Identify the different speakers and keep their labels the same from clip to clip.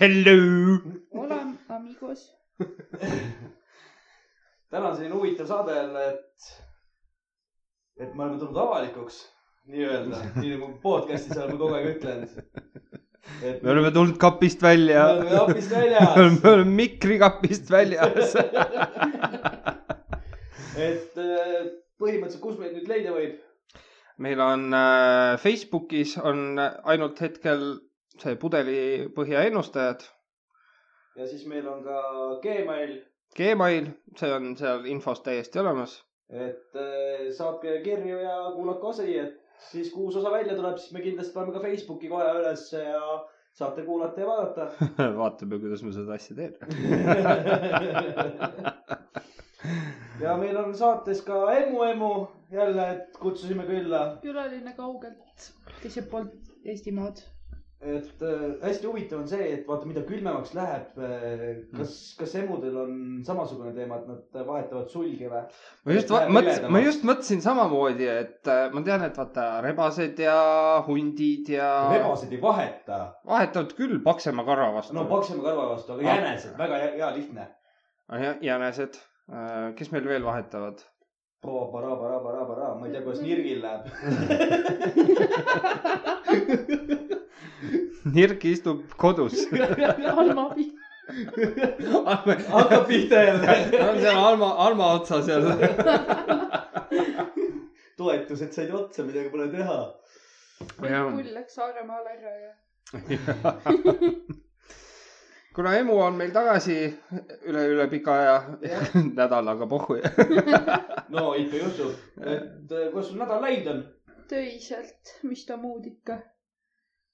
Speaker 1: hello .
Speaker 2: Hola , amigos .
Speaker 3: täna on selline huvitav saade jälle , et , et me oleme tulnud avalikuks nii-öelda , nii nagu podcast'is oleme kogu aeg ütlenud . et
Speaker 1: me oleme tulnud kapist välja .
Speaker 3: Me oleme kapist väljas.
Speaker 1: me oleme mikrikapist väljas .
Speaker 3: et eh, põhimõtteliselt , kus meid nüüd leida võib ?
Speaker 1: meil on äh, Facebookis on ainult hetkel see pudelipõhja ennustajad ,
Speaker 3: ja siis meil on ka Gmail ,
Speaker 1: Gmail , see on seal infos täiesti olemas .
Speaker 3: et eh, saatke kirju ja kuulake osi , et siis kui uus osa välja tuleb , siis me kindlasti paneme ka Facebooki kohe ülesse ja saate kuulata ja vaadata .
Speaker 1: vaatame , kuidas me seda asja teeme .
Speaker 3: ja meil on saates ka Emu Emu jälle , et kutsusime külla
Speaker 2: külaline kaugelt teiselt poolt Eestimaad .
Speaker 3: et äh, hästi huvitav on see , et vaata , mida külmemaks läheb äh, , kas , kas emudel on samasugune teema , et nad vahetavad sulgi või ?
Speaker 1: ma just va- mõtlesin , ma just mõtlesin samamoodi , et äh, ma tean , et vaata rebased ja hundid ja
Speaker 3: rebaseid ei vaheta ,
Speaker 1: vahetavad küll paksema karva vastu
Speaker 3: no paksema karva vastu , aga
Speaker 1: Ah.
Speaker 3: jänesed , väga hea- hea lihtne .
Speaker 1: Ja- jänesed , kes meil veel vahetavad ?
Speaker 3: Proba-ra-ba-ra-ba-ra-ba-ra , ma ei tea , kuidas nirgil
Speaker 1: Nirk istub kodus .
Speaker 3: läheb .
Speaker 2: Alma abi .
Speaker 3: hakkab pihta jälle .
Speaker 1: on seal Alma , Alma otsas jälle .
Speaker 3: toetused said otsa , midagi pole teha .
Speaker 2: pull läks Saaremaal ära ja .
Speaker 1: kuna emu on meil tagasi üle , üle pika aja , nädalaga pohhu .
Speaker 3: no ikka juhtub , et äh, kuidas sul nädal läinud on
Speaker 2: töiselt , mis ta muud ikka .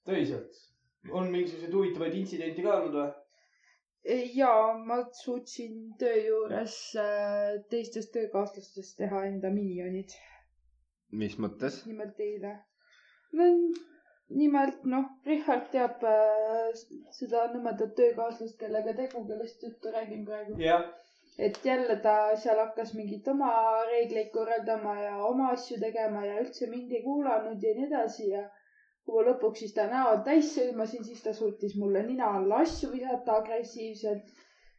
Speaker 3: töiselt ? on mingisuguseid huvitavaid intsidente ka olnud või ?
Speaker 2: ja ma suutsin töö juures äh, teistest töökaaslastest teha enda minionid ,
Speaker 1: mis mõttes ?
Speaker 2: nimelt eile . nimelt noh , Richard teab äh, s- seda nõmedat töökaaslast , kellega tegu , kellest juttu räägin praegu .
Speaker 3: jah ,
Speaker 2: et jälle ta seal hakkas mingeid oma reegleid korraldama ja oma asju tegema ja üldse mind ei kuulanud ja nii edasi ja kui ma lõpuks siis ta näo täis sõimasin , siis ta suutis mulle nina alla asju visata agressiivselt .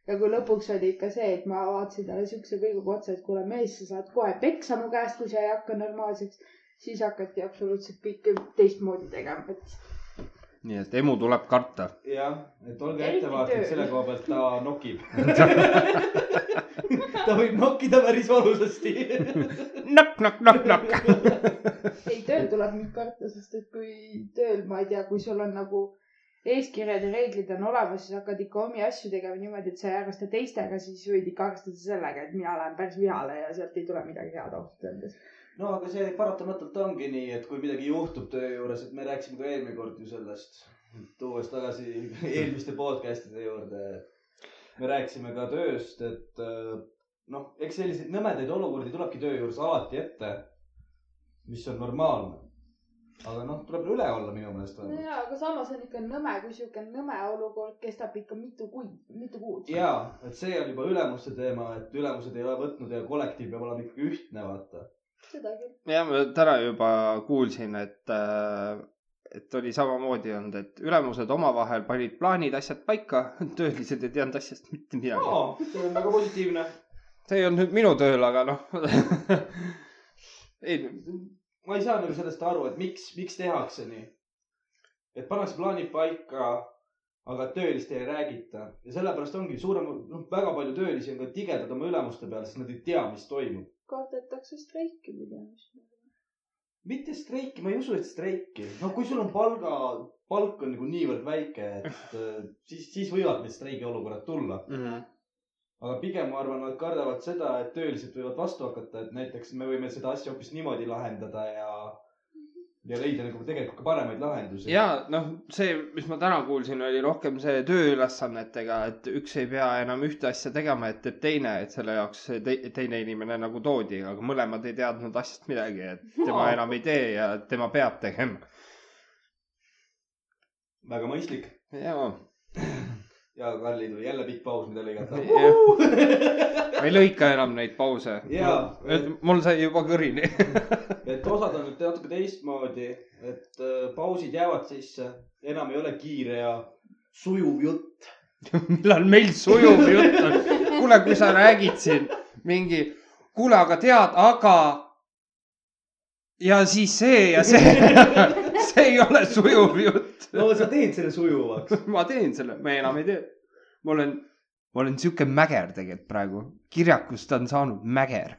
Speaker 2: ja kui lõpuks oli ikka see , et ma vaatasin talle siukse pilguga otsa , et kuule mees , sa saad kohe peksa mu käest , kui sa ei hakka normaalseks , siis hakati absoluutselt kõike teistmoodi tegema , et
Speaker 1: nii et emu tuleb karta .
Speaker 3: jah , et olge
Speaker 2: Eriti
Speaker 3: ettevaatlik
Speaker 2: tööl.
Speaker 3: selle koha pealt , ta nokib . ta võib nokkida päris valusasti .
Speaker 1: nokk , nokk , nokk , nokk .
Speaker 2: ei , tööl tuleb mind karta , sest et kui tööl , ma ei tea , kui sul on nagu eeskirjad ja reeglid on olemas , siis hakkad ikka omi asju tegema niimoodi , et sa ei arvesta teistega , siis võid ikka arvestada sellega , et mina lähen päris vihale ja sealt ei tule midagi head ausalt öeldes .
Speaker 3: no aga see paratamatult ongi nii , et kui midagi juhtub töö juures , et me rääkisime ka eelmine kord ju sellest , tuues tagasi eelmiste podcast'ide juurde . me rääkisime ka tööst , et äh, noh , eks selliseid nõmedaid olukordi tulebki töö juures alati ette , mis on normaalne . aga noh , tuleb üle olla minu meelest vähemalt .
Speaker 2: nojaa , aga samas on ikka nõme , kui sihuke nõme olukord kestab ikka mitu kuid , mitu kuud .
Speaker 3: jaa , et see on juba ülemuste teema , et ülemused ei ole võtnud ja kollektiiv peab olema ikkagi ühtne , vaata .
Speaker 2: seda küll .
Speaker 1: ja ma täna juba kuulsin , et , et oli samamoodi olnud , et ülemused omavahel panid plaanid , asjad paika , töölised ei teadnud asjast mitte midagi .
Speaker 3: see on väga positiivne .
Speaker 1: see ei olnud nüüd minu tööl , aga noh . ei ,
Speaker 3: ma ei saa nagu sellest aru , et miks , miks tehakse nii . et pannakse plaanid paika , aga töölistele ei räägita ja sellepärast ongi suurem , noh , väga palju töölisi on ka tigedad oma ülemuste peal , sest nad ei tea , mis toimub .
Speaker 2: kardetakse streiki või midagi .
Speaker 3: mitte streiki , ma ei usu , et streiki . no kui sul on palga , palk on nagu niivõrd väike , et äh, siis , siis võivad need streigiolukorrad tulla . aga pigem ma arvan , nad kardavad seda , et töölised võivad vastu hakata , et näiteks me võime seda asja hoopis niimoodi lahendada ja , ja leida nagu tegelikult ka paremaid lahendusi .
Speaker 1: ja noh , see , mis ma täna kuulsin , oli rohkem see tööülesannetega , et üks ei pea enam ühte asja tegema , et teeb teine , et selle jaoks see tei- teine inimene nagu toodi , aga mõlemad ei teadnud asjast midagi , et tema
Speaker 3: Jaa.
Speaker 1: enam ei tee ja tema peab tegema .
Speaker 3: väga mõistlik .
Speaker 1: jaa ,
Speaker 3: ja Karlil oli jälle pikk paus , mida lõigata
Speaker 1: Jah. . ma ei lõika enam neid pause .
Speaker 3: Jaa.
Speaker 1: mul sai juba kõrini .
Speaker 3: et osad on nüüd natuke teistmoodi , et äh, pausid jäävad sisse , enam ei ole kiire ja sujuv jutt .
Speaker 1: millal meil sujuv jutt on . kuule , kui sa räägid siin mingi , kuule , aga tead , aga . ja siis see ja see , see ei ole sujuv jutt .
Speaker 3: no sa teed selle sujuvaks .
Speaker 1: ma teen selle , me enam ei tee . ma olen , ma olen sihuke mäger tegelikult praegu , kirjakust on saanud mäger .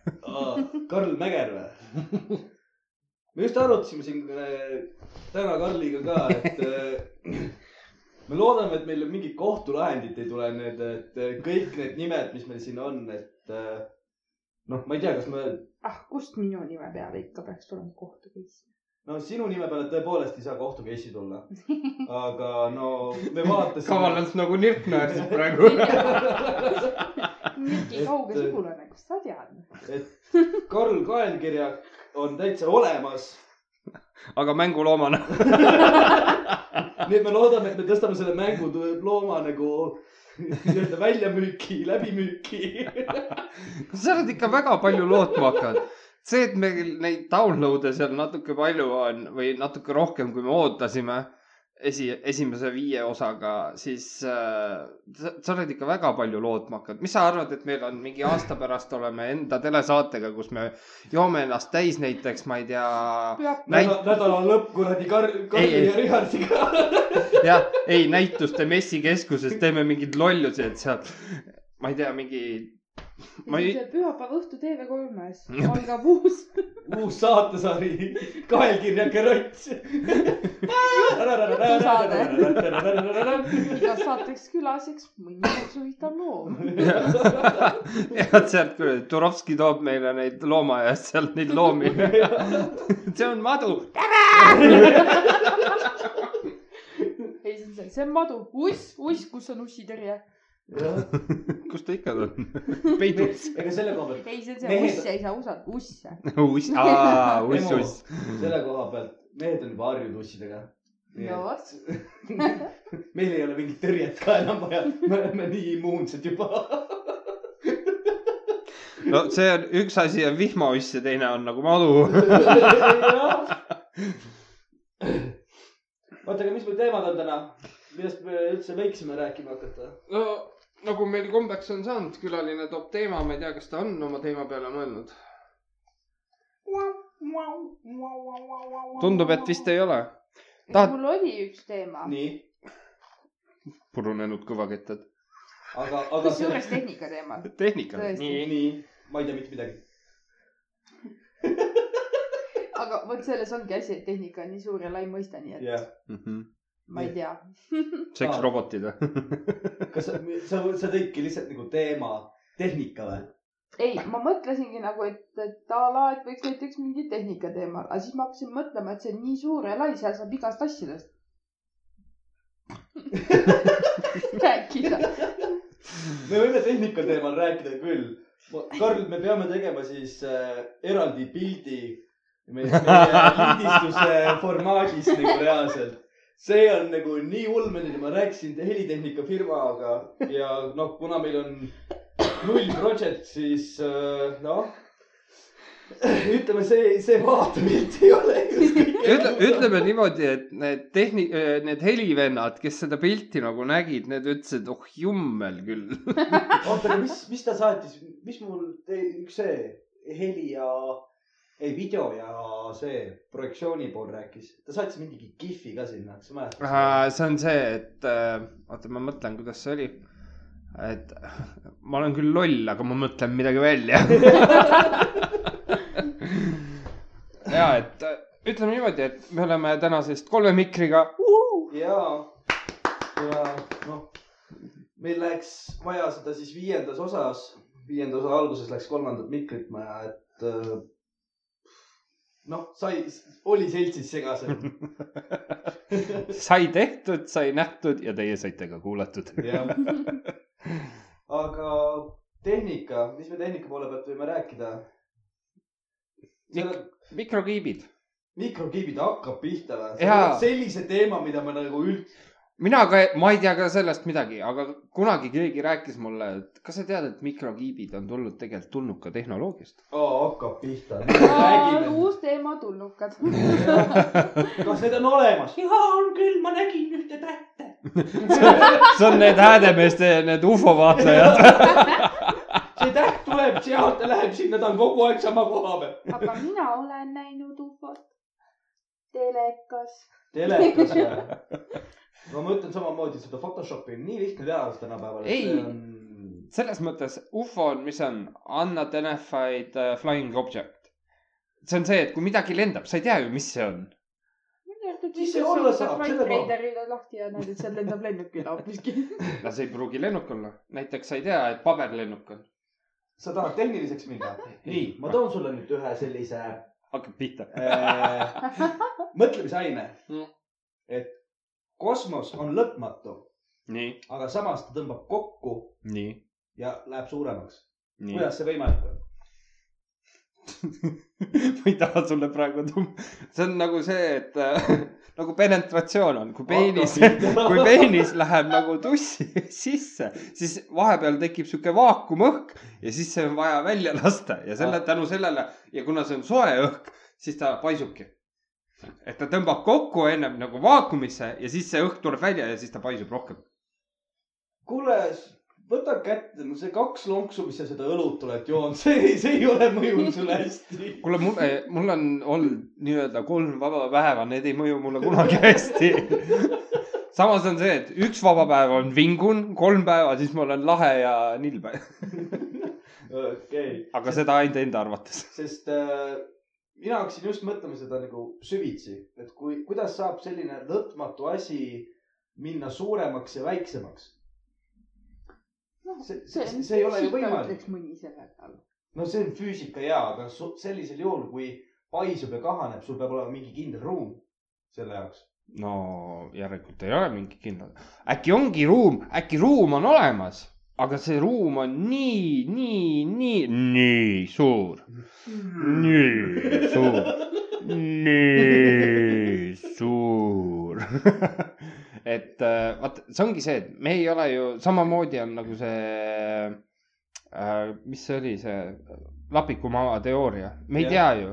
Speaker 3: Karl Mäger või ? me just arutasime siin äh, täna Karliga ka , et äh, me loodame , et meil mingit kohtulahendit ei tule nüüd , et äh, kõik need nimed , mis meil siin on , et äh, noh , ma ei tea , kas me ,
Speaker 2: ah , kust minu nime peale ikka peaks tulema kohtu case ?
Speaker 3: no sinu nime peale tõepoolest ei saa kohtu case'i tulla . aga no me vaatasime .
Speaker 1: kavalalt nagu nirk naersid praegu .
Speaker 3: Et-
Speaker 2: mingi
Speaker 3: äh,
Speaker 2: kauge sugulane , kust sa tead ?
Speaker 3: et Karl Kaelkirjak on täitsa olemas
Speaker 1: aga mänguloomana .
Speaker 3: nii et me loodame , et me tõstame selle mängu tu- looma nagu nii-öelda väljamüüki , läbimüüki .
Speaker 1: sa oled ikka väga palju lootma hakanud . see , et meil neid download'e seal natuke palju on või natuke rohkem , kui me ootasime esi , esimese viie osaga , siis äh, sa, sa oled ikka väga palju lootma hakanud . mis sa arvad , et meil on mingi aasta pärast oleme enda telesaatega , kus me joome ennast täis näiteks , ma ei tea , Näit-
Speaker 3: nädala lõpp kuradi Kar- , Karli
Speaker 1: ei.
Speaker 3: ja Rihardiga .
Speaker 1: jah , ei näituste messikeskuses teeme mingeid lollusi , et seal , ma ei tea , mingi , ma ei ,
Speaker 2: pühapäeva õhtu TV3-s algab uus
Speaker 3: uus saatesari , Kaelkirjak ja Rots .
Speaker 2: igas saateks külaliseks mõni huvitav loom .
Speaker 1: jah , sealt küll , Turovski toob meile neid loomaaiast sealt neid loomi . see on madu .
Speaker 2: ei , see on see , see on madu , uss , uss , kus on ussitõrje .
Speaker 1: kus ta ikka on ? peidus .
Speaker 3: ega selle koha pealt ,
Speaker 2: ei , see on see ,
Speaker 3: Mehed-
Speaker 2: uss ei saa usaldada , uss .
Speaker 1: uss , aa , uss ,
Speaker 3: Emo.
Speaker 1: uss .
Speaker 3: selle koha pealt mehed on juba harjunud ussidega .
Speaker 2: no vot ,
Speaker 3: meil ei ole mingit tõrjet ka enam vaja , me oleme nii immuunsed juba .
Speaker 1: no see on , üks asi on vihmauss ja teine on nagu madu .
Speaker 3: oota , aga mis meil teemad on täna , millest me üldse võiksime rääkima hakata ?
Speaker 1: no nagu meil kombeks on saanud , külaline toob teema , ma ei tea , kas ta on oma teema peale mõelnud . tundub , et vist ei ole . Tahad-
Speaker 2: mul oli üks teema ,
Speaker 3: nii ,
Speaker 1: purunenud kõvakettad .
Speaker 3: aga , aga
Speaker 2: kusjuures tehnika teema .
Speaker 1: tehnika .
Speaker 2: Tõesti.
Speaker 3: nii , nii , ma ei tea mitte midagi .
Speaker 2: aga vot selles ongi asi , et tehnika on nii suur ja lai mõiste , nii et
Speaker 3: jah ,
Speaker 1: Mhm.
Speaker 2: ma ei tea .
Speaker 1: seksrobotid või ?
Speaker 3: kas sa , sa , sa tõidki lihtsalt nagu teema tehnika või ?
Speaker 2: ei , ma mõtlesingi nagu , et , et a la , et võiks näiteks mingi tehnika teemal , aga siis ma hakkasin mõtlema , et see on nii suur ja lai , seal saab igast asjadest rääkida .
Speaker 3: me võime tehnika teemal rääkida küll . Karl , me peame tegema siis äh, eraldi pildi meie, meie lindistuse formaadis nagu reaalselt . see on nagu nii ulmeline , ma rääkisin helitehnika firmaga ja noh , kuna meil on null project , siis äh, noh , ütleme see , see vaatepilt ei ole just
Speaker 1: ütle ,
Speaker 3: kõige .
Speaker 1: ütleme niimoodi , et need tehni- , need helivennad , kes seda pilti nagu nägid , need ütlesid , oh jummel küll .
Speaker 3: oota , aga mis , mis ta saatis , mis mul , üks see heli ja , ei video ja see projektsiooni pool rääkis , ta saatis mingi kihvi ka sinna , kas sa mäletad ?
Speaker 1: Äh, see on see , et äh, oota , ma mõtlen , kuidas see oli . et ma olen küll loll , aga ma mõtlen midagi välja . ja et äh, ütleme niimoodi , et me oleme tänasest kolme mikriga . uh,
Speaker 3: ja , ja noh , meil läks vaja seda siis viiendas osas , viienda osa alguses läks kolmandat mikrit maja , et äh, noh , sai , oli seltsis segasem .
Speaker 1: sai tehtud , sai nähtud ja teie saite ka kuulatud .
Speaker 3: jah , aga tehnika , mis me tehnika poole pealt võime rääkida ? selle
Speaker 1: mikrokiibid .
Speaker 3: mikrokiibid hakkab pihta või nagu
Speaker 1: Jaa. ?
Speaker 3: sellise teema , mida ma nagu üld- ,
Speaker 1: mina ka , ma ei tea ka sellest midagi , aga kunagi keegi rääkis mulle , et kas sa tead , et mikrokiibid on tulnud tegelikult tulnud ka tehnoloogiast .
Speaker 3: hakkab pihta .
Speaker 2: uus teema madulnukad .
Speaker 3: kas need on olemas ?
Speaker 4: jaa , on küll , ma nägin ühte tähte .
Speaker 1: see on need häädemeeste , need ufo vaatajad .
Speaker 3: see täht tuleb sealt ja läheb sinna , ta on kogu aeg sama koha peal .
Speaker 2: aga mina olen näinud ufot telekas .
Speaker 3: telekas või ? no ma ütlen samamoodi , seda Photoshopi on nii lihtne teha tänapäeval .
Speaker 1: Ei. selles mõttes ufo on , mis on unidentified uh, flying object . see on see , et kui midagi lendab , sa ei tea ju , mis see on .
Speaker 2: minu arvates
Speaker 3: Mis see olla saab? Selle koha-
Speaker 2: Flightreiderid on lahti ja nad , et seal lendab lennukil hoopiski .
Speaker 1: no see ei pruugi lennuk olla . näiteks sa ei tea , et paberlennuk on .
Speaker 3: sa tahad tehniliseks minna ? nii , ma toon sulle nüüd ühe sellise
Speaker 1: hakkab pihta .
Speaker 3: äh, mõtlemisaine
Speaker 1: Mm. .
Speaker 3: et kosmos on lõpmatu ,
Speaker 1: nii ,
Speaker 3: aga samas ta tõmbab kokku
Speaker 1: nii ,
Speaker 3: ja läheb suuremaks .
Speaker 1: nii .
Speaker 3: kuidas see võimalik on ?
Speaker 1: ma ei taha sulle praegu tum- , see on nagu see , et äh, nagu penetratsioon on , kui peenis , kui peenis läheb nagu tussi sisse , siis vahepeal tekib sihuke vaakumõhk ja siis see on vaja välja lasta ja selle tänu sellele ja kuna see on soe õhk , siis ta paisubki . et ta tõmbab kokku ennem nagu vaakumisse ja siis see õhk tuleb välja ja siis ta paisub rohkem .
Speaker 3: kuule , võta kätte , no see kaks lonksu , mis sa seda õlut oled joonud , see , see ei ole mõjunud sulle hästi .
Speaker 1: kuule , mul , mul on olnud nii-öelda kolm vaba päeva , need ei mõju mulle kunagi hästi . samas on see , et üks vaba päev on vingun , kolm päeva , siis ma olen lahe ja nilbe ,
Speaker 3: okei ,
Speaker 1: aga seda ainult enda arvates .
Speaker 3: sest äh, mina hakkasin just mõtlema seda nagu süvitsi , et kui , kuidas saab selline lõpmatu asi minna suuremaks ja väiksemaks . See- see- see ei ole ju võimalik.
Speaker 2: ütleks mõni selle peale .
Speaker 3: no see on füüsika ja , aga su- sellisel juhul , kui paisub ja kahaneb , sul peab olema mingi kindel ruum selle jaoks .
Speaker 1: no järelikult ei ole mingi kindel , äkki ongi ruum , äkki ruum on olemas , aga see ruum on nii , nii , nii , nii suur , nii suur , nii suur . et äh, vaat see ongi see , et me ei ole ju samamoodi on nagu see äh, , mis see oli , see lapikumaa teooria , me ei
Speaker 3: Jah.
Speaker 1: tea ju ,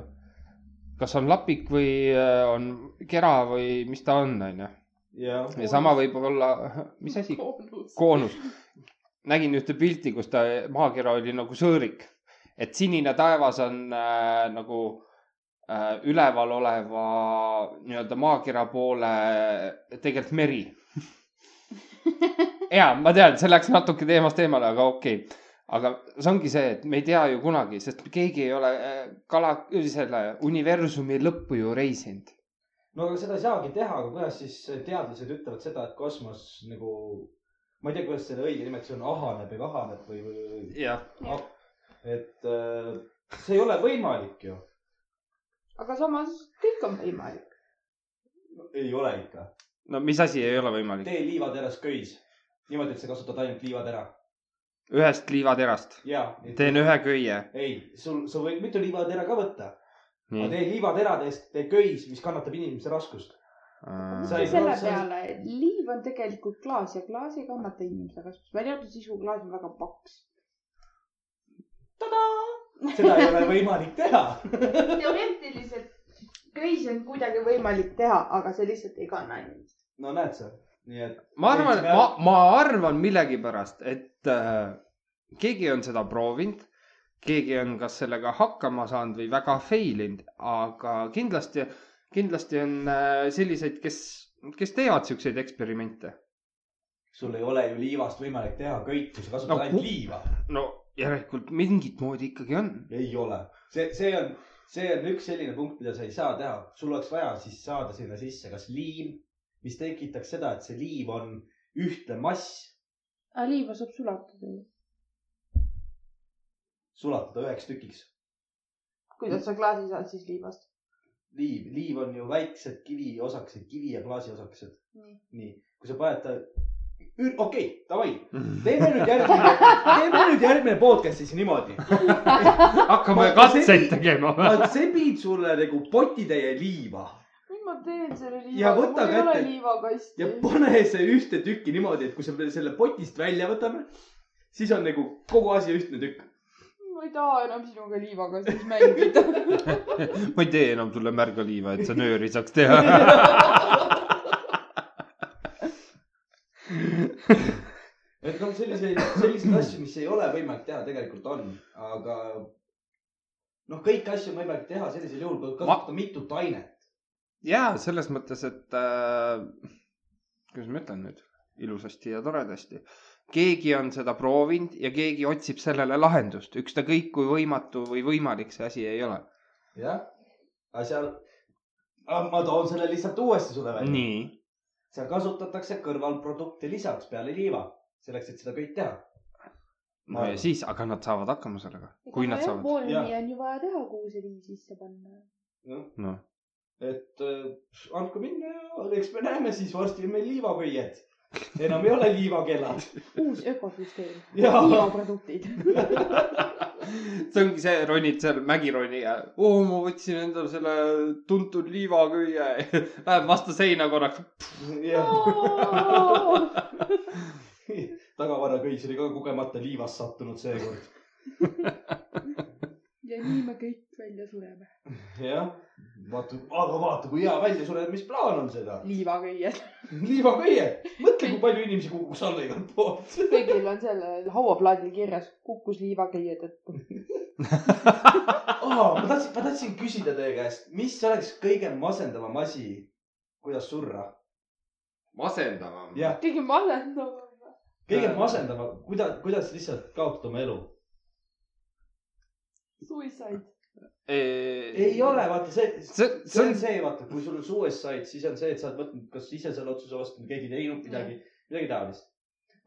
Speaker 1: kas on lapik või äh, on kera või mis ta on , onju .
Speaker 3: jah .
Speaker 1: ja sama võib olla , mis asi ,
Speaker 2: koonus .
Speaker 1: koonus . nägin ühte pilti , kus ta , maakera oli nagu sõõrik , et sinine taevas on äh, nagu äh, üleval oleva nii-öelda maakera poole tegelikult meri . ja ma tean , see läks natuke teemast eemale , aga okei okay. aga see ongi see , et me ei tea ju kunagi , sest keegi ei ole äh, kala , selle universumi lõppu ju reisinud .
Speaker 3: no aga seda ei saagi teha , aga kuidas siis teadlased ütlevad seda , et kosmos nagu , ma ei tea , kuidas selle õige nimetus on , ahaneb ja kahaneb või , või , või ,
Speaker 1: jah ,
Speaker 3: et äh, see ei ole võimalik ju .
Speaker 2: aga samas kõik on võimalik .
Speaker 3: ei ole ikka .
Speaker 1: no mis asi ei ole võimalik ?
Speaker 3: tee liivateras köis . niimoodi , et sa kasutad ainult liivatera .
Speaker 1: ühest liivaterast .
Speaker 3: ja .
Speaker 1: teen ühe köie .
Speaker 3: ei , sul , sa võid mitu liivatera ka võtta , aga
Speaker 1: nii .
Speaker 3: tee liivateradest , tee köis , mis kannatab inimese raskust . Sa
Speaker 2: mõtle
Speaker 3: ei-
Speaker 2: selle
Speaker 3: sa ei-
Speaker 2: peale , et liiv on tegelikult klaas ja klaas ei kannata inimese kasvust , välja arvatud siis , kui klaas on väga paks .
Speaker 3: seda ei ole võimalik teha .
Speaker 2: teoreetiliselt köis on kuidagi võimalik teha , aga see lihtsalt ei kanna inimest .
Speaker 3: no näed sa , nii et
Speaker 1: ma arvan , ma , ma arvan millegipärast , et äh, keegi on seda proovinud , keegi on kas sellega hakkama saanud või väga fail inud , aga kindlasti , kindlasti on äh, selliseid , kes , kes teevad siukseid eksperimente .
Speaker 3: sul ei ole ju liivast võimalik teha köit , kui sa kasutad
Speaker 1: No
Speaker 3: no, ainult
Speaker 1: ku-
Speaker 3: liiva
Speaker 1: no järelikult mingit moodi ikkagi on .
Speaker 3: ei ole , see , see on , see on üks selline punkt , mida sa ei saa teha , sul oleks vaja siis saada sinna sisse kas liim , mis tekitaks seda , et see liiv on ühtne mass ,
Speaker 2: aga Ah, liiva saab sulatada ju .
Speaker 3: sulatada üheks tükiks .
Speaker 2: kuidas sa klaasi saad siis liivast ?
Speaker 3: liiv , liiv on ju väiksed kiviosakesed , kivi ja klaasi osakesed .
Speaker 2: Nii.
Speaker 3: nii , kui sa paned ta , okei okay, , davai , teeme nüüd järgmine , teeme nüüd järgmine podcast siis niimoodi .
Speaker 1: hakkame
Speaker 3: Ma-
Speaker 1: katseid tegema või ?
Speaker 3: ma sebin sulle nagu potitäie liiva
Speaker 2: mis ma teen selle
Speaker 3: Ja
Speaker 2: liivaga ,
Speaker 3: võta
Speaker 2: mul ei ole
Speaker 3: kätte-
Speaker 2: liivakasti
Speaker 3: ja . pane see ühte tükki niimoodi , et kui sa selle potist välja võtame , siis on nagu kogu asi ühtne tükk .
Speaker 2: ma ma ei taha enam sinuga liivaga siis mängida .
Speaker 1: ma ei tee enam sulle märga liiva , et sa nööri saaks teha .
Speaker 3: et noh , selliseid , selliseid asju , mis ei ole võimalik teha , tegelikult on , aga noh , kõiki asju on võimalik teha sellisel juhul , kui kasutada mitut ainet .
Speaker 1: ja selles mõttes , et äh, kuidas ma ütlen nüüd ilusasti ja toredasti , keegi on seda proovinud ja keegi otsib sellele lahendust , ükstakõik kui võimatu või võimalik see asi ei ole .
Speaker 3: jah , aga seal , ma toon selle lihtsalt uuesti sulle välja .
Speaker 1: nii ,
Speaker 3: seal kasutatakse kõrvalprodukte lisaks peale liiva , selleks , et seda kõik teha .
Speaker 1: no ja siis , aga nad saavad hakkama sellega , kui nad saavad ,
Speaker 2: volmi on ju vaja teha , kuhu see viin sisse panna .
Speaker 3: noh ,
Speaker 1: noh .
Speaker 3: et äh, andku minna ja eks me näeme siis varsti on meil liivapõied . enam ei ole liivakellad .
Speaker 2: uus ökosüsteem ,
Speaker 3: jaa ,
Speaker 2: liivaproduktid .
Speaker 1: see ongi see , ronid seal mägironi ja oo , ma võtsin endale selle tuntud liivaküüa ja läheb vastu seina korraks .
Speaker 3: jah , tagavaraköis oli ka kogemata liivast sattunud seekord .
Speaker 2: ja nii me kõik välja sureme .
Speaker 3: jah , vaata , aga vaata , kui hea välja sureb , mis plaan on seda ?
Speaker 2: liivakõied .
Speaker 3: liivaköie , mõtle , kui palju inimesi kukkus alla igalt poolt .
Speaker 2: kõigil on selle hauaplaadil kirjas , kukkus liivakõie tõttu .
Speaker 3: aa , ma tahtsin , ma tahtsin küsida teie käest , mis oleks kõige masendavam asi , kuidas surra ?
Speaker 1: masendavam .
Speaker 3: jah ,
Speaker 2: kõige masendavam .
Speaker 3: kõige masendavam , kuidas , kuidas lihtsalt kaotada oma elu ?
Speaker 2: Suicide .
Speaker 3: ei ole , vaata see ,
Speaker 1: see ,
Speaker 3: see on see , vaata , kui sul on suicide , siis on see , et sa oled võtnud kas ise selle otsuse vastu või keegi teinud midagi , midagi taolist .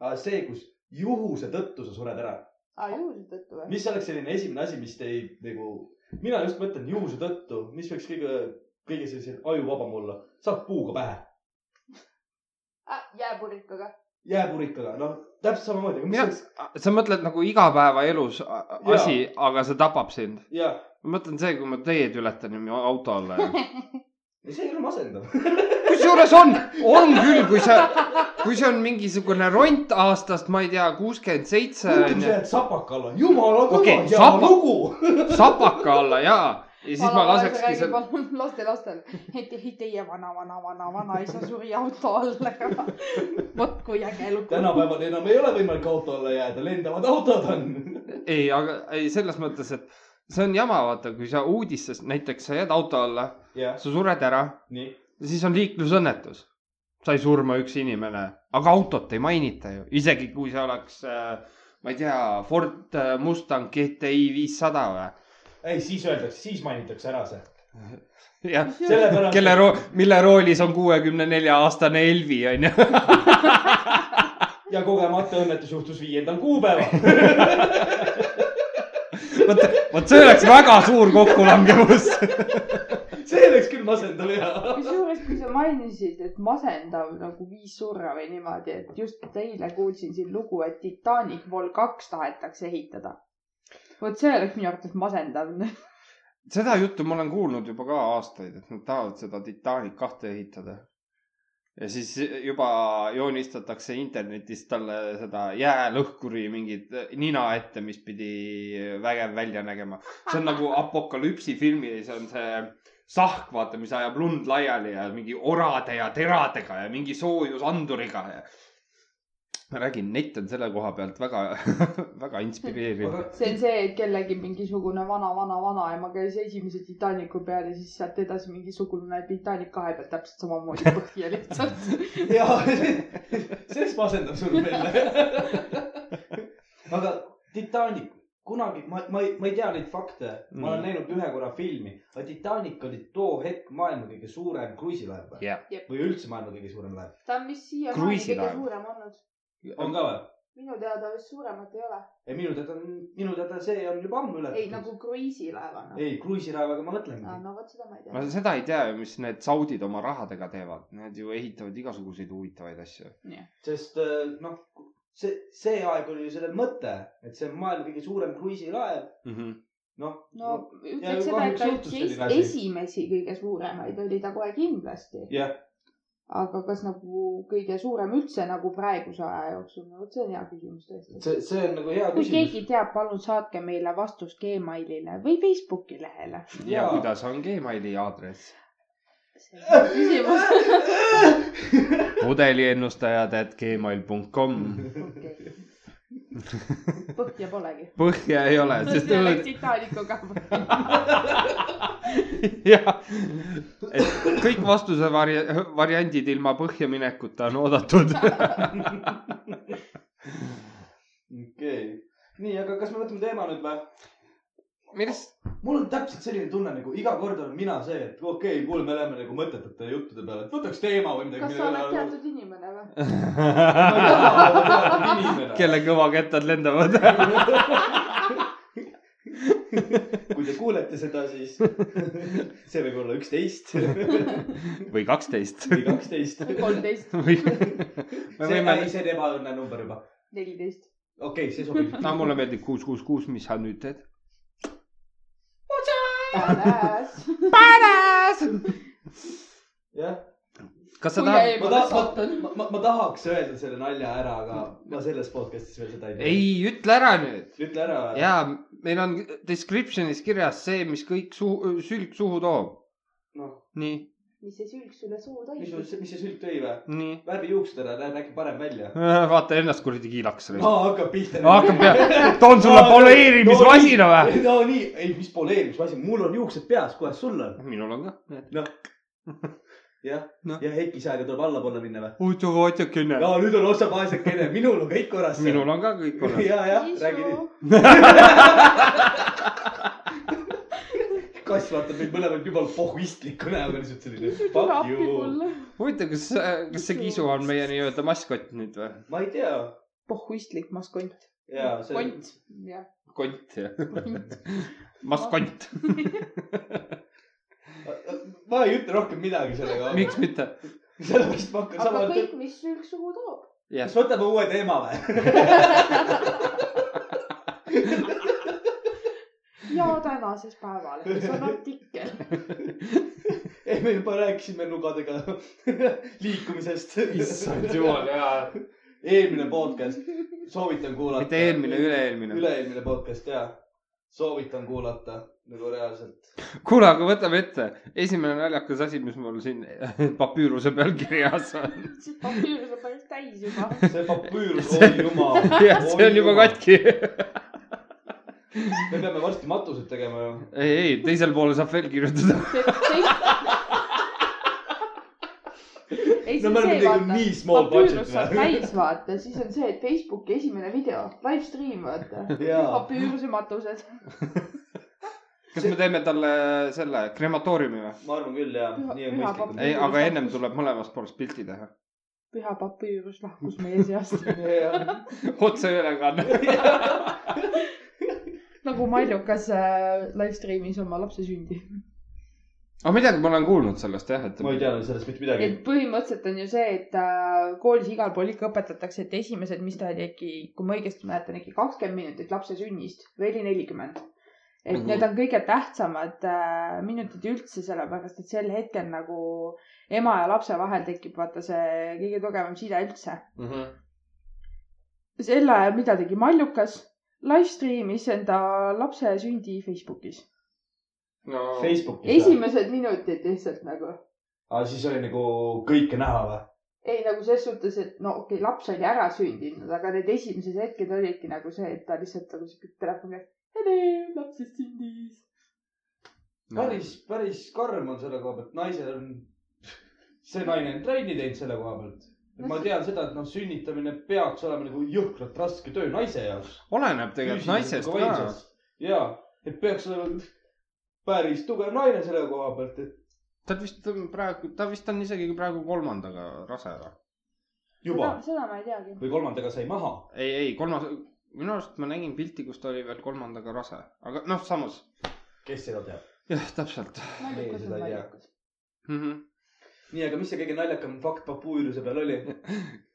Speaker 3: aga see , kus juhuse tõttu sa sured ära ,
Speaker 2: aa , Ah, juhuse tõttu või ?
Speaker 3: mis oleks selline esimene asi , mis teid nagu , mina just mõtlen juhuse tõttu , mis võiks kõige , kõige sellisem ajuvabam olla , saad puuga pähe ,
Speaker 2: Ah, jääpurikaga .
Speaker 3: jääpurikaga , noh , täpselt samamoodi , aga mis
Speaker 1: Jah.
Speaker 3: oleks
Speaker 1: sa mõtled nagu igapäevaelus a- a-
Speaker 3: Jaa.
Speaker 1: asi , aga see tapab sind .
Speaker 3: ja ,
Speaker 1: ma mõtlen see , kui ma teed ületan ja mu auto alla jään .
Speaker 3: see ei ole masendav .
Speaker 1: kusjuures on , on küll , kui sa , kui see on mingisugune ront aastast , ma ei tea , kuuskümmend seitse
Speaker 3: kuulge ,
Speaker 1: onju
Speaker 3: sa , jääd sapaka alla , jumala kõva
Speaker 1: Okei,
Speaker 3: okay, , hea
Speaker 1: sapa-
Speaker 3: lugu .
Speaker 1: sapaka alla ja , ja siis ma lasekski
Speaker 2: seal .
Speaker 1: seal .
Speaker 2: palun lastelastele , et ei, teie vana , vana , vana , vanaisa suri auto alla . vot kui äge lugu .
Speaker 3: tänapäeval enam ei ole võimalik auto alla jääda , lendavad autod on .
Speaker 1: ei , aga ei , selles mõttes , et see on jama , vaata , kui sa uudistes näiteks sa jääd auto alla ,
Speaker 3: jah ,
Speaker 1: sa sured ära ,
Speaker 3: nii .
Speaker 1: siis on liiklusõnnetus . sai surma üks inimene , aga autot ei mainita ju , isegi kui see oleks , ma ei tea , Ford äh, Mustang GTI viissada või .
Speaker 3: ei , siis öeldakse , siis mainitakse ära see .
Speaker 1: jah ,
Speaker 3: sellepärast ,
Speaker 1: kelle roo- , mille roolis on kuuekümne nelja aastane Elvi onju .
Speaker 3: ja kogemata õnnetus juhtus viiendal kuupäeval .
Speaker 1: vot , vot see oleks väga suur kokkulangevus .
Speaker 3: see oleks küll masendav ja .
Speaker 2: kusjuures , kui sa mainisid , et masendav nagu viis surra või niimoodi , et just eile kuulsin siin lugu , et Titanic Vol kaks tahetakse ehitada . vot see oleks minu arvates masendav .
Speaker 1: seda juttu ma olen kuulnud juba ka aastaid , et nad tahavad seda Titanic kahte ehitada . ja siis juba joonistatakse internetis talle seda jäälõhkuri mingit nina ette , mis pidi eh, vägev välja nägema . see on nagu apokalüpsi filmis on see sahk , vaata , mis ajab lund laiali ja mingi orade ja teradega ja mingi soojusanduriga ja . ma räägin , net on selle koha pealt väga , väga inspireeriv .
Speaker 2: see on see , et kellegi mingisugune vana , vana , vanaema käis esimese Titanicu peal ja siis sealt edasi mingisugune Titanic kahe peal täpselt samamoodi põhja lihtsalt .
Speaker 3: ja , see oleks masendav sul veel . aga Titanic , kunagi ma , ma ei , ma ei tea neid fakte , ma olen
Speaker 1: Mm.
Speaker 3: näinud ühe korra filmi , aga Titanic oli too hetk maailma kõige suurem kruiisilaev või ?
Speaker 1: jah .
Speaker 3: või üldse maailma kõige suurem laev .
Speaker 2: ta on vist siiamaani kõige
Speaker 1: Kruiisilaev.
Speaker 2: suurem olnud .
Speaker 3: on ka või ?
Speaker 2: minu teada vist suuremat ei ole .
Speaker 3: ei , minu teada on , minu teada see on juba ammu ületatud .
Speaker 2: ei , nagu kruiisilaevana .
Speaker 3: ei , kruiisilaevaga ma mõtlengi .
Speaker 2: no vot seda ma ei
Speaker 1: ma
Speaker 2: tea .
Speaker 1: seda ei tea ju , mis need saudid oma rahadega teevad , need ju ehitavad igasuguseid huvitavaid asju .
Speaker 3: sest äh, noh , see , see aeg oli ju selle mõte , et see on maailma kõige suurem kruiisilaev ,
Speaker 1: Mhm.
Speaker 3: noh .
Speaker 2: no
Speaker 3: Ja
Speaker 2: ütleks seda ,
Speaker 3: kahjuks
Speaker 2: et ta
Speaker 3: juhtus
Speaker 2: üks
Speaker 3: selline asi.
Speaker 2: esimesi kõige suuremaid oli ta kohe kindlasti .
Speaker 3: jah ,
Speaker 2: aga kas nagu kõige suurem üldse nagu praeguse aja jooksul , no vot see on hea küsimus tõesti .
Speaker 3: see , see on nagu hea
Speaker 2: kui
Speaker 3: küsimus .
Speaker 2: keegi teab , palun saatke meile vastust Gmailile või Facebooki lehele .
Speaker 1: ja kuidas on Gmaili aadress ?
Speaker 2: küsimus .
Speaker 1: pudeliennustajad at gmail punkt kom .
Speaker 2: põhja polegi .
Speaker 1: põhja ei ole , sest
Speaker 2: põhja läks Itaalikuga .
Speaker 1: jah , et kõik vastuse vari- , variandid ilma põhja minekuta on oodatud .
Speaker 3: okei , nii , aga kas me võtame teema nüüd või ?
Speaker 1: millest ,
Speaker 3: mul on täpselt selline tunne nagu iga kord olen mina see , et okei okay, , kuule , me läheme nagu mõttetute juttude peale , et võtaks teema või midagi .
Speaker 2: kas sa oled ? teatud inimene või ?
Speaker 3: ma ei taha olla teatud inimene .
Speaker 1: kelle kõvakettad lendavad ?
Speaker 3: kui te kuulete seda , siis see võib olla üksteist
Speaker 1: või kaksteist
Speaker 3: või kaksteist .
Speaker 2: või kolmteist ,
Speaker 1: või me
Speaker 3: see ,
Speaker 1: võime
Speaker 3: ei ,, see on ebaõnne number juba .
Speaker 2: neliteist .
Speaker 3: okei okay, , see sobib .
Speaker 1: no mulle meeldib kuus , kuus , kuus , mis sa nüüd teed ?
Speaker 3: jah ,
Speaker 1: kas sa tahad ?
Speaker 3: ma tahan , ma, ma, ma tahaks öelda selle nalja ära , aga ma selles podcast'is veel seda ei tee .
Speaker 1: ei , ütle ära nüüd .
Speaker 3: ütle ära .
Speaker 1: jaa , meil on description'is kirjas see , mis kõik suu- , sülg suhu toob .
Speaker 3: noh ,
Speaker 1: nii ,
Speaker 2: mis see sülg sulle suhu
Speaker 3: mis
Speaker 2: toimus ?
Speaker 3: sul , mis see sülg tõi või ?
Speaker 1: nii .
Speaker 3: värvi juuksed ära , näeb äkki parem välja .
Speaker 1: vaata ennast kuradi kiilaks .
Speaker 3: aa , hakkab pihta .
Speaker 1: hakkab peale , toon sulle poleerimismasina või ??
Speaker 3: no nii , ei , mis poleerimismasin , mul on juuksed peas , kuidas sul on ?
Speaker 1: minul on ka .
Speaker 3: noh , jah
Speaker 1: Noh. ,
Speaker 3: ja Heiki Saega tuleb allapoole minna või ?
Speaker 1: huvitav , vaadake .
Speaker 3: no nüüd on osa vaesekene , minul on kõik korras .
Speaker 1: minul on ka kõik korras .
Speaker 3: ja , jah , räägi nüüd .. kass vaatab meid mõlemad jumala pohhuistliku näoga lihtsalt selline .
Speaker 2: kisu tule appi . mulle .
Speaker 1: huvitav , kas , kas see kisu on meie nii-öelda maskott nüüd või ?
Speaker 3: ma ei tea .
Speaker 2: pohhuistlik maskont .
Speaker 3: ja see ,
Speaker 2: kont , jah .
Speaker 1: kont jah ? maskont ,
Speaker 3: ma ei ütle rohkem midagi sellega .
Speaker 1: miks mitte ?
Speaker 3: sellepärast ma hakkan
Speaker 2: aga
Speaker 3: sama .
Speaker 2: kõik , mis sülg suhu toob .
Speaker 1: jah
Speaker 3: kas , võtame uue teema või ?
Speaker 2: ja tänases päevalehes on artikkel .
Speaker 3: ei , me juba rääkisime nugadega liikumisest .
Speaker 1: issand jumal jaa .
Speaker 3: eelmine podcast , soovitan kuulata .
Speaker 1: mitte eelmine ,. üle-eelmine .
Speaker 3: üle-eelmine podcast ja , soovitan kuulata nagu reaalselt .
Speaker 1: kuule , aga võtame ette , esimene naljakas asi , mis mul siin papüüruse peal kirjas on .
Speaker 2: siis papüürus on päris täis juba .
Speaker 3: see papüürus , oi jumal .
Speaker 1: jah , see on juba . katki .
Speaker 3: me peame varsti matused tegema ju .
Speaker 1: ei , ei teisel pool saab veel kirjutada .
Speaker 2: ei , see
Speaker 3: no me
Speaker 2: on
Speaker 3: oleme
Speaker 2: see ,
Speaker 3: teinud
Speaker 2: vaata .
Speaker 3: nii small budget
Speaker 2: papüürus saab
Speaker 3: või ?
Speaker 2: täis , vaata , siis on see , et Facebooki esimene video , live stream , vaata .
Speaker 3: jaa ,
Speaker 2: papüüruse matused .
Speaker 1: kas me teeme talle selle krematooriumi või ?
Speaker 3: ma arvan küll ja ,
Speaker 2: Püha-
Speaker 3: nii on
Speaker 2: püha
Speaker 3: mõistlikum .
Speaker 1: ei , aga ennem tuleb mõlemast poolest pilti teha .
Speaker 2: püha papüürus lahkus meie seast
Speaker 1: otseülekanne .
Speaker 2: nagu Mallukas äh, live stream'is oma lapse sündi .
Speaker 1: aga midagi ma olen kuulnud sellest jah , et .
Speaker 3: ma ei tea sellest mitte midagi
Speaker 2: et . põhimõtteliselt on ju see , et äh, koolis igal pool ikka õpetatakse , et esimesed , mis ta oli äkki , kui ma õigesti mäletan , äkki kakskümmend minutit lapse sünnist või oli nelikümmend . et
Speaker 1: Mhm.
Speaker 2: need on kõige tähtsamad äh, minutid üldse , sellepärast et sel hetkel nagu ema ja lapse vahel tekib vaata see kõige tugevam side üldse .
Speaker 1: Mhm.
Speaker 2: sel ajal , mida tegi Mallukas , live stream'is enda lapse sündi Facebookis .
Speaker 1: no
Speaker 3: Facebookis .
Speaker 2: esimesed minutid lihtsalt nagu
Speaker 3: aa , siis oli nagu kõike näha või ?
Speaker 2: ei nagu ses suhtes , et no okei okay, , laps oli ära sündinud , aga need esimesed hetked olidki nagu see , et ta lihtsalt nagu siuke telefoni käes . tere , laps just sündis .
Speaker 3: päris , päris karm on selle koha pealt , naisel on , see naine on trenni teinud selle koha pealt . ma tean seda , et noh , sünnitamine peaks olema nagu jõhkralt raske töö naise jaoks .
Speaker 1: oleneb tegelikult naisest ka .
Speaker 3: ja , et peaks olema päris tugev naine selle koha pealt , et
Speaker 1: ta vist on praegu , ta vist on isegi praegu kolmandaga rase ära .
Speaker 3: juba
Speaker 2: seda ma ei teagi .
Speaker 3: või kolmandaga sai maha .
Speaker 1: ei , ei kolmas , minu arust ma nägin pilti , kus ta oli veel kolmandaga rase , aga noh , samas
Speaker 3: kes seda teab ?
Speaker 1: jah , täpselt
Speaker 3: Meie
Speaker 2: naljakas
Speaker 3: seda ei tea.
Speaker 2: on naljakas .
Speaker 1: mm . -hmm.
Speaker 3: nii , aga mis see kõige naljakam fakt papuüruse peal oli ?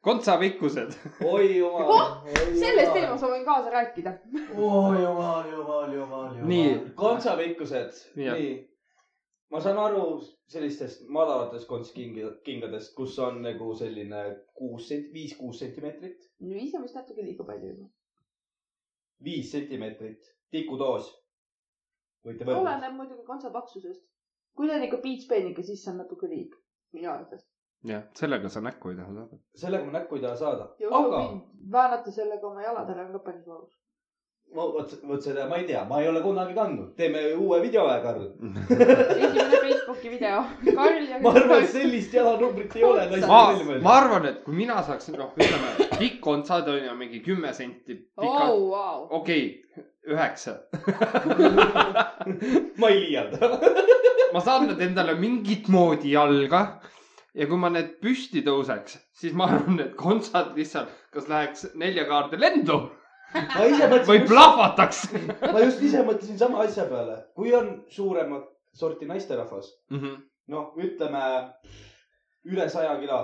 Speaker 1: kontsapikkused .
Speaker 3: oi jumal
Speaker 2: Oh,
Speaker 3: oi
Speaker 2: selles
Speaker 3: jumal.
Speaker 2: teemas ma võin kaasa rääkida .
Speaker 3: oo jumal , jumal , jumal , jumal .
Speaker 1: Nii.
Speaker 3: kontsapikkused .
Speaker 1: Jah.
Speaker 3: nii . ma saan aru sellistest madalatest konstkingi- , kingadest , kus on nagu selline kuus sent- , viis-kuus sentimeetrit ,
Speaker 2: no viis on vist natuke liiga palju juba .
Speaker 3: viis sentimeetrit , tikutoos . võite võtta .
Speaker 2: oleneb muidugi kontsa paksusest . kui ta on ikka piitspeeniga , siis see on natuke liig , minu arvates .
Speaker 1: jah , sellega sa näkku ei taha saada .
Speaker 3: sellega ma näkku ei taha saada ,
Speaker 2: ja usu
Speaker 3: aga
Speaker 2: mind , väänata sellega oma jaladele on ka päris valus .
Speaker 3: ma vot , vot seda ma ei tea , ma ei ole kunagi kandnud , teeme uue video ära , Karl .
Speaker 2: esimene Facebooki video . Karl ja .
Speaker 3: ma arvan , et sellist jalanumbrit ei ole .
Speaker 1: ma , ma arvan , et kui mina saaksin , noh , ütleme pikk on saada on ju mingi kümme senti pikalt oh. ,
Speaker 2: oh, wow.
Speaker 1: okei okay, , üheksa .
Speaker 3: ma ei liialda .
Speaker 1: ma saan nad endale mingit moodi jalga ja kui ma need püsti tõuseks , siis ma arvan , et kontsad lihtsalt , kas läheks nelja kaarde lendu
Speaker 3: ma ise
Speaker 1: või
Speaker 3: mõtlesin ,
Speaker 1: plahvataks
Speaker 3: ma just ise mõtlesin sama asja peale , kui on suuremat sorti naisterahvas ,
Speaker 1: mm . -hmm.
Speaker 3: noh , ütleme üle saja kilo ,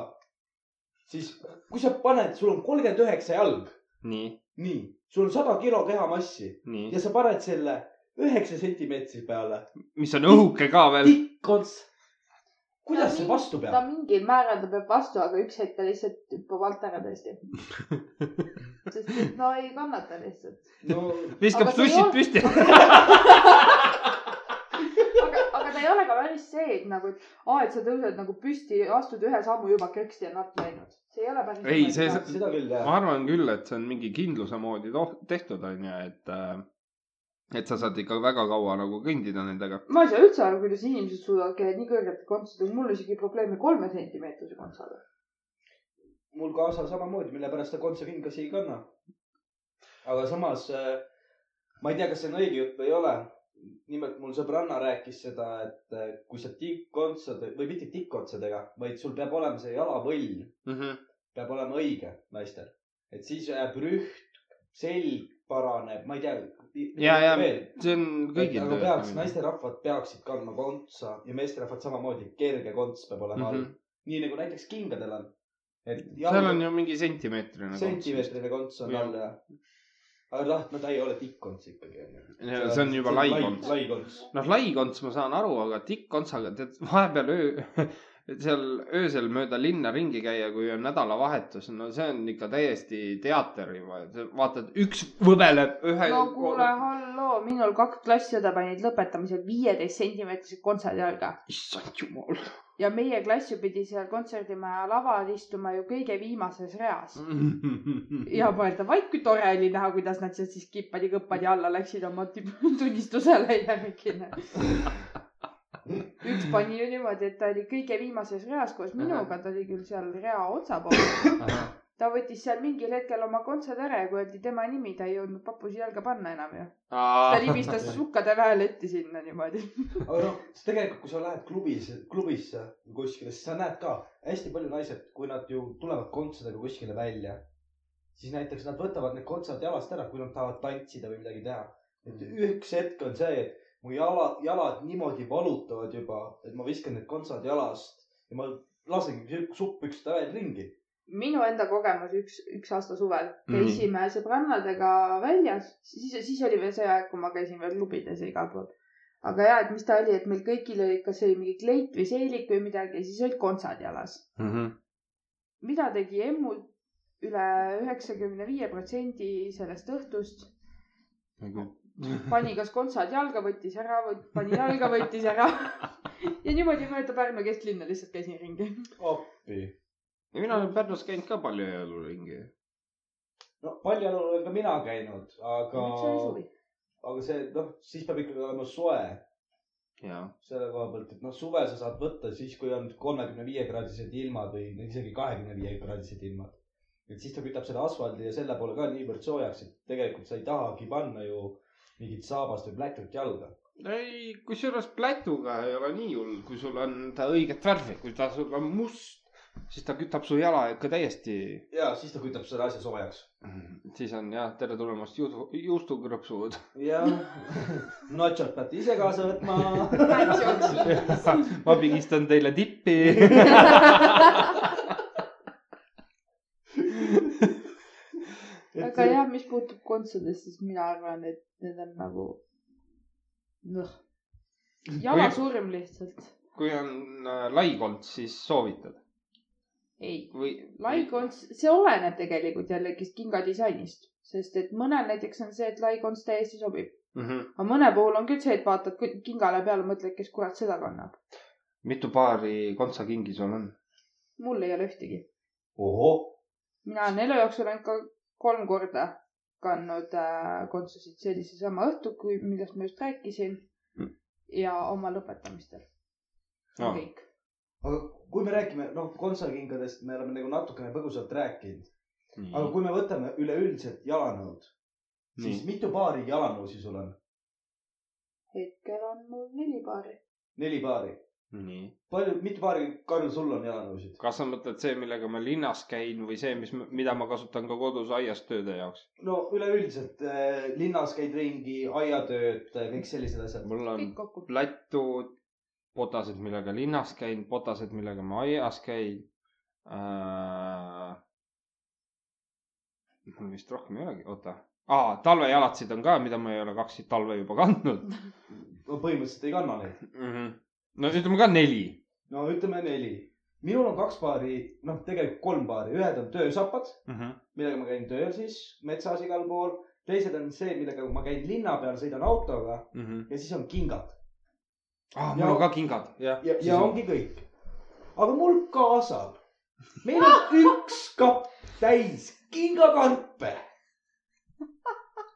Speaker 3: siis kui sa paned , sul on kolmkümmend üheksa jalg ,
Speaker 1: nii ,
Speaker 3: nii , sul on sada kilo kehamassi
Speaker 1: nii ,
Speaker 3: ja sa paned selle üheksa sentimeetri peale ,
Speaker 1: mis on õhuke ka veel .
Speaker 3: tikk ots . kuidas see vastu
Speaker 2: ta
Speaker 3: peab ?
Speaker 2: mingil määral ta peab vastu , aga üks hetk ta lihtsalt hüppab alt ära tõesti . sest et no ei kannata lihtsalt .
Speaker 3: no
Speaker 1: viskab
Speaker 2: Aga see ei
Speaker 1: sussid
Speaker 2: olnud-
Speaker 1: püsti .
Speaker 2: aga , aga ta ei ole ka päris see , et nagu , et aa , et sa tõused nagu püsti , astud ühe sammu juba köksti ja natt läinud . see ei ole päris .
Speaker 1: Ei, see-
Speaker 3: seda küll jah
Speaker 1: ma . arvan küll , et see on mingi kindluse moodi toh- tehtud , onju , et , et sa saad ikka väga kaua nagu kõndida nendega .
Speaker 2: ma ei saa üldse aru , kuidas inimesed suudavad käia nii kõrgelt kontsadega , mul on isegi probleeme kolme sentimeetrise kontsaga .
Speaker 3: mul kaasal samamoodi , mille pärast ta kontsakingas ei kanna . aga samas äh, ma ei tea , kas see on õige jutt või ei ole . nimelt mul sõbranna rääkis seda , et äh, kui sa tikkontsade või mitte tikkontsadega , vaid sul peab olema see jalavõll , peab olema õige naistel , et siis jääb rüht , selg paraneb , ma ei tea .
Speaker 1: ja , ja see on kõigil
Speaker 3: aga nagu peaks , naisterahvad peaksid kandma kontsa ja meesterahvad samamoodi , kerge konts peab olema all mm .
Speaker 1: Mhm.
Speaker 3: -hmm. nii nagu näiteks kingadel on .
Speaker 1: seal on ju mingi sentimeetrine .
Speaker 3: sentimeetrine konts on
Speaker 1: Jah.
Speaker 3: all jah . aga noh , no ta ei ole tikkonts ikkagi onju .
Speaker 1: see on juba lai konts .
Speaker 3: lai konts .
Speaker 1: noh , lai konts ma saan aru , aga tikkkontsaga , tead vahepeal öö , seal öösel mööda linna ringi käia , kui on nädalavahetus , no see on ikka täiesti teater juba , vaatad , üks võbeleb ühe .
Speaker 2: no kuule , halloo , minul kaks klassiõde panid lõpetamisel viieteist sentimeetrise kontsad jalga
Speaker 1: issand jumal .
Speaker 2: ja meie klass ju pidi seal kontserdimaja laval istuma ju kõige viimases reas
Speaker 1: Mm.
Speaker 2: ja mõelda , vaid kui tore oli näha , kuidas nad sealt siis kippadi-kõppadi alla läksid oma tip- tunnistusele järgi . üks pani ju niimoodi , et ta oli kõige viimases reas koos minuga , ta oli küll seal rea otsa pool . ta võttis seal mingil hetkel oma kontsad ära ja kui öeldi tema nimi , ta ei jõudnud papusi jalga panna enam ju . ta libistas sukkade väeletti sinna niimoodi .
Speaker 3: aga noh , tegelikult , kui sa lähed klubis , klubisse kuskile , siis sa näed ka hästi palju naised , kui nad ju tulevad kontsadega kuskile välja , siis näiteks nad võtavad need kontsad jalast ära , kui nad tahavad tantsida või midagi teha . et
Speaker 1: Mm.
Speaker 3: üks hetk on see , et mu jalad , jalad niimoodi valutavad juba , et ma viskan need kontsad jalast ja ma lasengi supppükste veel ringi .
Speaker 2: minu enda kogemus üks , üks aasta suvel
Speaker 1: Mhm.
Speaker 2: käisime mm. sõbrannadega väljas , siis , siis oli veel see aeg , kui ma käisin veel klubides ja igal pool . aga ja , et mis ta oli , et meil kõigil oli , kas oli mingi kleit või seelik või midagi ja siis olid kontsad jalas .
Speaker 1: Mhm,
Speaker 2: mida tegi emmu üle üheksakümne viie protsendi sellest õhtust , pani kas kontsad jalga , võttis ära , pani jalga , võttis ära ja niimoodi mööda Pärnu kesklinna lihtsalt käisin ringi .
Speaker 3: appi .
Speaker 1: ja mina olen Pärnus käinud ka palju jaluringi .
Speaker 3: no paljajalul olen ka mina käinud , aga
Speaker 2: miks see oli , suvi ?
Speaker 3: aga see noh , siis peab ikkagi olema soe
Speaker 1: ja ,
Speaker 3: selle koha pealt , et noh , suvel sa saad võtta siis , kui on kolmekümne viie kraadised ilmad või isegi kahekümne viie kraadised ilmad . et siis ta kütab selle asfaldi ja selle poole ka niivõrd soojaks , et tegelikult sa ei tahagi panna ju mingit saabast või plätut jalga .
Speaker 1: ei , kusjuures plätuga ei ole nii hull , kui sul on ta õiget värvi , kui ta sul on must , siis ta kütab su jala ikka täiesti ,
Speaker 3: ja siis ta kütab selle asja soojaks .
Speaker 1: siis on jah , tere tulemast juustu , juustukrõpsud .
Speaker 3: jah , natsot peate ise kaasa võtma
Speaker 1: ma pigistan teile tippi .
Speaker 2: aga jah , mis puutub kontsadest , siis mina arvan , et need on nagu noh , jala surm lihtsalt .
Speaker 1: kui on äh, laikond , siis soovitad
Speaker 2: ei ,
Speaker 1: või ?
Speaker 2: laikons , see oleneb tegelikult jällegist kinga disainist , sest et mõnel näiteks on see , et laikons täiesti sobib ,
Speaker 1: mm . -hmm.
Speaker 2: aga mõne puhul on küll see , et vaatad kõ- kingale peale , mõtled , kes kurat seda kannab .
Speaker 1: mitu paari kontsakingi sul on ?
Speaker 2: mul ei ole ühtegi ,
Speaker 3: ohoh ,
Speaker 2: mina olen elu jooksul ainult ka kolm korda kandnud äh, kontsusid , see oli seesama õhtu , kui , millest ma just rääkisin
Speaker 1: Mm.
Speaker 2: ja oma lõpetamistel no.
Speaker 1: No.
Speaker 2: kõik .
Speaker 3: aga kui me räägime , noh , kontsakingadest me oleme nagu natukene põgusalt rääkinud , aga kui me võtame üleüldiselt jalanõud , siis
Speaker 1: nii ,
Speaker 3: mitu paari jalanõusid sul on ?
Speaker 2: hetkel on mul neli paari .
Speaker 3: neli paari .
Speaker 1: nii .
Speaker 3: palju , mitu paari , Karl , sul on jalanõusid ?
Speaker 1: kas sa mõtled see , millega ma linnas käin või see , mis , mida ma kasutan ka kodus aias tööde jaoks ?
Speaker 3: no üleüldiselt eh, linnas käid ringi , aiatööd , kõik sellised asjad .
Speaker 1: mul on
Speaker 2: kõik kokku .
Speaker 1: lätud , botased , millega linnas käin , botased , millega ma aias käin äh... . mul vist rohkem ei olegi , oota ah, . talvejalatsid on ka , mida ma ei ole kaks talve juba kandnud
Speaker 3: no põhimõtteliselt ei kanna neid .
Speaker 1: mm . -hmm. no ütleme ka neli .
Speaker 3: no ütleme neli . minul on kaks paari , noh , tegelikult kolm paari , ühed on töösapad , millega ma käin tööl siis metsas igal pool , teised on see , millega ma käin linna peal , sõidan autoga ja siis on kingad
Speaker 1: ah , mul on ka kingad , jah . Mhm.
Speaker 3: ja , ja ongi kõik . aga mul kaasab , meil on üks kapp täis kingakarpe .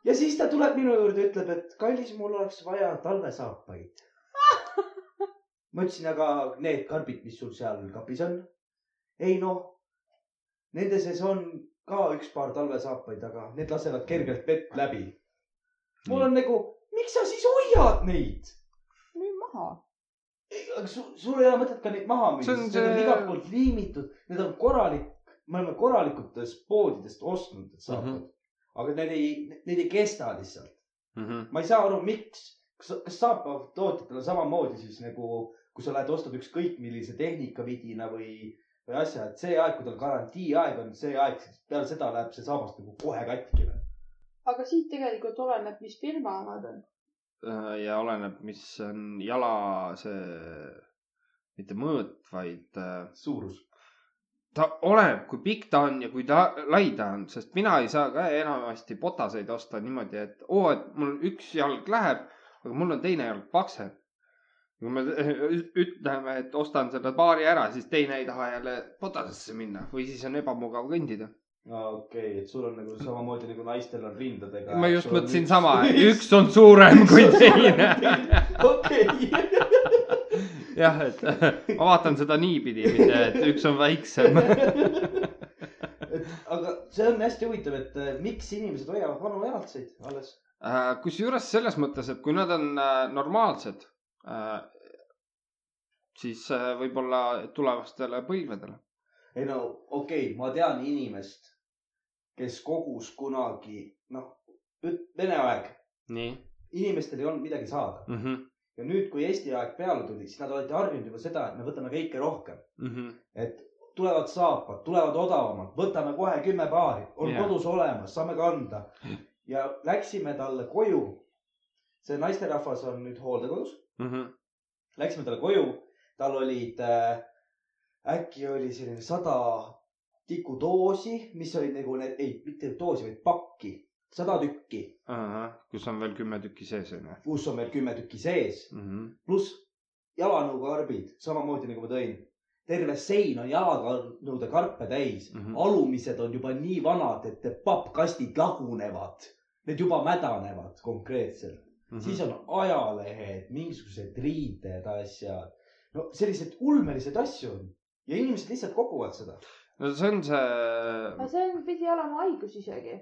Speaker 3: ja siis ta tuleb minu juurde , ütleb , et kallis , mul oleks vaja talvesaapaid . ma ütlesin , aga need karbid , mis sul seal kapis on ? ei noh , nende sees on ka üks paar talvesaapaid , aga need lasevad kergelt vett läbi . mul on nagu , miks sa siis hoiad neid ?
Speaker 2: müü maha .
Speaker 3: ei , aga sul , sul ei ole mõtet ka neid maha müüa ,
Speaker 1: See on
Speaker 3: sest need on
Speaker 1: see-
Speaker 3: igalt poolt liimitud , need on korralik , me oleme korralikutest poodidest ostnud need saapad mm .
Speaker 1: Mhm.
Speaker 3: -hmm. aga need ei , need ei kesta lihtsalt . ma ei saa aru , miks , kas , kas saapatootjatel on samamoodi siis nagu , kui sa lähed ostad ükskõik millise tehnika vidina või , või asja , et see aeg , kui tal garantiiaeg on , see aeg , siis peale seda läheb see saabast nagu kohe katki või ?
Speaker 2: aga siit tegelikult oleneb , mis firma omad on .
Speaker 1: Äh, ja oleneb , mis on jala see , mitte mõõt , vaid äh,
Speaker 3: suurus .
Speaker 1: ta oleneb , kui pikk ta on ja kui ta lai ta on , sest mina ei saa ka enamasti botaseid osta niimoodi , et oo , et mul üks jalg läheb , aga mul on teine jalg paksem . kui me üt- ütleme , et ostan selle paari ära , siis teine ei taha jälle botasesse minna või siis on ebamugav kõndida .
Speaker 3: okei okay, , et sul on nagu samamoodi nagu naistel on rindadega .
Speaker 1: ma just mõtlesin sama , üks on suurem kui teine .
Speaker 3: okei .
Speaker 1: jah , et ma vaatan seda niipidi , mitte et üks on väiksem .
Speaker 3: et aga see on hästi huvitav , et äh, miks inimesed hoiavad vanu jalatseid alles .
Speaker 1: Äh, kusjuures selles mõttes , et kui nad on äh, normaalsed , siis äh, võib-olla tulevastele põlvedele .
Speaker 3: ei no okei okay, , ma tean inimest , kes kogus kunagi , noh , Vene aeg ,
Speaker 1: nii
Speaker 3: inimestel ei olnud midagi saada
Speaker 1: mm . -hmm.
Speaker 3: ja nüüd , kui Eesti aeg peale tuli , siis nad olid harjunud juba seda , et me võtame kõike rohkem ,
Speaker 1: Mm -hmm.
Speaker 3: et tulevad saapad , tulevad odavamad , võtame kohe kümme paari , on
Speaker 1: Jah.
Speaker 3: yeah. kodus olemas , saame kanda . ja läksime talle koju . see naisterahvas on nüüd hooldekodus .
Speaker 1: Mm -hmm.
Speaker 3: läksime talle koju , tal olid äh, , äkki oli selline sada tikudoosi , mis olid nagu need , ei , mitte doosi , vaid pakki , sada tükki ,
Speaker 1: kus on veel kümme tükki sees onju
Speaker 3: kus on veel kümme tükki sees ,
Speaker 1: mm . -hmm.
Speaker 3: pluss jalanõukarbid , samamoodi nagu ma tõin . terve sein on jalanõude karpe täis mm ,
Speaker 1: Mhm.
Speaker 3: -hmm. alumised on juba nii vanad , et need pappkastid lagunevad , need juba mädanevad konkreetselt .
Speaker 1: Mm
Speaker 2: Mhm.
Speaker 1: -hmm.
Speaker 3: siis on ajalehed , mingisugused riided , asjad . no selliseid ulmelised asju on ja inimesed lihtsalt koguvad seda .
Speaker 1: no see on see ,
Speaker 2: aga see on- pidi olema haigus isegi .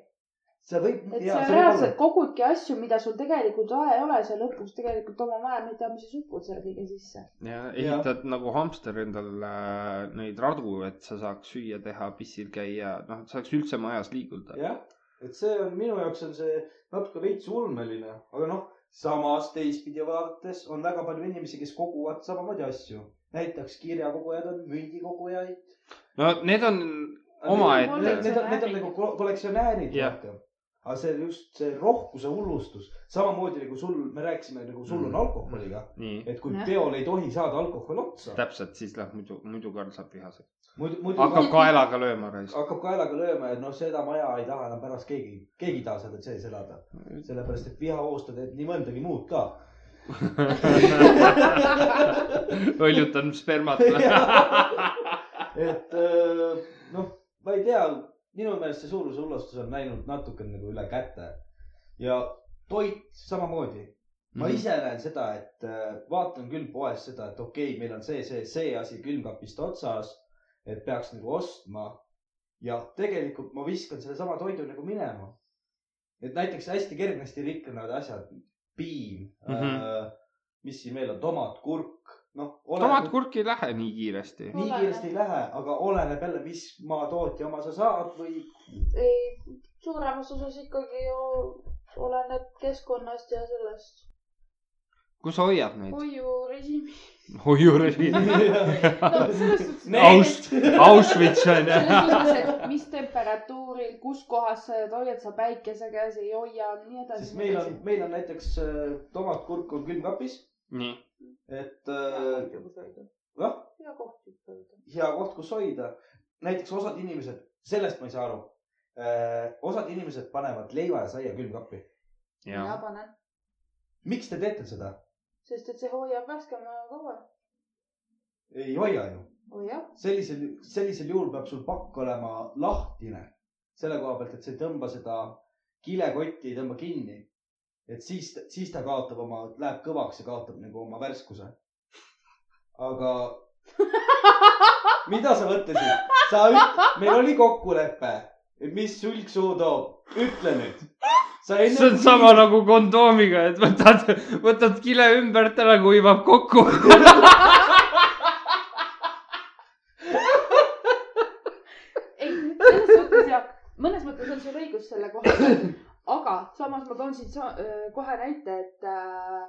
Speaker 3: see võib .
Speaker 2: et sa reaalselt kogudki asju , mida sul tegelikult vaja ei ole , sa lõpuks tegelikult oma majapidamises upud selle kõige sisse .
Speaker 1: ehitad nagu hamster endal äh, neid radu , et sa saaks süüa teha , pissil käia , noh , et saaks üldse majas liiguda .
Speaker 3: jah , et see on minu jaoks on see natuke veits ulmeline , aga noh , samas teistpidi vaadates on väga palju inimesi , kes koguvad samamoodi asju . näiteks kirjakogujad on mündikogujaid .
Speaker 1: no need on Omaette.
Speaker 3: Need, need on , need on nagu ko- kollektsionäärid
Speaker 1: Jah.
Speaker 3: rohkem . aga see just see rohkuse hullustus , samamoodi nagu sul , me rääkisime nagu sul on
Speaker 1: Mhm.
Speaker 3: alkoholiga ,
Speaker 1: nii ,
Speaker 3: et kui
Speaker 2: Jah.
Speaker 3: peol ei tohi saada alkohol otsa ,
Speaker 1: täpselt , siis läheb muidu , muidu Karl saab vihaseks .
Speaker 3: muidu , muidu
Speaker 1: hakkab
Speaker 3: hakkab ,
Speaker 1: kaelaga lööma raisk .
Speaker 3: hakkab kaelaga lööma , et noh , seda maja ei taha enam pärast keegi , keegi ei taha selle sees elada , sellepärast et vihahoost ta teeb nii mõndagi muud ka .
Speaker 1: õljutan spermat .
Speaker 3: et öö, noh , ma ei tea , minu meelest see suuruse hullustus on läinud natuke nagu üle käte ja toit samamoodi .
Speaker 1: Mhm.
Speaker 3: ma mm -hmm. ise näen seda , et äh, vaatan küll poes seda , et okei okay, , meil on see , see , see asi külmkapist otsas , et peaks nagu ostma . ja tegelikult ma viskan sellesama toidu nagu minema . et näiteks hästi kergesti rikkunud asjad , piim mm ,
Speaker 1: Mhm.
Speaker 3: -hmm. mis siin veel on , tomat , kurk , noh .
Speaker 1: tomat , kurk ei lähe nii kiiresti .
Speaker 3: nii kiiresti ei lähe , aga oleneb jälle , mis maatootja oma sa saad või
Speaker 5: ei , suuremas osas ikkagi ju oleneb keskkonnast ja sellest
Speaker 1: kus sa hoiad neid ?
Speaker 5: hoiurežiimi .
Speaker 1: hoiurežiim .
Speaker 2: no selles suhtes ,
Speaker 1: Aust- , Auschwitz on ju .
Speaker 2: selles suhtes , et mis temperatuuril , kus kohas sa jääd , hoiad sa päikese käes , ei hoia , nii edasi
Speaker 3: sest . meil on , meil on näiteks äh, tomatkurk on külmkapis ,
Speaker 1: nii ,
Speaker 3: et äh, jah ,
Speaker 5: ja kohtud hoida .
Speaker 3: hea koht , kus hoida . näiteks osad inimesed , sellest ma ei saa aru . osad inimesed panevad leiva ja saia külmkappi .
Speaker 1: ja
Speaker 2: mina panen ,
Speaker 3: miks te teete seda ?
Speaker 5: sest et see hoiab värskema kauem .
Speaker 3: ei hoia ju .
Speaker 5: hoiab .
Speaker 3: sellisel , sellisel juhul peab sul pakk olema lahtine selle koha pealt , et sa ei tõmba seda kilekotti , ei tõmba kinni . et siis , siis ta kaotab oma , läheb kõvaks ja kaotab nagu oma värskuse . aga mida sa mõtlesid ? sa üt- , meil oli kokkulepe , et mis sülg suhu toob , ütle nüüd . sa
Speaker 1: see on sama nagu kondoomiga , et võtad , võtad kile ümbert ära , kuivab kokku .
Speaker 2: ei , selles suhtes jah , mõnes mõttes on sul õigus selle koha peal , aga samas ma toon siit sa- öö, kohe näite , et äh,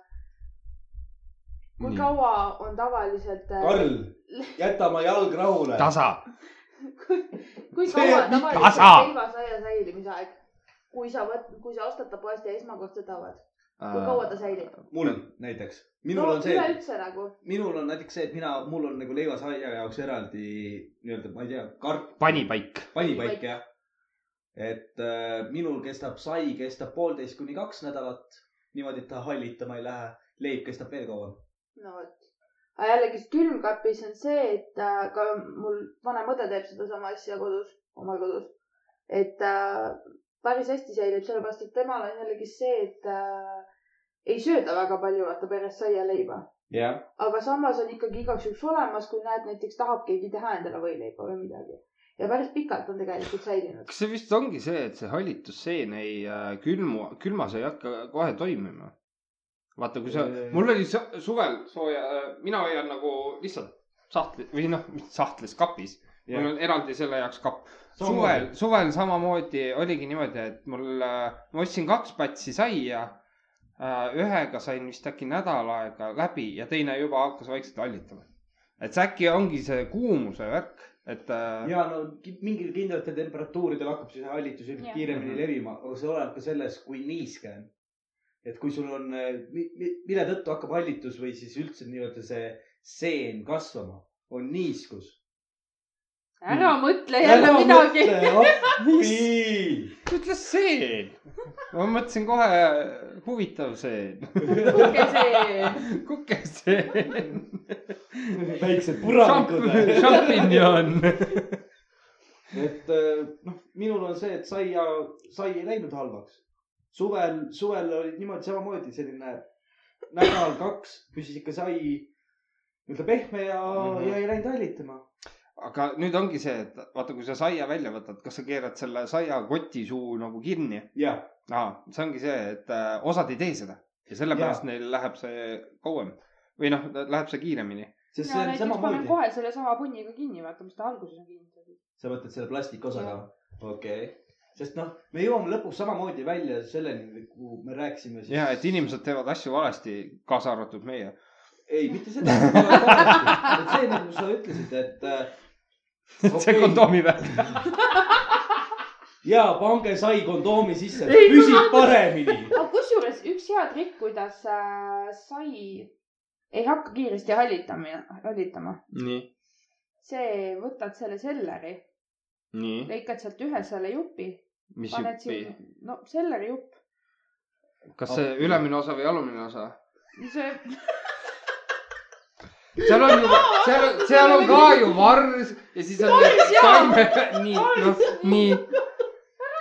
Speaker 2: kui
Speaker 1: Nii.
Speaker 2: kaua on tavaliselt äh,
Speaker 3: Karl , jäta oma jalg rahule .
Speaker 1: tasa .
Speaker 2: kui
Speaker 3: See
Speaker 2: kaua
Speaker 3: on
Speaker 2: tavaliselt
Speaker 1: tasa.
Speaker 2: on leivasaia säilimise aeg ? kui sa võt- , kui sa ostad ta poest ja esmakordselt avad , kui kaua ta säilib ?
Speaker 3: mul näiteks . minul
Speaker 2: no
Speaker 3: on see ,
Speaker 2: üleüldse nagu ,
Speaker 3: minul on näiteks see , et mina , mul on nagu leivasaia jaoks eraldi nii-öelda , ma ei tea , karp .
Speaker 1: panipaik .
Speaker 3: panipaik , jah . et äh, minul kestab sai , kestab poolteist kuni kaks nädalat . niimoodi , et ta hallitama ei lähe . leib kestab veel kauem .
Speaker 2: no vot . aga jällegi külmkapis on see , et äh, ka mul vanem õde teeb sedasama asja kodus , oma kodus . et äh, päris hästi säilib , sellepärast et temal on jällegi see , et äh, ei sööda väga palju , vaata perest saia leiba .
Speaker 3: jah .
Speaker 2: aga samas on ikkagi igaks juhuks olemas , kui näed , näiteks tahab keegi teha endale võileiba või midagi . ja päris pikalt on tegelikult säilinud .
Speaker 1: kas see vist ongi see , et see hallitusseen ei äh, külmu , külmas ei hakka kohe toimima ? vaata , kui sa
Speaker 3: Eee. ,
Speaker 1: mul oli sõ- suvel sooja , mina hoian nagu lihtsalt sahtli või noh , mitte sahtlis , kapis .
Speaker 3: Jah.
Speaker 1: mul on eraldi selle jaoks kapp . suvel , suvel samamoodi oligi niimoodi , et mul , ma ostsin kaks patsi saia . ühega sain vist äkki nädal aega läbi ja teine juba hakkas vaikselt hallitama . et see äkki ongi see kuumuse värk , et äh,
Speaker 3: ja no ki- mingil kindlatel temperatuuridel hakkab see hallitus ilmselt
Speaker 2: Jah.
Speaker 3: kiiremini
Speaker 1: Mhm.
Speaker 3: levima , aga see oleneb ka sellest , kui niiske on . et kui sul on , mille tõttu hakkab hallitus või siis üldse nii-öelda see seen kasvama , on niiskus .
Speaker 2: ära mõtle jälle midagi .
Speaker 3: midagi .
Speaker 1: ütle seen . ma mõtlesin kohe , huvitav seen , kukeseen ,
Speaker 3: väiksed puranikud .
Speaker 1: šampinjon .
Speaker 3: et äh, noh , minul on see , et saia , sai ei läinud halvaks . suvel , suvel olid niimoodi samamoodi selline nädal-kaks püsis ikka sai nii-öelda pehme ja mm ,
Speaker 1: Mhm.
Speaker 3: -hmm. ja ei läinud hallitama .
Speaker 1: aga nüüd ongi see , et vaata , kui sa saia välja võtad , kas sa keerad selle saiakoti suu nagu kinni
Speaker 3: ja ,
Speaker 1: aa , see ongi see , et äh, osad ei tee seda ja sellepärast neil läheb see kauem või noh , läheb see kiiremini .
Speaker 3: sest see
Speaker 2: mina
Speaker 3: on
Speaker 2: näiteks panen
Speaker 3: samamoodi .
Speaker 2: kohe sellesama punniga kinni , vaata , mis ta alguses on kinni tegi .
Speaker 3: sa mõtled selle plastikosaga ? okei okay. sest noh , me jõuame lõpuks samamoodi välja selleni , kuhu me rääkisime siis .
Speaker 1: ja et inimesed teevad asju valesti , kaasa arvatud meie .
Speaker 3: ei , mitte seda . see , nagu sa ütlesid , et äh,
Speaker 1: see
Speaker 3: Okei.
Speaker 1: kondoomi värk .
Speaker 3: ja pange sai kondoomi sisse ,
Speaker 6: Ei, ma
Speaker 3: püsib paremini .
Speaker 6: aga kusjuures üks hea trikk , kuidas äh, sai , ei hakka kiiresti hallitama , hallitama .
Speaker 1: nii ,
Speaker 6: see , võtad selle selleri ,
Speaker 1: nii ,
Speaker 6: lõikad sealt ühe selle jupi ,
Speaker 1: mis
Speaker 6: paned
Speaker 1: juppi ,
Speaker 6: siin , no selleri jupp .
Speaker 1: kas see ülemine osa või alumine osa ?
Speaker 6: see ,
Speaker 1: seal on ju , seal , seal on ka ju vars ja siis on
Speaker 6: Vars, jaa.
Speaker 1: taime , nii , noh , nii ,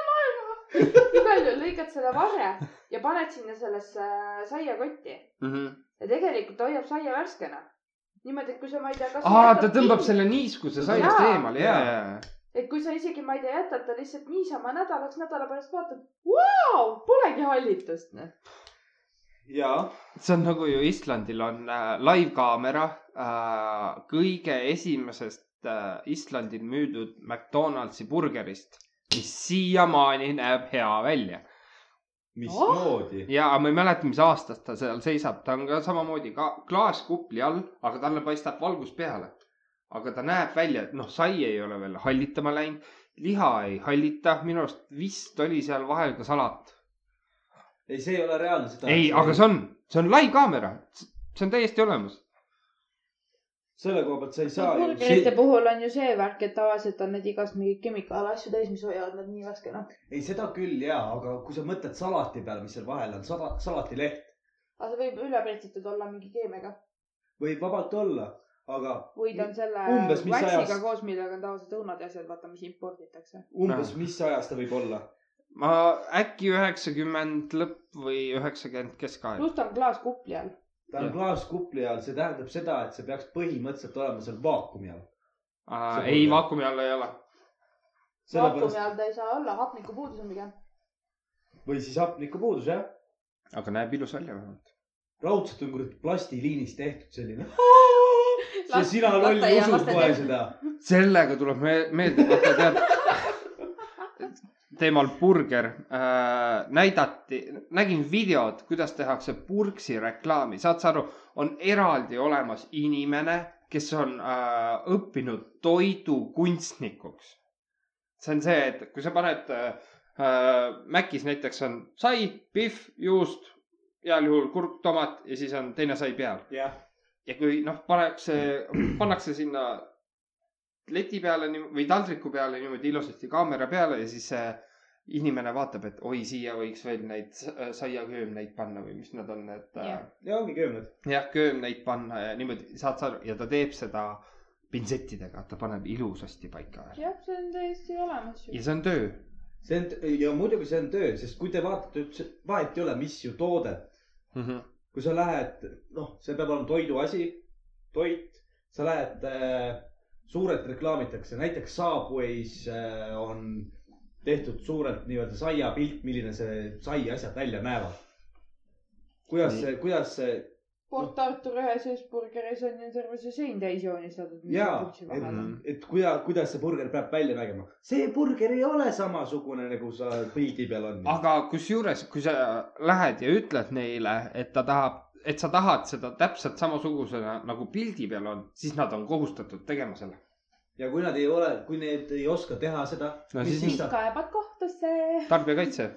Speaker 6: igal juhul lõikad selle varre ja paned sinna sellesse äh, saiakotti
Speaker 1: Mhm.
Speaker 6: ja tegelikult hoiab saia värskena . niimoodi , et kui sa , ma ei tea , kas .
Speaker 1: aa , ta tõmbab . selle niiskuse saiast
Speaker 6: Jaa.
Speaker 1: eemale , ja , ja , ja .
Speaker 6: et kui sa isegi , ma ei tea , jätad ta lihtsalt niisama nädalaks , nädala pärast vaatad , vau , polegi hallitust .
Speaker 3: ja ,
Speaker 1: see on nagu ju Islandil on äh, laivkaamera äh, kõige esimesest äh, Islandil müüdud McDonaldsi burgerist , mis siiamaani näeb hea välja .
Speaker 3: mismoodi oh. ?
Speaker 1: ja ma ei mäleta , mis aastast ta seal seisab , ta on ka samamoodi ka klaaskupli all , aga talle paistab valgus peale . aga ta näeb välja , et noh , sai ei ole veel hallitama läinud , liha ei hallita , minu arust vist oli seal vahel ka salat .
Speaker 3: ei , see ei ole reaalne seda .
Speaker 1: ei , aga see on , see on laivkaamera , see on täiesti olemas .
Speaker 3: selle koha pealt sa ei saa ju .
Speaker 2: burgerite puhul on ju see värk , et tavaliselt on need igast mingeid kemikaalasju täis , mis hoiavad nad nii noh. värskena .
Speaker 3: ei , seda küll ja , aga kui sa mõtled salati peale , mis seal vahel on , sala , salatileht
Speaker 2: aga see võib üle pritsitud olla mingi keemiaga
Speaker 3: võib vabalt olla , aga
Speaker 2: või ta on selle
Speaker 3: Umbes mis
Speaker 2: värsiga
Speaker 3: ajast?
Speaker 2: koos , millega on tavaliselt õunad ja asjad , vaata , mis imporditakse .
Speaker 1: Ah.
Speaker 3: umbes mis ajast ta võib olla ?
Speaker 1: ma äkki üheksakümmend lõpp või üheksakümmend keskaeg .
Speaker 2: pluss ta on klaaskupli all .
Speaker 3: ta on
Speaker 1: Jah.
Speaker 3: klaaskupli all , see tähendab seda , et see peaks põhimõtteliselt olema seal vaakumi all .
Speaker 1: Äh,
Speaker 3: see
Speaker 1: ei ,
Speaker 3: pole.
Speaker 1: vaakumi all ei ole .
Speaker 3: sellepärast
Speaker 2: vaakumi all ta ei saa olla , hapnikupuudus on pigem .
Speaker 3: või siis hapnikupuudus jah ,
Speaker 1: aga näeb ilus välja vähemalt .
Speaker 3: raudselt on kuradi plastiliinist tehtud selline . ja
Speaker 2: Las-
Speaker 3: sina
Speaker 2: las ta
Speaker 3: loll
Speaker 2: jää, las
Speaker 3: usud
Speaker 2: ta
Speaker 3: kohe
Speaker 2: teeb.
Speaker 3: seda .
Speaker 1: sellega tuleb me- meelde võtta , tead . teemal burger äh, näidati , nägin videot , kuidas tehakse burksi reklaami , saad sa aru , on eraldi olemas inimene , kes on äh, õppinud toidukunstnikuks . see on see , et kui sa paned äh, äh, Mäkis näiteks on sai , pihv , juust , heal juhul kurk , tomat ja siis on teine sai peal .
Speaker 3: jah ,
Speaker 1: ja kui noh , pannakse , pannakse sinna leti peale nii- või taldriku peale niimoodi ilusasti kaamera peale ja siis see inimene vaatab , et oi , siia võiks veel neid s- äh, saiaköömneid panna või mis nad on , et äh,
Speaker 3: ja ongi köömned .
Speaker 1: jah , köömneid panna ja niimoodi saad sa aru ja ta teeb seda pintsettidega , ta paneb ilusasti paika .
Speaker 2: jah , see on täiesti olemas ju .
Speaker 1: ja see on töö .
Speaker 3: see on ja muidugi see on töö , sest kui te vaatate üldse , vahet ei ole , mis ju toodet , kui sa lähed , noh , see peab olema toiduasi , toit , sa lähed äh, , suurelt reklaamitakse , näiteks Subway's äh, on tehtud suurelt nii-öelda saiapilt , milline see sai asjad välja näevad . kuidas
Speaker 1: Nii.
Speaker 3: see , kuidas see
Speaker 2: Port Artur ühes öösburgeris on ju terve see sein täis joonistatud .
Speaker 3: jaa , et , et kuida- , kuidas see burger peab välja nägema . see burger ei ole samasugune , nagu sa pildi peal on .
Speaker 1: aga kusjuures , kui sa lähed ja ütled neile , et ta tahab , et sa tahad seda täpselt samasugusena nagu pildi peal on , siis nad on kohustatud tegema selle .
Speaker 3: ja kui nad ei ole , kui need ei oska teha seda
Speaker 1: No
Speaker 3: no, , mis
Speaker 1: siis-
Speaker 3: siis
Speaker 2: siis
Speaker 3: saab ?
Speaker 2: kaebad kohtusse
Speaker 1: tarbijakaitse .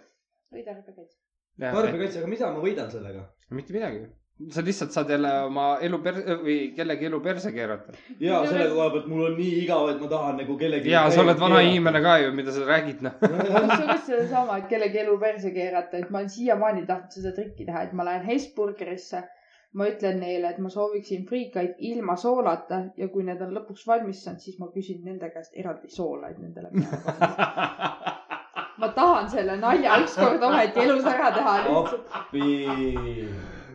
Speaker 2: või tarbijakaitse .
Speaker 3: tarbijakaitse , aga mida ma võidan sellega ?
Speaker 1: mitte midagi . sa lihtsalt saad jälle oma elu per- või kellegi elu perse keerata .
Speaker 3: ja selle koha pealt mul on nii igav , et ma tahan nagu kellegi .
Speaker 1: ja sa oled vana . inimene ka ju , mida sa räägid , noh .
Speaker 2: kusjuures sedasama , et kellegi elu perse keerata , et ma olen siiamaani tahtnud seda trikki teha , et ma lähen Hesburgerisse , ma ütlen neile , et ma sooviksin friikaid ilma soolata ja kui need on lõpuks valmis saanud , siis ma küsin nende käest eraldi soola , et nendele peale panna . ma tahan selle nalja ükskord ometi elus ära teha , lihtsalt
Speaker 3: appi .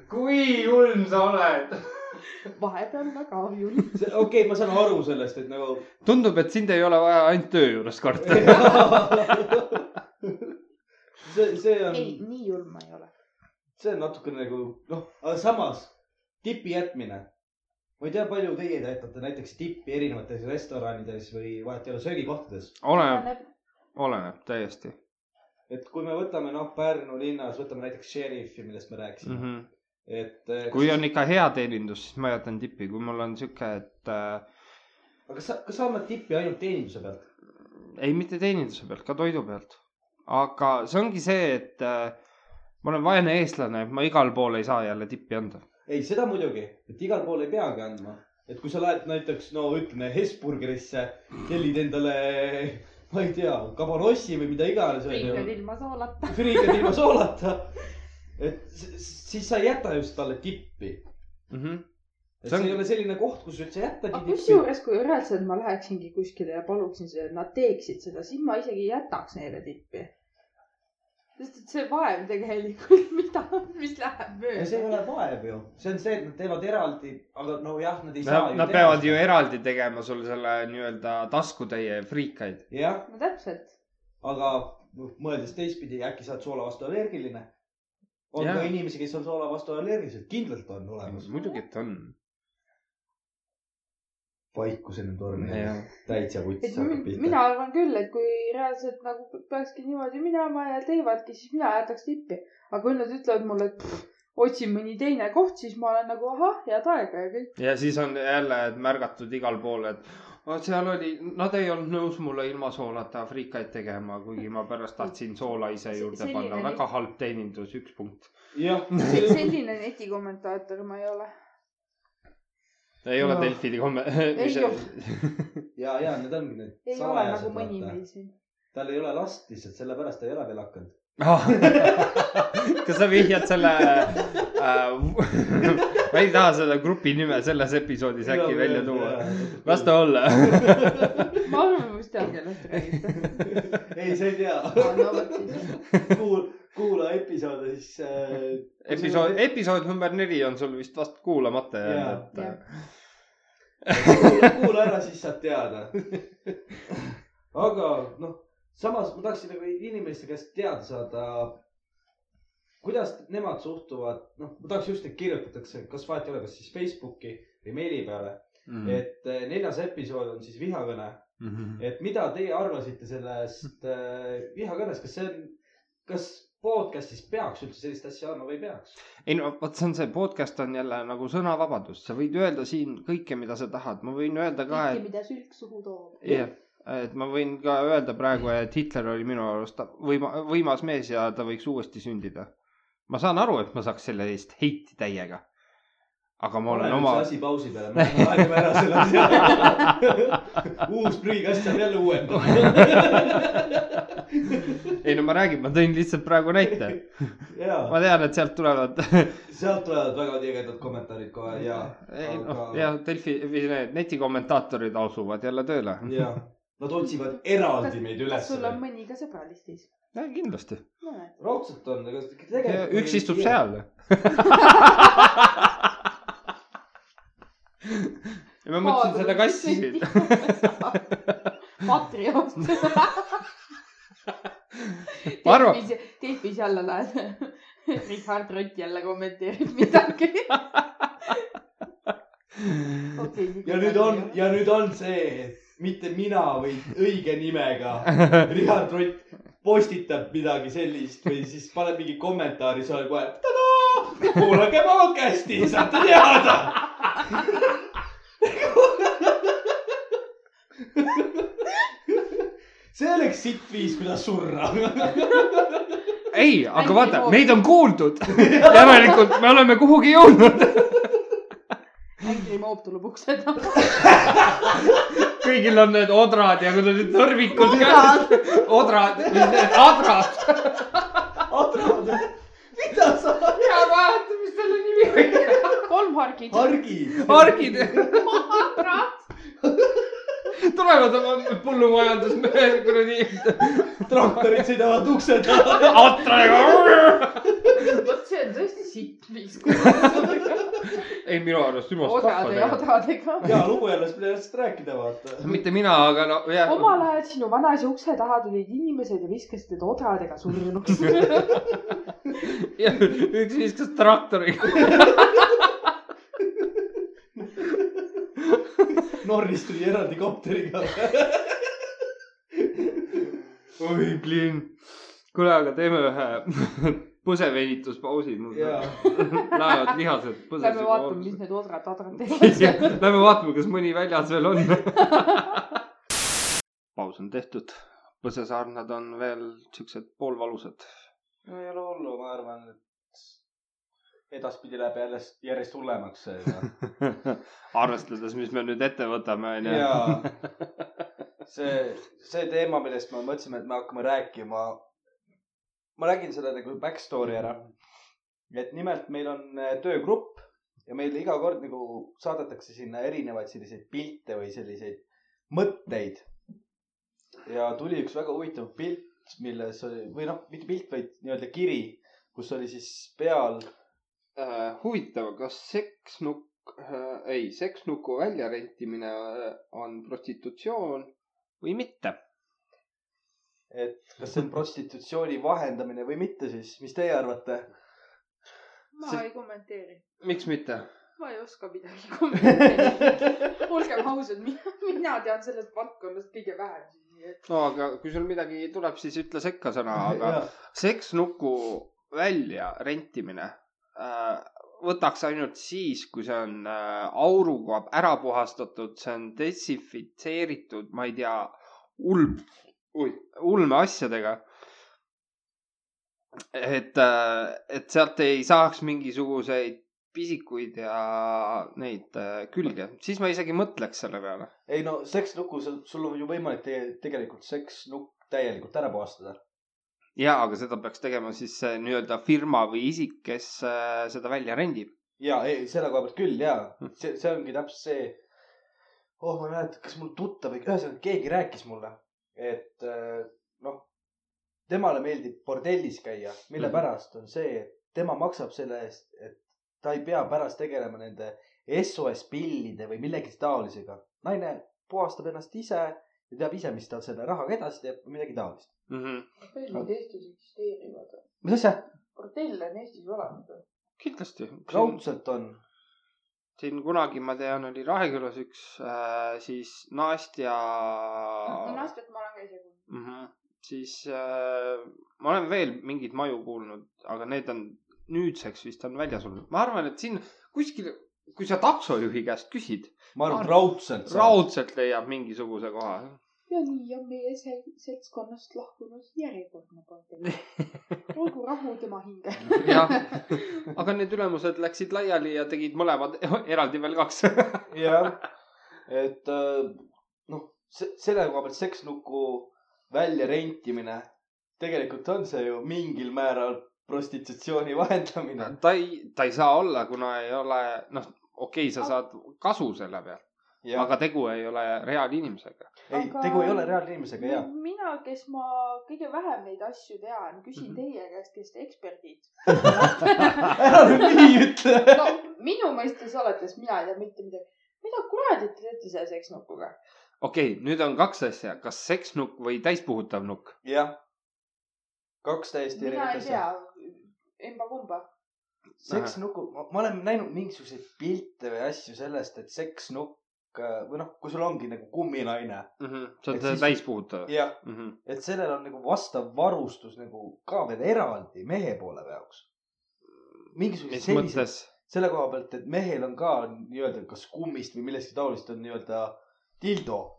Speaker 1: kui julm sa oled .
Speaker 2: vahepeal väga julm .
Speaker 3: okei okay, , ma saan aru sellest , et nagu .
Speaker 1: tundub , et sind ei ole vaja ainult töö juures karta .
Speaker 3: see , see on ,
Speaker 2: ei , nii julm ma ei ole .
Speaker 3: see on natukene nagu noh , aga samas tipi jätmine . ma ei tea , palju teie jätate näiteks tippi erinevates restoranides või vahet ei ole söögikohtades ,
Speaker 1: oleneb , oleneb täiesti
Speaker 3: et kui me võtame noh , Pärnu linnas võtame näiteks Šerifi , millest me rääkisime
Speaker 1: mm .
Speaker 3: mm ,
Speaker 1: -hmm.
Speaker 3: -hmm. et eh,
Speaker 1: kui on ikka hea teenindus , siis ma jätan tippi , kui mul on sihuke , et äh,
Speaker 3: aga kas sa , kas sa annad tippi ainult teeninduse pealt ?
Speaker 1: ei , mitte teeninduse pealt , ka toidu pealt . aga see ongi see , et äh, ma olen vaene eestlane , ma igal pool ei saa jälle tippi anda .
Speaker 3: ei , seda muidugi , et igal pool ei peagi andma . et kui sa lähed näiteks , no ütleme Hesburgerisse , tellid endale , ma ei tea , kabanossi või mida iganes .
Speaker 2: riikad ilma soolata .
Speaker 3: friigad ilma soolata . et s- s- siis sa ei jäta just talle tippi .
Speaker 1: Mm -hmm.
Speaker 3: et
Speaker 1: See
Speaker 3: see
Speaker 1: on-
Speaker 3: ei ole selline koht , kus üldse jättagi
Speaker 2: aga
Speaker 3: tippi .
Speaker 2: kusjuures , kui reaalselt ma läheksingi kuskile ja paluksin , et nad teeksid seda , siis ma isegi ei jätaks neile tippi . sest et see vaev tegelikult , mida , mis läheb
Speaker 3: ja see ei
Speaker 2: mööda .
Speaker 3: ole vaev ju , see on see , et nad teevad eraldi , aga nojah , nad ei saa
Speaker 1: Nad, nad peavad ju . eraldi tegema sulle selle nii-öelda taskutäie friikaid .
Speaker 3: jah ,
Speaker 2: no täpselt .
Speaker 3: aga noh, mõeldes teistpidi , äkki sa oled soola vastu allergiline . on
Speaker 1: Jaa.
Speaker 3: ka inimesi , kes on soola vastu allergilised , kindlalt on olemas .
Speaker 1: muidugi , et on .
Speaker 3: vaikuseni tormi täitsa
Speaker 2: et
Speaker 3: vuts hakkab
Speaker 2: min, mina arvan küll , et kui reaalselt nagu peakski niimoodi minema ja teevadki , siis mina jätaks tippi . aga kui nad ütlevad mulle , et pff, otsi mõni teine koht , siis ma olen nagu ahah , head aega ja kõik .
Speaker 1: ja siis on jälle et märgatud igal pool , et vot seal oli , nad ei olnud nõus mulle ilma soolata friikaid tegema , kuigi ma pärast tahtsin soola ise
Speaker 2: Se-
Speaker 1: juurde
Speaker 2: selline
Speaker 1: panna .
Speaker 2: nüüd-
Speaker 1: väga halb teenindus , üks punkt .
Speaker 3: jah ,
Speaker 2: selline netikommentaator ma ei ole .
Speaker 1: ei ole
Speaker 3: Jah.
Speaker 1: Delfi komme- .
Speaker 2: Ei ole.
Speaker 3: ja , ja need ongi need .
Speaker 2: ei ole nagu mõni meil siin .
Speaker 3: tal ei ole last lihtsalt , sellepärast ta ei ole veel hakanud .
Speaker 1: Ah. kas sa vihjad selle äh, , ma ei taha seda grupi nime selles episoodis äkki välja tuua .. las ta olla .
Speaker 2: ma arvan , ma vist tean , kellest räägite .
Speaker 3: ei , sa ei tea .
Speaker 2: no vot siis .
Speaker 3: kuul- , kuula episoode , siis äh, .
Speaker 1: episood , episood number neli on sul vist vast kuulamata jäänud , et äh.
Speaker 2: Jah.
Speaker 3: kuula, kuula ära , siis saad teada . aga noh , samas ma tahtsin nagu inimeste käest teada saada , kuidas nemad suhtuvad , noh , ma tahaks just , et kirjutatakse , kas vahet ei ole , kas siis Facebooki või meili peale ,
Speaker 1: mm. . Mhm. Mm.
Speaker 3: et eh, neljas episood on siis vihakõne , et mida teie arvasite sellest eh, vihakõnest , kas see on , kas podcast'is peaks üldse sellist asja olema või ei peaks ?
Speaker 1: ei no vot , see on see podcast on jälle nagu sõnavabadus , sa võid öelda siin kõike , mida sa tahad , ma võin öelda ka ,
Speaker 2: kõike ,
Speaker 1: et
Speaker 2: mida sülg suhu toob .
Speaker 1: jah , et ma võin ka öelda praegu , et Hitler oli minu arust võima- , võimas mees ja ta võiks uuesti sündida . ma saan aru , et ma saaks selle eest heiti täiega . aga ma olen oma .
Speaker 3: asi pausi peale , me lahendame ära selle asja . uus prügikast saab jälle uuendada .
Speaker 1: ei no ma räägin , ma tõin lihtsalt praegu näite .
Speaker 3: ja ,
Speaker 1: ma tean , et sealt tulevad
Speaker 3: sealt tulevad väga tigedad kommentaarid kohe ja ,
Speaker 1: ei noh ,
Speaker 3: aga-
Speaker 1: jah , Delfi või need netikommentaatorid asuvad jälle tööle .
Speaker 3: ja nad otsivad eraldi meid
Speaker 2: kas
Speaker 3: üles .
Speaker 2: sul on mõni ka sõbralistis ?
Speaker 1: kindlasti .
Speaker 2: no näed .
Speaker 3: raudselt on , aga tegelikult .
Speaker 1: üks istub . seal . ja ma mõtlesin seda kassi siin .
Speaker 2: Patrioot .
Speaker 1: Ma arvan- .
Speaker 2: Delfis jälle lähed . Richard Rott jälle kommenteerib midagi . Okay,
Speaker 3: ja nüüd on , ja nüüd on see , mitte mina , vaid õige nimega Richard Rott postitab midagi sellist või siis paneb mingi kommentaari seal kohe . tadaa , kuulake podcast'i , saate teada . see oleks sitt viis , kuidas surra .
Speaker 1: ei , aga vaata , meid on kuuldud . järelikult me oleme kuhugi jõudnud .
Speaker 2: Angry Mob tuleb ukse taha .
Speaker 1: kõigil on need odrad ja kui need tõrvikud käes . odrad , need adrad .
Speaker 3: mida sa ,
Speaker 1: mina ei mäleta , mis selle nimi oli .
Speaker 2: kolm hargit .
Speaker 3: Hargi ,
Speaker 1: argid . tulevad oma põllumajandusmehed kuradi
Speaker 3: traktorid sõidavad ukse taha .
Speaker 1: atraga .
Speaker 2: vot see on tõesti sitt viis , kuidas
Speaker 1: ei , minu arust jumalast
Speaker 2: odade ja
Speaker 1: rahvadega .
Speaker 2: odadega .
Speaker 3: ja lugujale saab sellest rääkida , vaata .
Speaker 1: mitte mina , aga no jah .
Speaker 2: omal ajal sinu vanaisa ukse taha tulid inimesed ja viskasid teda odradega surnuks .
Speaker 1: üks viskas traktoriga .
Speaker 3: Norris tuli eraldi kopteriga .
Speaker 1: oi , plinn . kuule , aga teeme ühe põsevenituspausi . mul
Speaker 3: ja ,
Speaker 1: lähevad lihased
Speaker 2: Lähme vaatame ,
Speaker 1: põsesega .
Speaker 2: mis need odrad adrad teevad .
Speaker 1: Lähme vaatame , kas mõni väljas veel on . paus on tehtud , põsesarnad on veel siuksed poolvalusad .
Speaker 3: no ei ole hullu , ma arvan , et edaspidi läheb jälle järjest hullemaks noh. seega .
Speaker 1: arvestades , mis me nüüd ette võtame , onju .
Speaker 3: jaa , see , see teema , millest me mõtlesime , et me hakkame rääkima . ma räägin selle nagu back story ära . et nimelt meil on äh, töögrupp ja meile iga kord nagu saadetakse sinna erinevaid selliseid pilte või selliseid mõtteid . ja tuli üks väga huvitav pilt , milles oli või noh , mitte pilt , vaid nii-öelda kiri , kus oli siis peal
Speaker 1: Äh, huvitav , kas seksnukk , ei , seksnuku väljarentimine äh, on prostitutsioon või mitte ?
Speaker 3: et kas see on prostitutsiooni vahendamine või mitte siis , mis teie arvate ?
Speaker 2: ma
Speaker 1: See-
Speaker 2: ei kommenteeri ,
Speaker 1: miks mitte ?
Speaker 2: ma ei oska midagi kommenteerida . olgem ausad , mina tean sellest valdkonnast kõige vähem , nii et
Speaker 1: no aga kui sul midagi tuleb , siis ütle sekka sõna , aga seksnuku välja rentimine äh, võtaks ainult siis , kui see on äh, auruga ära puhastatud , see on desinfitseeritud , ma ei tea , ulm , ulmeasjadega . et , et sealt ei saaks mingisuguseid pisikuid ja neid äh, külge , siis ma isegi mõtleks selle peale .
Speaker 3: ei no seksnuku , sul on ju võimalik tege- tegelikult seksnukk täielikult ära puhastada .
Speaker 1: ja , aga seda peaks tegema siis see nii-öelda firma või isik , kes äh, seda välja rendib .
Speaker 3: ja ei , selle koha pealt küll ja
Speaker 1: Hm.
Speaker 3: see , see ongi täpselt see . oh , ma ei mäleta , kas mul tuttav või ühesõnaga keegi rääkis mulle , et äh, noh , temale meeldib bordellis käia , mille
Speaker 1: Mhm.
Speaker 3: pärast on see , et tema maksab selle eest , et ta ei pea pärast tegelema nende SOS pillide või millegi taolisega . naine puhastab ennast ise ja teab ise , mis ta selle rahaga edasi teeb , midagi taolist .
Speaker 1: mm . -hmm.
Speaker 2: bordellid Eestis eksisteerivad .
Speaker 3: mis asja ?
Speaker 2: bordelle on Eestis olemas või ?
Speaker 1: kindlasti .
Speaker 3: raudselt on
Speaker 1: siin kunagi , ma tean , oli Rahekülas üks äh, siis Nastja
Speaker 2: naistelt ma olen ka ise kuulnud .
Speaker 1: mm . -hmm. siis äh, ma olen veel mingeid maju kuulnud , aga need on nüüdseks vist on välja surnud . ma arvan , et siin kuskil , kui sa taksojuhi käest küsid ,
Speaker 3: ma arvan ,
Speaker 1: Ar-
Speaker 3: et raudselt saab .
Speaker 1: raudselt leiab mingisuguse koha .
Speaker 7: ja nii on meie sel- seltskonnast lahkunud järjekordne bordell . olgu rahu tema hinge .
Speaker 1: jah , aga need ülemused läksid laiali ja tegid mõlemad eraldi veel kaks .
Speaker 3: jah , et äh, noh , selle koha pealt seksnuku väljarentimine , tegelikult on see ju mingil määral prostitutsiooni vahendamine .
Speaker 1: ta ei , ta ei saa olla , kuna ei ole , noh , okei okay, , sa saad kasu selle pealt .
Speaker 3: aga
Speaker 1: aga tegu ei ole reaalinimesega .
Speaker 3: ei ,
Speaker 7: aga-
Speaker 3: tegu ei ole reaalinimesega ja .
Speaker 7: mina , kes ma kõige vähem neid asju tean , küsin
Speaker 1: Mhm.
Speaker 7: teie käest , kes te eksperdid .
Speaker 3: ära nüüd nii ütle .
Speaker 2: no minu mõistes oletes mina ei tea mitte midagi . mida kuradi te teete selle seksnukuga ?
Speaker 1: okei okay, , nüüd on kaks asja , kas seksnukk või täispuhutav nukk .
Speaker 3: jah , kaks täiesti
Speaker 2: mina
Speaker 3: erinevat
Speaker 2: ei tea
Speaker 3: asja .,
Speaker 2: emba-kumba .
Speaker 3: seksnuku , ma olen näinud mingisuguseid pilte või asju sellest , et seksnukk äh, või noh , kui sul ongi nagu kumminaine .
Speaker 1: see on
Speaker 3: Mhm. Et
Speaker 1: see
Speaker 3: siis-
Speaker 1: täispuhutav . Mhm.
Speaker 3: jah , et sellel on nagu vastav varustus nagu ka veel eraldi mehe poole jaoks . mingisugused
Speaker 1: mis
Speaker 3: sellised ,
Speaker 1: mõttes ?
Speaker 3: selle koha pealt , et mehel on ka nii-öelda kas kummist või millestki taolist on nii-öelda dildo .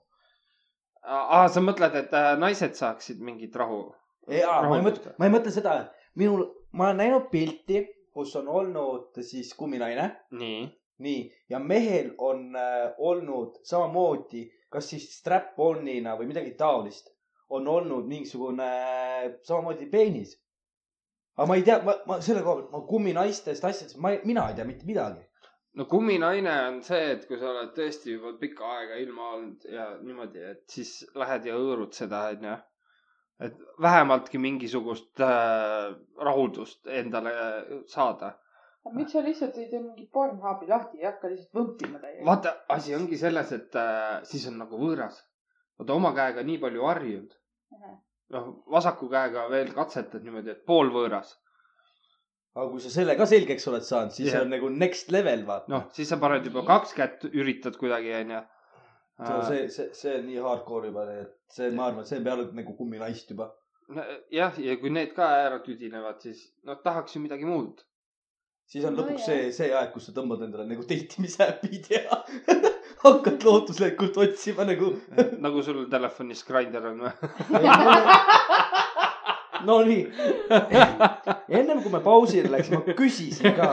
Speaker 1: aa , sa mõtled , et äh, naised saaksid mingit rahu ?
Speaker 3: jaa , E, ma ei mõtle
Speaker 1: Rahuldada. ,
Speaker 3: ma ei mõtle seda , minul , ma olen näinud pilti , kus on olnud siis kumminaine ,
Speaker 1: nii .
Speaker 3: nii , ja mehel on äh, olnud samamoodi , kas siis strap-on'ina või midagi taolist , on olnud mingisugune äh, samamoodi peenis . aga ma ei tea , ma , ma selle koha pealt , ma kumminaistest asjadest , ma , mina ei tea mitte midagi .
Speaker 1: no kumminaine on see , et kui sa oled tõesti juba pikka aega ilma olnud ja niimoodi , et siis lähed ja hõõrud seda , onju . et vähemaltki mingisugust äh, rahuldust endale saada .
Speaker 2: miks sa lihtsalt ei tee mingit pornhubi lahti ja hakka lihtsalt võmpima täiega ?
Speaker 1: vaata , asi ongi selles , et äh, siis on nagu võõras . vaata oma käega nii palju harjunud . noh , vasaku käega veel katsetad niimoodi , et pool võõras .
Speaker 3: aga kui sa selle ka selgeks oled saanud , siis
Speaker 1: Jah.
Speaker 3: see on nagu next level , vaata .
Speaker 1: noh , siis sa paned juba kaks kätt , üritad kuidagi , onju .
Speaker 3: see , see , see on nii hardcore juba , et see , ma arvan , see peab olema nagu kumminaist juba .
Speaker 1: Äh, jah , ja kui need ka ära tüdinevad , siis noh , tahaks ju midagi muud .
Speaker 3: siis on
Speaker 7: No
Speaker 3: lõpuks
Speaker 7: jah.
Speaker 3: see , see aeg , kus sa tõmbad endale nagu teitimise äpid ja hakkad lootuslikult otsima nagu ,
Speaker 1: nagu sul telefonis grinder on või ?
Speaker 3: no nii . ennem kui me pausile läksime , ma küsisin ka ,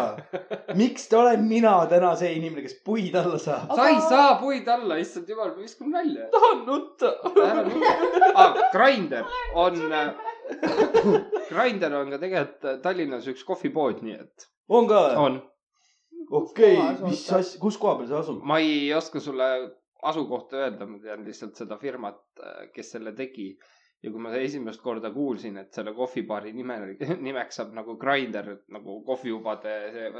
Speaker 3: miks ta olen mina täna see inimene , kes puid alla saab ?
Speaker 1: sa ei saa puid alla , issand jumal , ma viskan välja .
Speaker 3: tahan nutta .
Speaker 1: ära nutta ah, . Grinder on , Grinder on ka tegelikult Tallinnas üks kohvipood , nii et
Speaker 3: on ka ?
Speaker 1: on .
Speaker 3: okei
Speaker 2: Kus kohas ,
Speaker 3: mis
Speaker 2: oota?
Speaker 3: asja , kus koha peal see asub ?
Speaker 1: ma ei oska sulle asukohta öelda , ma tean lihtsalt seda firmat , kes selle tegi . ja kui ma esimest korda kuulsin , et selle kohvibaari nime , nimeks saab nagu Grinder , nagu kohvijubade see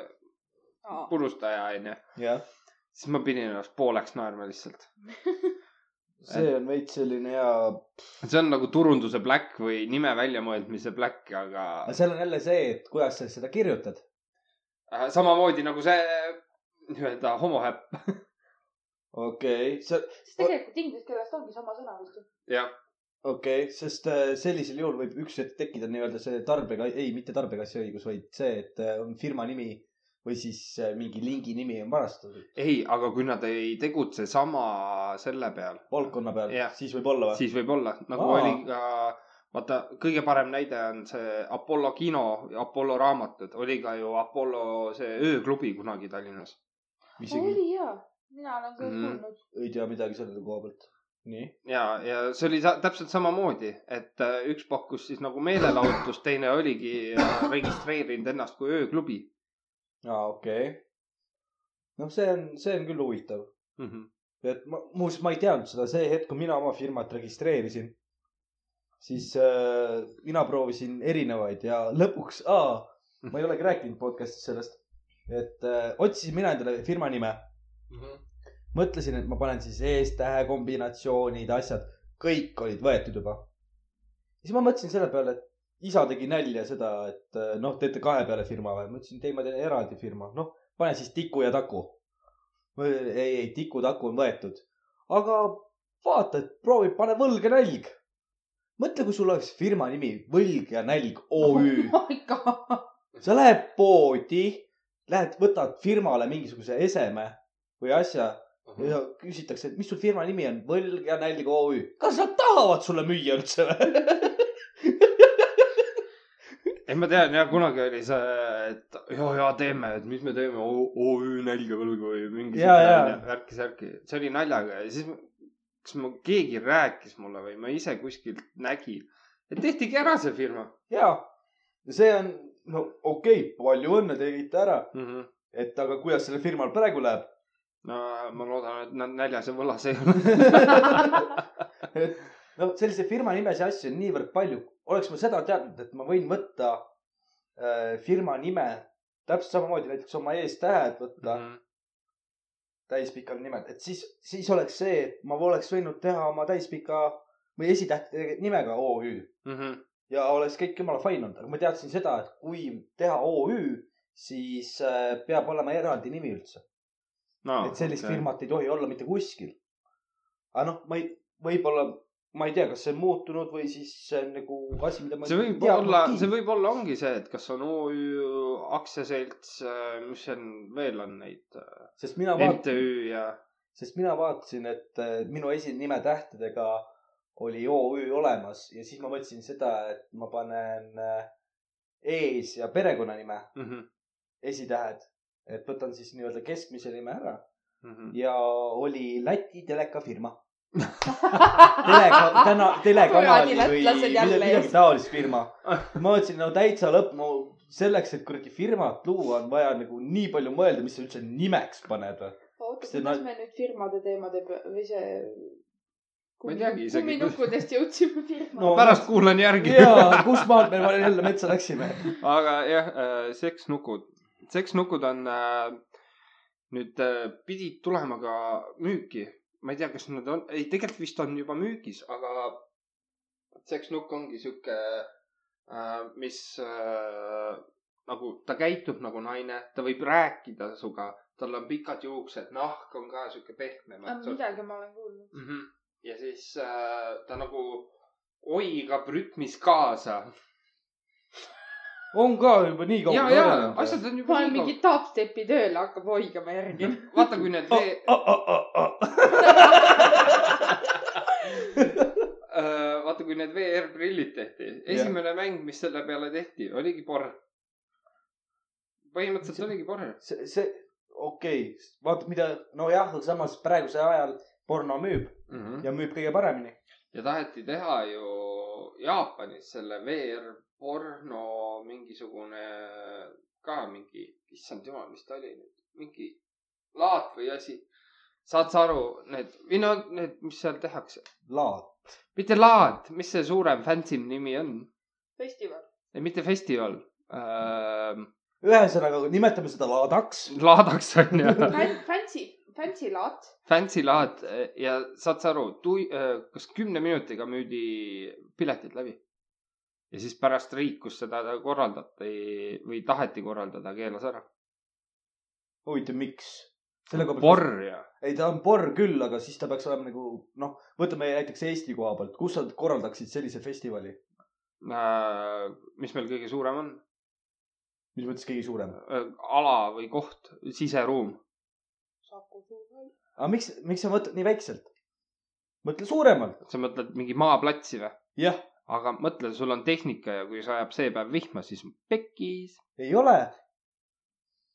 Speaker 1: purustaja onju ,
Speaker 3: jah ,
Speaker 1: siis ma pidin ennast pooleks naerma lihtsalt .
Speaker 3: see on veits selline hea
Speaker 1: see on nagu turunduse black või nime väljamõeldmise black , aga
Speaker 3: aga seal on jälle see , et kuidas sa seda kirjutad .
Speaker 1: Äh, samamoodi nagu see nii-öelda homohäpp .
Speaker 3: okei okay, , see ,
Speaker 2: siis tegelikult inglise keeles ta ongi sama sõna vist .
Speaker 1: jah ,
Speaker 3: okei okay, , sest äh, sellisel juhul võib üks hetk tekkida nii-öelda see tarbija , ei , mitte tarbijakaitse õigus , vaid see , et äh, on firma nimi või siis äh, mingi lingi nimi on varastatud
Speaker 1: ei , aga kui nad ei tegutse sama selle peal ,
Speaker 3: valdkonna peal
Speaker 1: Jah. ,
Speaker 3: siis võib olla või ?
Speaker 1: siis võib-olla nagu
Speaker 3: Aa.
Speaker 1: Aa. oli ka , vaata , kõige parem näide on see Apollo kino ja Apollo raamatud , oli ka ju Apollo see ööklubi kunagi Tallinnas .
Speaker 3: isegi
Speaker 2: oli jaa , mina olen küll
Speaker 1: Mhm.
Speaker 2: kuulnud .
Speaker 3: ei tea midagi selle koha pealt . nii ,
Speaker 1: ja , ja see oli sa- täpselt samamoodi , et äh, üks pakkus siis nagu meelelahutust , teine oligi äh, registreerinud ennast kui ööklubi
Speaker 3: aa okei okay. . noh , see on , see on küll huvitav ,
Speaker 1: mm .
Speaker 3: Mhm.
Speaker 1: -hmm.
Speaker 3: et ma , muuseas , ma ei teadnud seda , see hetk , kui mina oma firmat registreerisin , siis äh, mina proovisin erinevaid ja lõpuks , ma ei olegi rääkinud podcast'is sellest , et äh, otsisin mina endale firma nime , mõtlesin , et ma panen siis eestähe kombinatsioonid , asjad , kõik olid võetud juba . siis ma mõtlesin selle peale , et isa tegi nalja seda , et äh, noh , teete kahe peale firma või , ma ütlesin , ei , ma teen eraldi firma , noh , pane siis Tiku ja Taku . ei , ei Tiku , Taku on võetud , aga vaata , et proovi , pane Võlg ja nälg . mõtle , kui sul oleks firma nimi Võlg ja nälg OÜ
Speaker 2: Oh
Speaker 3: sa lähed poodi , lähed , võtad firmale mingisuguse eseme või asja ja küsitakse , et mis sul firma nimi on , Võlg ja Nälg OÜ . kas nad tahavad sulle müüa üldse või ?
Speaker 1: ei , ma tean jah , kunagi oli see , et ja , ja teeme , et mis me teeme , OÜ nälga võlgu või mingi
Speaker 3: Jaa, jaa.
Speaker 1: sihuke värki-särki , see oli naljaga ja siis ma- kas ma , keegi rääkis mulle või ma ise kuskilt nägin , et tehtigi ära see firma
Speaker 3: ja , see on , no okei okay, , palju õnne , tegite ära ,
Speaker 1: mm . -hmm.
Speaker 3: et aga kuidas sellel firmal praegu läheb ?
Speaker 1: no ma loodan , et nad näljas ja võlas ei ole .
Speaker 3: no sellise firma nimesid asju on niivõrd palju , oleks ma seda teadnud , et ma võin võtta äh, firma nime täpselt samamoodi näiteks oma eestähed võtta
Speaker 1: Mhm.
Speaker 3: mm . -hmm täispikal nimel , et siis , siis oleks see , et ma oleks võinud teha oma täispika või esitähtede nimega OÜ
Speaker 1: Mhm.
Speaker 3: ja oleks kõik jumala fine olnud , aga ma teadsin seda , et kui teha OÜ , siis äh, peab olema eraldi nimi üldse ,
Speaker 1: no,
Speaker 3: et sellist okay. . firmat ei tohi olla mitte kuskil . aga noh , ma ei , võib-olla , ma ei tea , kas see on muutunud või siis see on nagu asi , mida ma
Speaker 1: see võib olla , see võib olla ongi see , et kas on OÜ aktsiaselts , mis seal veel on neid ,
Speaker 3: sest mina vaatan ,
Speaker 1: MTÜ ja
Speaker 3: sest mina vaatasin , et äh, minu esinime tähtedega oli OÜ olemas ja siis ma mõtlesin seda , et ma panen äh, ees ja perekonnanime
Speaker 1: mm . -hmm.
Speaker 3: esitähed , et võtan siis nii-öelda keskmise nime ära
Speaker 1: Mm -hmm.
Speaker 3: ja oli Läti telekafirma . Teleka , täna , telekanali
Speaker 2: Kuradi
Speaker 3: või
Speaker 2: lätlased jälle
Speaker 3: midagi, midagi
Speaker 2: ees.
Speaker 3: taolist firma . ma mõtlesin , no täitsa lõpp , no selleks , et kuradi firmat luua , on vaja nagu nii palju mõelda , mis sa üldse nimeks paned või .
Speaker 8: oota ,
Speaker 3: Kas te
Speaker 8: kuidas
Speaker 3: na-
Speaker 8: me nüüd firmade teemade pe- või see .
Speaker 1: Ma ei teagi isegi, kus-
Speaker 8: kumminukkudest jõudsime firma
Speaker 3: No,
Speaker 8: no. .
Speaker 1: pärast kuulan järgi .
Speaker 3: ja , kus maalt me jälle metsa läksime ?
Speaker 1: aga jah , seksnukud , seksnukud on äh, nüüd äh, pidid tulema ka müüki , ma ei tea , kas nad on , ei tegelikult vist on juba müügis , aga seksnukk ongi sihuke , mis äh, nagu ta käitub nagu naine , ta võib rääkida sinuga , tal on pikad juuksed , nahk on ka sihuke pehme .
Speaker 2: midagi ma olen kuulnud .
Speaker 1: mm . -hmm. ja siis äh, ta nagu oigab rütmis kaasa .
Speaker 3: on ka juba nii
Speaker 1: ja ,
Speaker 3: kaua
Speaker 1: ja asjad on
Speaker 2: ma
Speaker 1: juba
Speaker 2: olen
Speaker 1: nii
Speaker 2: mingi tapstepi tööl , hakkab hoigama järgi .
Speaker 1: kaugel . vaata , kui need vee- ,
Speaker 3: Oh, asjad .
Speaker 1: äh, vaata , kui need VR-prillid tehti , esimene mäng , mis selle peale tehti , oligi porr . põhimõtteliselt
Speaker 3: See-
Speaker 1: oligi porr .
Speaker 3: see , see , okei okay. , vaata mida , nojah , aga samas praegusel ajal porno müüb ja müüb kõige paremini .
Speaker 1: ja taheti teha ju Jaapanis selle VR-porno mingisugune ka mingi , issand jumal , mis ta oli nüüd , mingi laat või asi . saad sa aru , need või no need , mis seal tehakse ,
Speaker 3: laad .
Speaker 1: mitte laat , mis see suurem fancy nimi on ,
Speaker 2: festival .
Speaker 1: mitte festival ähm, ,
Speaker 3: ühesõnaga , nimetame seda laadaks .
Speaker 1: laadaks on ju
Speaker 2: Fancy , fancy laat .
Speaker 1: Fancy laad eh, ja saad sa aru , kas kümne minutiga müüdi piletid läbi . ja siis pärast riik , kus seda korraldati või taheti korraldada , keelas ära .
Speaker 3: huvitav , miks ? selle koha pealt .
Speaker 1: porr ja .
Speaker 3: ei , ta on porr küll , aga siis ta peaks olema nagu noh , võtame näiteks Eesti koha pealt , kus sa korraldaksid sellise festivali ,
Speaker 1: äh, mis meil kõige suurem on ?
Speaker 3: mis mõttes kõige suurem ?
Speaker 1: ala või koht , siseruum .
Speaker 3: aga miks , miks sa mõtled nii väikselt ? mõtle suuremalt .
Speaker 1: sa mõtled mingi maaplatsi või ?
Speaker 3: jah ,
Speaker 1: aga mõtle , sul on tehnika ja kui sajab see päev vihma , siis pekkis .
Speaker 3: ei ole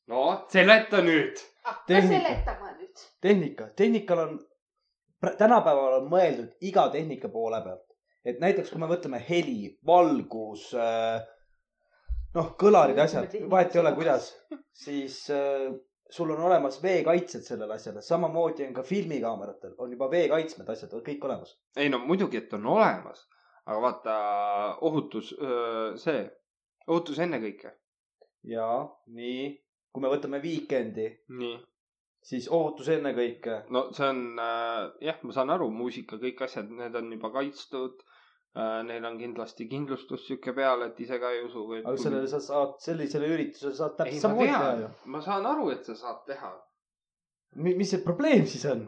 Speaker 1: no seleta nüüd .
Speaker 2: hakka
Speaker 3: Tehnika.
Speaker 2: Ah, seletama nüüd .
Speaker 3: tehnika , tehnikal on , tänapäeval on mõeldud iga tehnika poole pealt , et näiteks kui me võtame heli , valgus , noh , kõlarid , asjad , vahet ei ole , kuidas , siis äh, sul on olemas veekaitsed sellele asjale , samamoodi on ka filmikaameratel on juba veekaitsmed , asjad on kõik olemas .
Speaker 1: ei no muidugi , et on olemas , aga vaata ohutus , see , ohutus ennekõike .
Speaker 3: ja nii , kui me võtame Weekend'i ,
Speaker 1: nii .
Speaker 3: siis ohutus ennekõike ,
Speaker 1: no see on äh, jah , ma saan aru , muusika , kõik asjad , need on juba kaitstud äh, . Neil on kindlasti kindlustus sihuke peal , et ise ka ei usu või .
Speaker 3: aga sellele sa saad , sellisele üritusele saad
Speaker 1: ei ,
Speaker 3: täpselt samamoodi
Speaker 1: ma
Speaker 3: teha
Speaker 1: tean
Speaker 3: ju .,
Speaker 1: ma saan aru , et sa saad teha ,
Speaker 3: mis see probleem siis on ?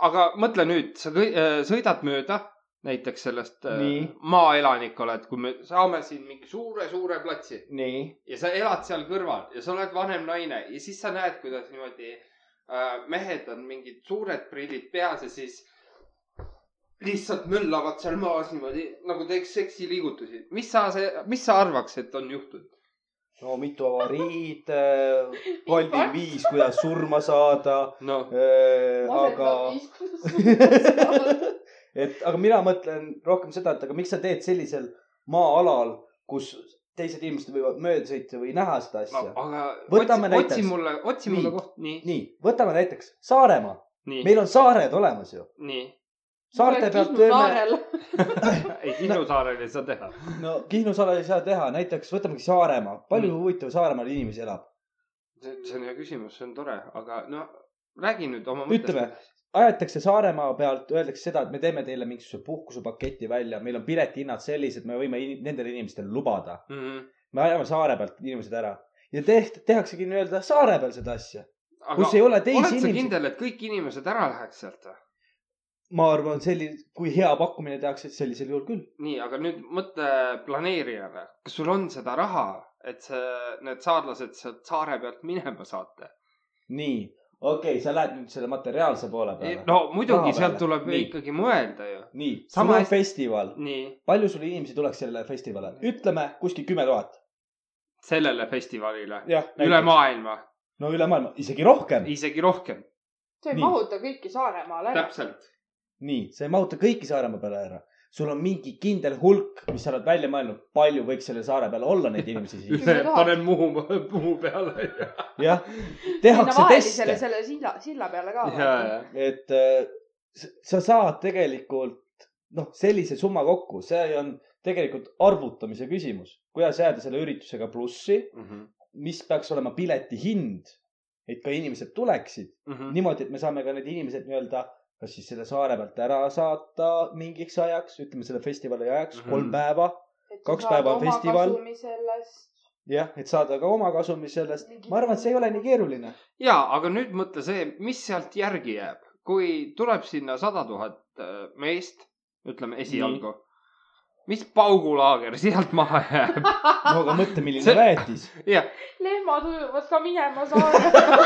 Speaker 1: aga mõtle nüüd , sa kõi- äh, sõidad mööda näiteks sellest äh,
Speaker 3: Nii.
Speaker 1: maaelanik oled , kui me saame siin mingi suure-suure platsi
Speaker 3: nii
Speaker 1: ja sa elad seal kõrval ja sa oled vanem naine ja siis sa näed , kuidas niimoodi äh, mehed on mingid suured prillid peas ja siis lihtsalt möllavad seal maas niimoodi nagu teeks seksiliigutusi . mis sa , mis sa arvaks , et on juhtunud ?
Speaker 3: no mitu avariid , Bolti viis , kuidas surma saada ,
Speaker 1: no
Speaker 3: aga , et aga mina mõtlen rohkem seda , et aga miks sa teed sellisel maa-alal , kus teised inimesed võivad mööda sõita või näha seda
Speaker 1: no,
Speaker 3: asja .
Speaker 1: aga
Speaker 3: Võtame
Speaker 1: otsi,
Speaker 3: näiteks.
Speaker 1: otsi mulle , otsi mulle
Speaker 3: Nii.
Speaker 1: koht , nii ,
Speaker 3: nii , võtame näiteks Saaremaa ,
Speaker 1: nii ,
Speaker 3: meil on saared olemas ju ,
Speaker 1: nii .
Speaker 3: saarte pealt teeme ,
Speaker 1: ei , Kihnu saarel ei saa teha .
Speaker 3: no Kihnu saare ei saa teha , näiteks võtamegi Saaremaa , palju
Speaker 1: Mm.
Speaker 3: huvitav Saaremaal inimesi elab ,
Speaker 1: see see on hea küsimus , see on tore , aga no räägi nüüd oma mõttest .
Speaker 3: ütleme , aetakse Saaremaa pealt , öeldakse seda , et me teeme teile mingisuguse puhkusepaketi välja , meil on piletihinnad sellised , me võime in nendele inimestele lubada .
Speaker 1: mm . -hmm.
Speaker 3: me ajame saare pealt inimesed ära ja teht- , tehaksegi nii-öelda saare peal seda asja , kus
Speaker 1: aga
Speaker 3: ei ole teisi
Speaker 1: oled sa
Speaker 3: inimesi .
Speaker 1: kindel , et kõik inimesed ära läheks sealt või ?
Speaker 3: ma arvan , selline , kui hea pakkumine tehakse , et sellisel juhul küll .
Speaker 1: nii , aga nüüd mõtle planeerijale , kas sul on seda raha , et see , need saarlased sealt saare pealt minema saate ?
Speaker 3: nii , okei okay, , sa lähed nüüd selle materiaalse poole peale .
Speaker 1: no muidugi
Speaker 3: Raha ,
Speaker 1: sealt
Speaker 3: peale.
Speaker 1: tuleb
Speaker 3: Nii.
Speaker 1: nii. ikkagi mõelda ju .
Speaker 3: nii ,
Speaker 1: sama
Speaker 3: sama
Speaker 1: hästi-
Speaker 3: festival ,
Speaker 1: nii ,
Speaker 3: palju sul inimesi tuleks sellele festivalile , ütleme kuskil kümme tuhat .
Speaker 1: sellele festivalile ,
Speaker 3: jah ,
Speaker 1: üle . maailma ,
Speaker 3: no üle maailma , isegi rohkem .
Speaker 1: isegi rohkem ,
Speaker 2: see ei
Speaker 3: Nii.
Speaker 2: mahuta kõiki Saaremaale ära .
Speaker 1: täpselt .
Speaker 3: nii , sa ei mahuta kõiki Saaremaa peale ära . sul on mingi kindel hulk , mis sa oled välja mõelnud , palju võiks selle saare peal olla neid inimesi siis .
Speaker 1: ühe
Speaker 2: tuhat.
Speaker 1: panen Muhu , Muhu peale .
Speaker 3: jah ,
Speaker 2: sinna
Speaker 3: tehakse
Speaker 2: vahelisele
Speaker 3: teste ,
Speaker 2: selle silla , silla peale ka .
Speaker 1: ja , ja ,
Speaker 3: et äh, s- sa saad tegelikult noh , sellise summa kokku , see on tegelikult arvutamise küsimus , kuidas jääda selle üritusega plussi ,
Speaker 1: Mhm.
Speaker 3: mis peaks olema pileti hind , et ka inimesed tuleksid
Speaker 1: Mhm.
Speaker 3: niimoodi , et me saame ka need inimesed nii-öelda kas siis selle saare pealt ära saata mingiks ajaks , ütleme selle festivali ajaks mm ,
Speaker 1: Mhm.
Speaker 3: -hmm. kolm päeva Kaks päeva on festival. . jah , et saada ka oma kasumi sellest . ma arvan , et see ei ole nii keeruline .
Speaker 1: ja , aga nüüd mõtle see , mis sealt järgi jääb , kui tuleb sinna sada tuhat meest , ütleme äh, esialgu . mis paugulaager sealt maha jääb ?
Speaker 3: no aga mõtle , milline
Speaker 1: See-
Speaker 3: väetis .
Speaker 1: jah ,
Speaker 2: lehmad ujuvad ka minema saarele .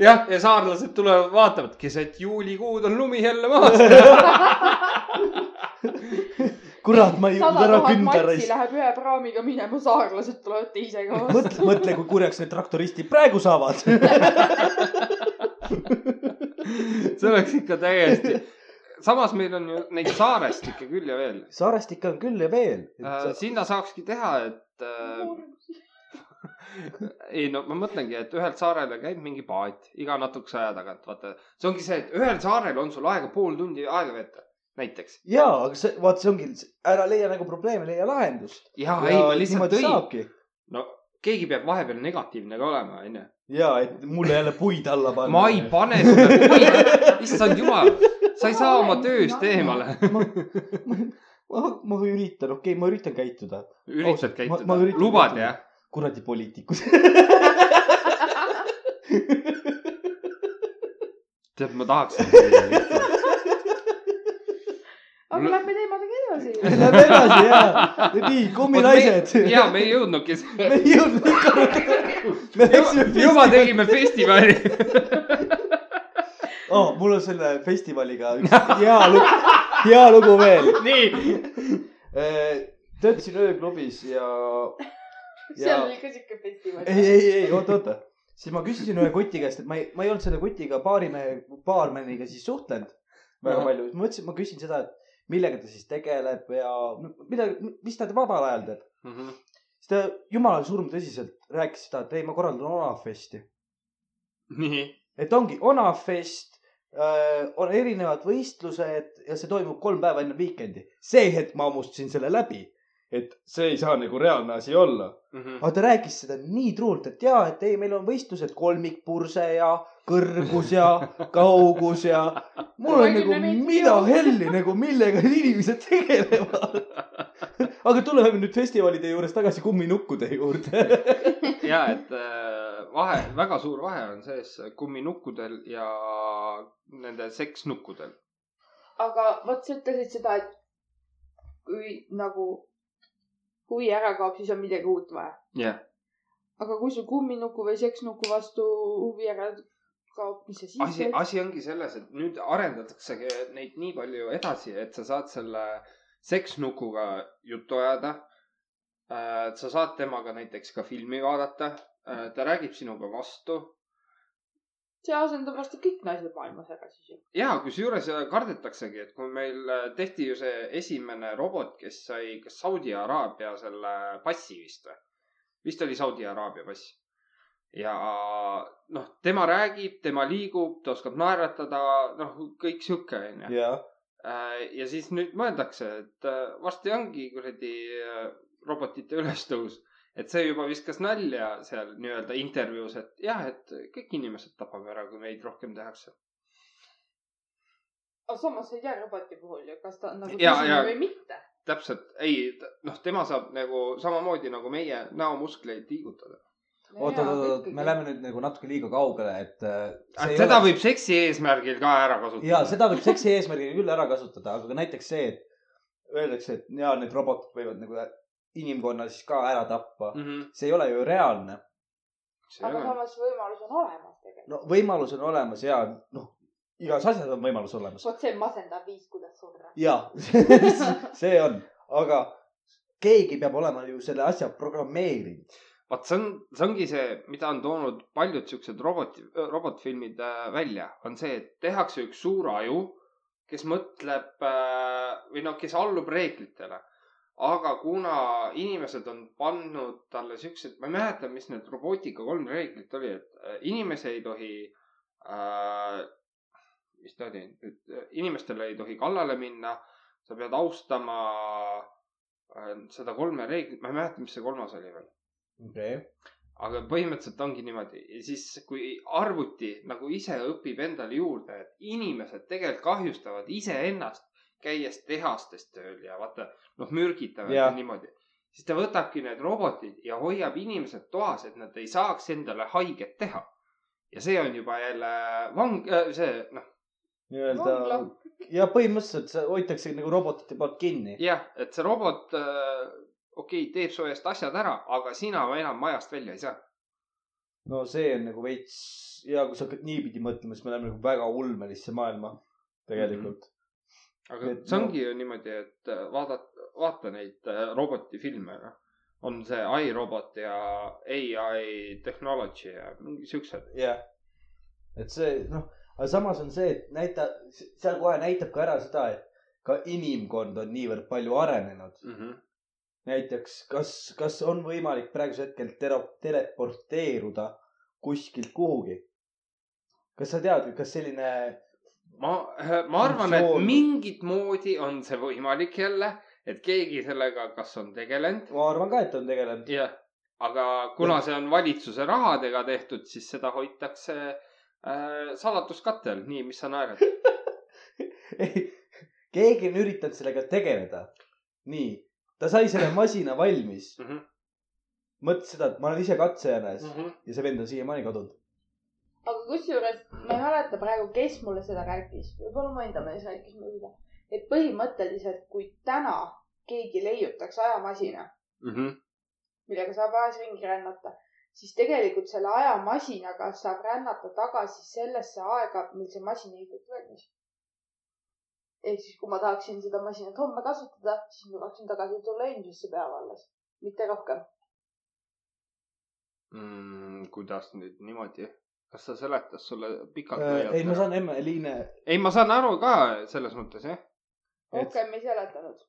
Speaker 1: jah , ja saarlased tulevad , vaatavad , keset juulikuud on lumi jälle maas .
Speaker 3: kurat , ma ei jõudnud
Speaker 2: sada
Speaker 3: ära
Speaker 2: tuhat
Speaker 3: künda
Speaker 2: matsi
Speaker 3: raisk .
Speaker 2: läheb ühe praamiga minema , saarlased tulevad teisega vastu .
Speaker 3: mõtle , mõtle , kui kurjaks need traktoristid praegu saavad .
Speaker 1: see oleks ikka täiesti . samas meil on ju neid saarestikke küll ja veel .
Speaker 3: saarestikke on küll ja veel .
Speaker 1: sinna saakski teha , et äh, . ei no ma mõtlengi , et ühelt saarele käib mingi paat iga natukese aja tagant , vaata . see ongi see , et ühel saarel on sul aega pool tundi aega veeta , näiteks .
Speaker 3: jaa , aga see , vaat see ongi , ära leia nagu probleemi , leia lahendust .
Speaker 1: ja Ah, ei , ma lihtsalt õin .
Speaker 3: saabki .
Speaker 1: no keegi peab vahepeal negatiivne ka olema , onju .
Speaker 3: jaa , et mulle jälle puid alla panna .
Speaker 1: ma ei pane sulle puid , issand jumal , sa ei saa oma tööst eemale .
Speaker 3: ma , ma , ma üritan , okei okay, , ma üritan käituda .
Speaker 1: üritad
Speaker 3: Oh, Ma- ma
Speaker 1: käituda ,
Speaker 3: üritan
Speaker 1: lubad
Speaker 3: käituda.
Speaker 1: jah ?
Speaker 3: kuradi poliitikud .
Speaker 1: tead , ma tahaks .
Speaker 2: aga lähme teemadega edasi .
Speaker 3: Lähme edasi ja , nii , kumminaised .
Speaker 1: ja me ei jõudnudki .
Speaker 3: me ei jõudnud ikka . me läksime
Speaker 1: juba
Speaker 3: festivali .
Speaker 1: tegime festivali .
Speaker 3: Oh, mul on selle festivaliga üks hea lugu , hea lugu veel .
Speaker 1: nii ,
Speaker 3: töötasin ööklubis ja , ja
Speaker 2: seal oli ka siuke festival .
Speaker 3: ei , ei , ei , oota , oota . siis ma küsisin ühe kuti käest , et ma ei , ma ei olnud selle kutiga baarimehe , baarmeniga siis suhtlenud väga
Speaker 1: Ahah.
Speaker 3: palju . ma mõtlesin , ma küsin seda , et millega ta siis tegeleb ja no mida , mis ta vabal ajal teeb . siis ta jumala surm tõsiselt rääkis seda , et ei , ma korraldan Onafesti .
Speaker 1: nii ,
Speaker 3: et ongi Onafest , on erinevad võistlused ja see toimub kolm päeva enne viikendi . see hetk ma hammustasin selle läbi , et see ei saa nagu reaalne asi olla .
Speaker 1: Mhm.
Speaker 3: aga ta rääkis seda nii truult , et jaa , et ei , meil on võistlused kolmikpurse ja kõrgus ja kaugus ja mul on nagu
Speaker 2: Kolmekümne meetri
Speaker 3: mida
Speaker 2: jõud.
Speaker 3: helli nagu , millega inimesed tegelevad . aga tuleme nüüd festivalide juures tagasi kumminukkude juurde .
Speaker 1: ja et äh, vahe , väga suur vahe on sees kumminukkudel ja nende seksnukkudel .
Speaker 2: aga vot sa ütlesid seda , et kui nagu huvi ära kaob , siis on midagi uut vaja .
Speaker 1: jah ,
Speaker 2: aga kui sul kumminuku või seksnuku vastu huvi ära kaob , mis sa siis
Speaker 1: asi ,
Speaker 2: teed ?
Speaker 1: asi ongi selles , et nüüd arendataksegi neid nii palju edasi , et sa saad selle seksnukuga juttu ajada . sa saad temaga näiteks ka filmi vaadata , ta räägib sinuga vastu
Speaker 2: see asendab varsti kõik naised maailmas ära siis ju .
Speaker 1: ja kusjuures äh, kardetaksegi , et kui meil äh, tehti ju see esimene robot , kes sai , kas Saudi Araabia selle passi vist või ? vist oli Saudi Araabia pass . ja noh , tema räägib , tema liigub , ta oskab naeratada , noh , kõik sihuke onju .
Speaker 3: jaa .
Speaker 1: ja siis nüüd mõeldakse , et äh, varsti ongi kuradi äh, robotite ülestõus , et see juba viskas nalja seal nii-öelda intervjuus , et jah , et kõik inimesed tapame ära , kui meid rohkem tehakse .
Speaker 2: aga samas sa ei tea roboti puhul ju , kas ta on nagu
Speaker 1: Ja,
Speaker 2: tõsine
Speaker 1: ja.
Speaker 2: või mitte .
Speaker 1: täpselt , ei , noh , tema saab nagu samamoodi nagu meie näomuskleid liigutada .
Speaker 3: oota , oota , oota , me läheme nüüd nagu natuke liiga kaugele , et . äh,
Speaker 1: Ah, seda ole... võib seksi eesmärgil ka ära kasutada .
Speaker 3: ja seda võib seksi eesmärgil küll ära kasutada , aga ka näiteks see , et öeldakse , et ja need robotid võivad nagu inimkonna siis ka ära tappa .
Speaker 1: mm . -hmm.
Speaker 3: see ei ole ju reaalne .
Speaker 2: aga samas võimalus on olemas tegelikult .
Speaker 3: no võimalus on olemas ja noh , igas asjas on võimalus olemas .
Speaker 2: vot see on masendav viis , kuidas surra .
Speaker 3: ja see on , aga keegi peab olema ju selle asja programmeerinud .
Speaker 1: vaat see on , see ongi see , mida on toonud paljud siuksed roboti , robotfilmid äh, välja , on see , et tehakse üks suur aju , kes mõtleb äh, või noh , kes allub reeglitele . aga kuna inimesed on pannud talle siuksed , ma ei mäleta , mis need robootika kolm reeglit oli , et äh, inimesi ei tohi äh, , mis ta oli , inimestele ei tohi kallale minna , sa pead austama äh, seda kolme reeglit , ma ei mäleta , mis see kolmas oli veel
Speaker 3: okei okay. ,
Speaker 1: aga põhimõtteliselt ongi niimoodi ja siis , kui arvuti nagu ise õpib endale juurde , et inimesed tegelikult kahjustavad iseennast , käies tehastes tööl ja vaata noh , mürgitavad ja
Speaker 3: Jah.
Speaker 1: niimoodi , siis ta võtabki need robotid ja hoiab inimesed toas , et nad ei saaks endale haiget teha . ja äh, see on juba jälle vang , see noh ,
Speaker 3: nii-öelda
Speaker 2: Vangla.
Speaker 3: ja põhimõtteliselt see hoitakse nagu robotite poolt kinni .
Speaker 1: jah , et see robot , okei okay, , teeb su eest asjad ära , aga sina enam majast välja ei saa .
Speaker 3: no see on nagu veits ja kui sa hakkad niipidi mõtlema , siis me läheme nagu väga ulmelisse maailma tegelikult mm .
Speaker 1: aga
Speaker 3: Et
Speaker 1: see
Speaker 3: no-
Speaker 1: ongi ju niimoodi , et vaadata , vaata neid äh, robotifilme , noh . on see iRobot ja ai technology ja mingi siuksed .
Speaker 3: -hmm. jah , et see noh , aga samas on see , et näita , seal kohe näitab ka ära seda , et ka inimkond on niivõrd palju arenenud . näiteks , kas , kas on võimalik praegusel hetkel tero- teleporteeruda kuskilt kuhugi ? kas sa tead , kas selline ,
Speaker 1: ma , ma arvan , et
Speaker 3: Funktsioon.
Speaker 1: mingit moodi on see võimalik jälle , et keegi sellega , kas on tegelenud .
Speaker 3: ma arvan ka , et on tegelenud .
Speaker 1: jah , aga kuna see on valitsuse rahadega tehtud , siis seda hoitakse äh, saladuskattel , nii , mis sa naerad .
Speaker 3: keegi on üritanud sellega tegeleda . nii , ta sai selle masina valmis , mõtles seda , et ma olen ise katsejänes
Speaker 1: Mm.
Speaker 3: ja see vend on siiamaani kadunud .
Speaker 2: aga kusjuures ma ei mäleta praegu , kes mulle seda rääkis , võib-olla mu enda mees rääkis mulle seda , et põhimõtteliselt , kui täna keegi leiutaks ajamasina , millega saab ajas ringi rännata , siis tegelikult selle ajamasinaga saab rännata tagasi sellesse aega , mil see masin ehitati valmis . ehk siis , kui ma tahaksin seda masinat homme kasutada , siis ma tahaksin tagasi tulla eelmisesse päeva alles , mitte rohkem .
Speaker 1: mm, . kuidas nüüd niimoodi ? kas ta seletas sulle pikalt
Speaker 3: Äh, ei , ma saan emme liine ,
Speaker 1: ei , ma saan aru ka selles mõttes jah .
Speaker 2: rohkem ei seletanud .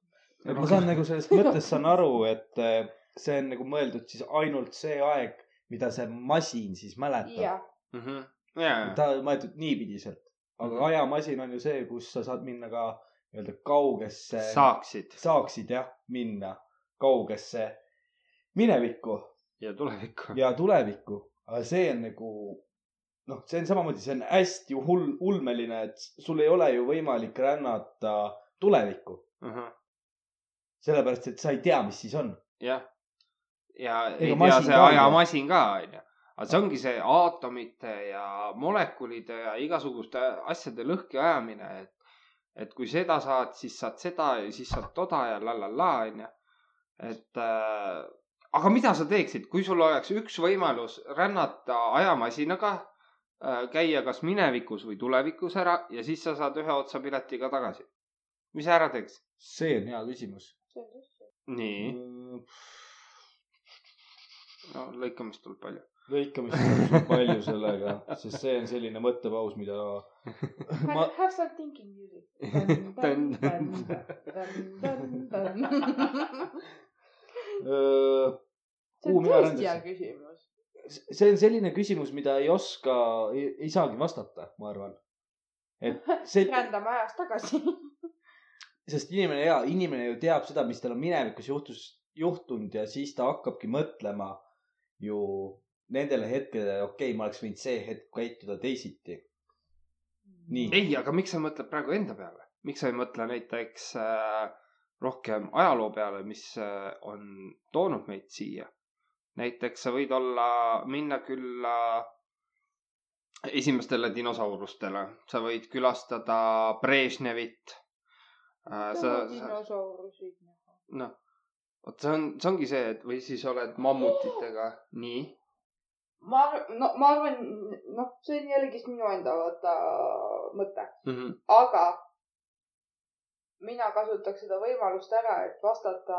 Speaker 3: et ma saan nagu sellest mõttest saan aru , et eh, see on nagu mõeldud siis ainult see aeg , mida see masin siis mäletab .
Speaker 2: jah ,
Speaker 1: mm . -hmm. ja ,
Speaker 3: ta on mõeldud niipidi sealt , aga ajamasin on ju see , kus sa saad minna ka nii-öelda kaugesse
Speaker 1: ja , saaksid
Speaker 3: saaksid jah minna kaugesse minevikku
Speaker 1: ja tulevikku .
Speaker 3: ja tulevikku , aga see on nagu noh , see on samamoodi , see on hästi hull , ulmeline , et sul ei ole ju võimalik rännata tulevikku ,
Speaker 1: Mhm.
Speaker 3: sellepärast et sa ei tea , mis siis on .
Speaker 1: jah , ja ei
Speaker 3: Ega
Speaker 1: tea
Speaker 3: masin ka
Speaker 1: see
Speaker 3: ei tea.
Speaker 1: ajamasin ka onju , aga see ongi see aatomite ja molekulide ja igasuguste asjade lõhki ajamine , et , et kui seda saad , siis saad seda ja siis saad toda ja la la la onju , et äh, aga mida sa teeksid , kui sul oleks üks võimalus rännata ajamasinaga , käia kas minevikus või tulevikus ära ja siis sa saad ühe otsa piletiga tagasi . mis sa ära teeks ?
Speaker 3: see on hea küsimus . Mm,
Speaker 1: nii , no lõikamist tuleb palju .
Speaker 3: lõikamist on sul palju sellega , sest see on selline mõttepaus , mida ma
Speaker 2: have some thinking music .
Speaker 3: öö,
Speaker 2: see on
Speaker 3: Kuhu mina
Speaker 2: tõesti hea
Speaker 3: rändasin?
Speaker 2: küsimus .
Speaker 3: see on selline küsimus , mida ei oska , ei saagi vastata , ma arvan . et see ,
Speaker 2: rändame ajas tagasi .
Speaker 3: sest inimene ja inimene ju teab seda , mis tal on minevikus juhtus , juhtunud ja siis ta hakkabki mõtlema ju nendele hetkedele , okei okay, , ma oleks võinud see hetk käituda teisiti . nii ,
Speaker 1: ei , aga miks sa mõtled praegu enda peale , miks sa ei mõtle näiteks äh, rohkem ajaloo peale , mis äh, on toonud meid siia ? näiteks sa võid olla , minna külla esimestele dinosaurustele , sa võid külastada Brežnevit äh, . sa , sa ,
Speaker 2: dinosauruseid näha .
Speaker 1: noh , vot see on , see ongi see , et või siis oled mammutitega , nii ,
Speaker 2: ma , no ma arvan , noh , see on jällegist minu enda vaata mõte , aga mina kasutaks seda võimalust ära , et vastata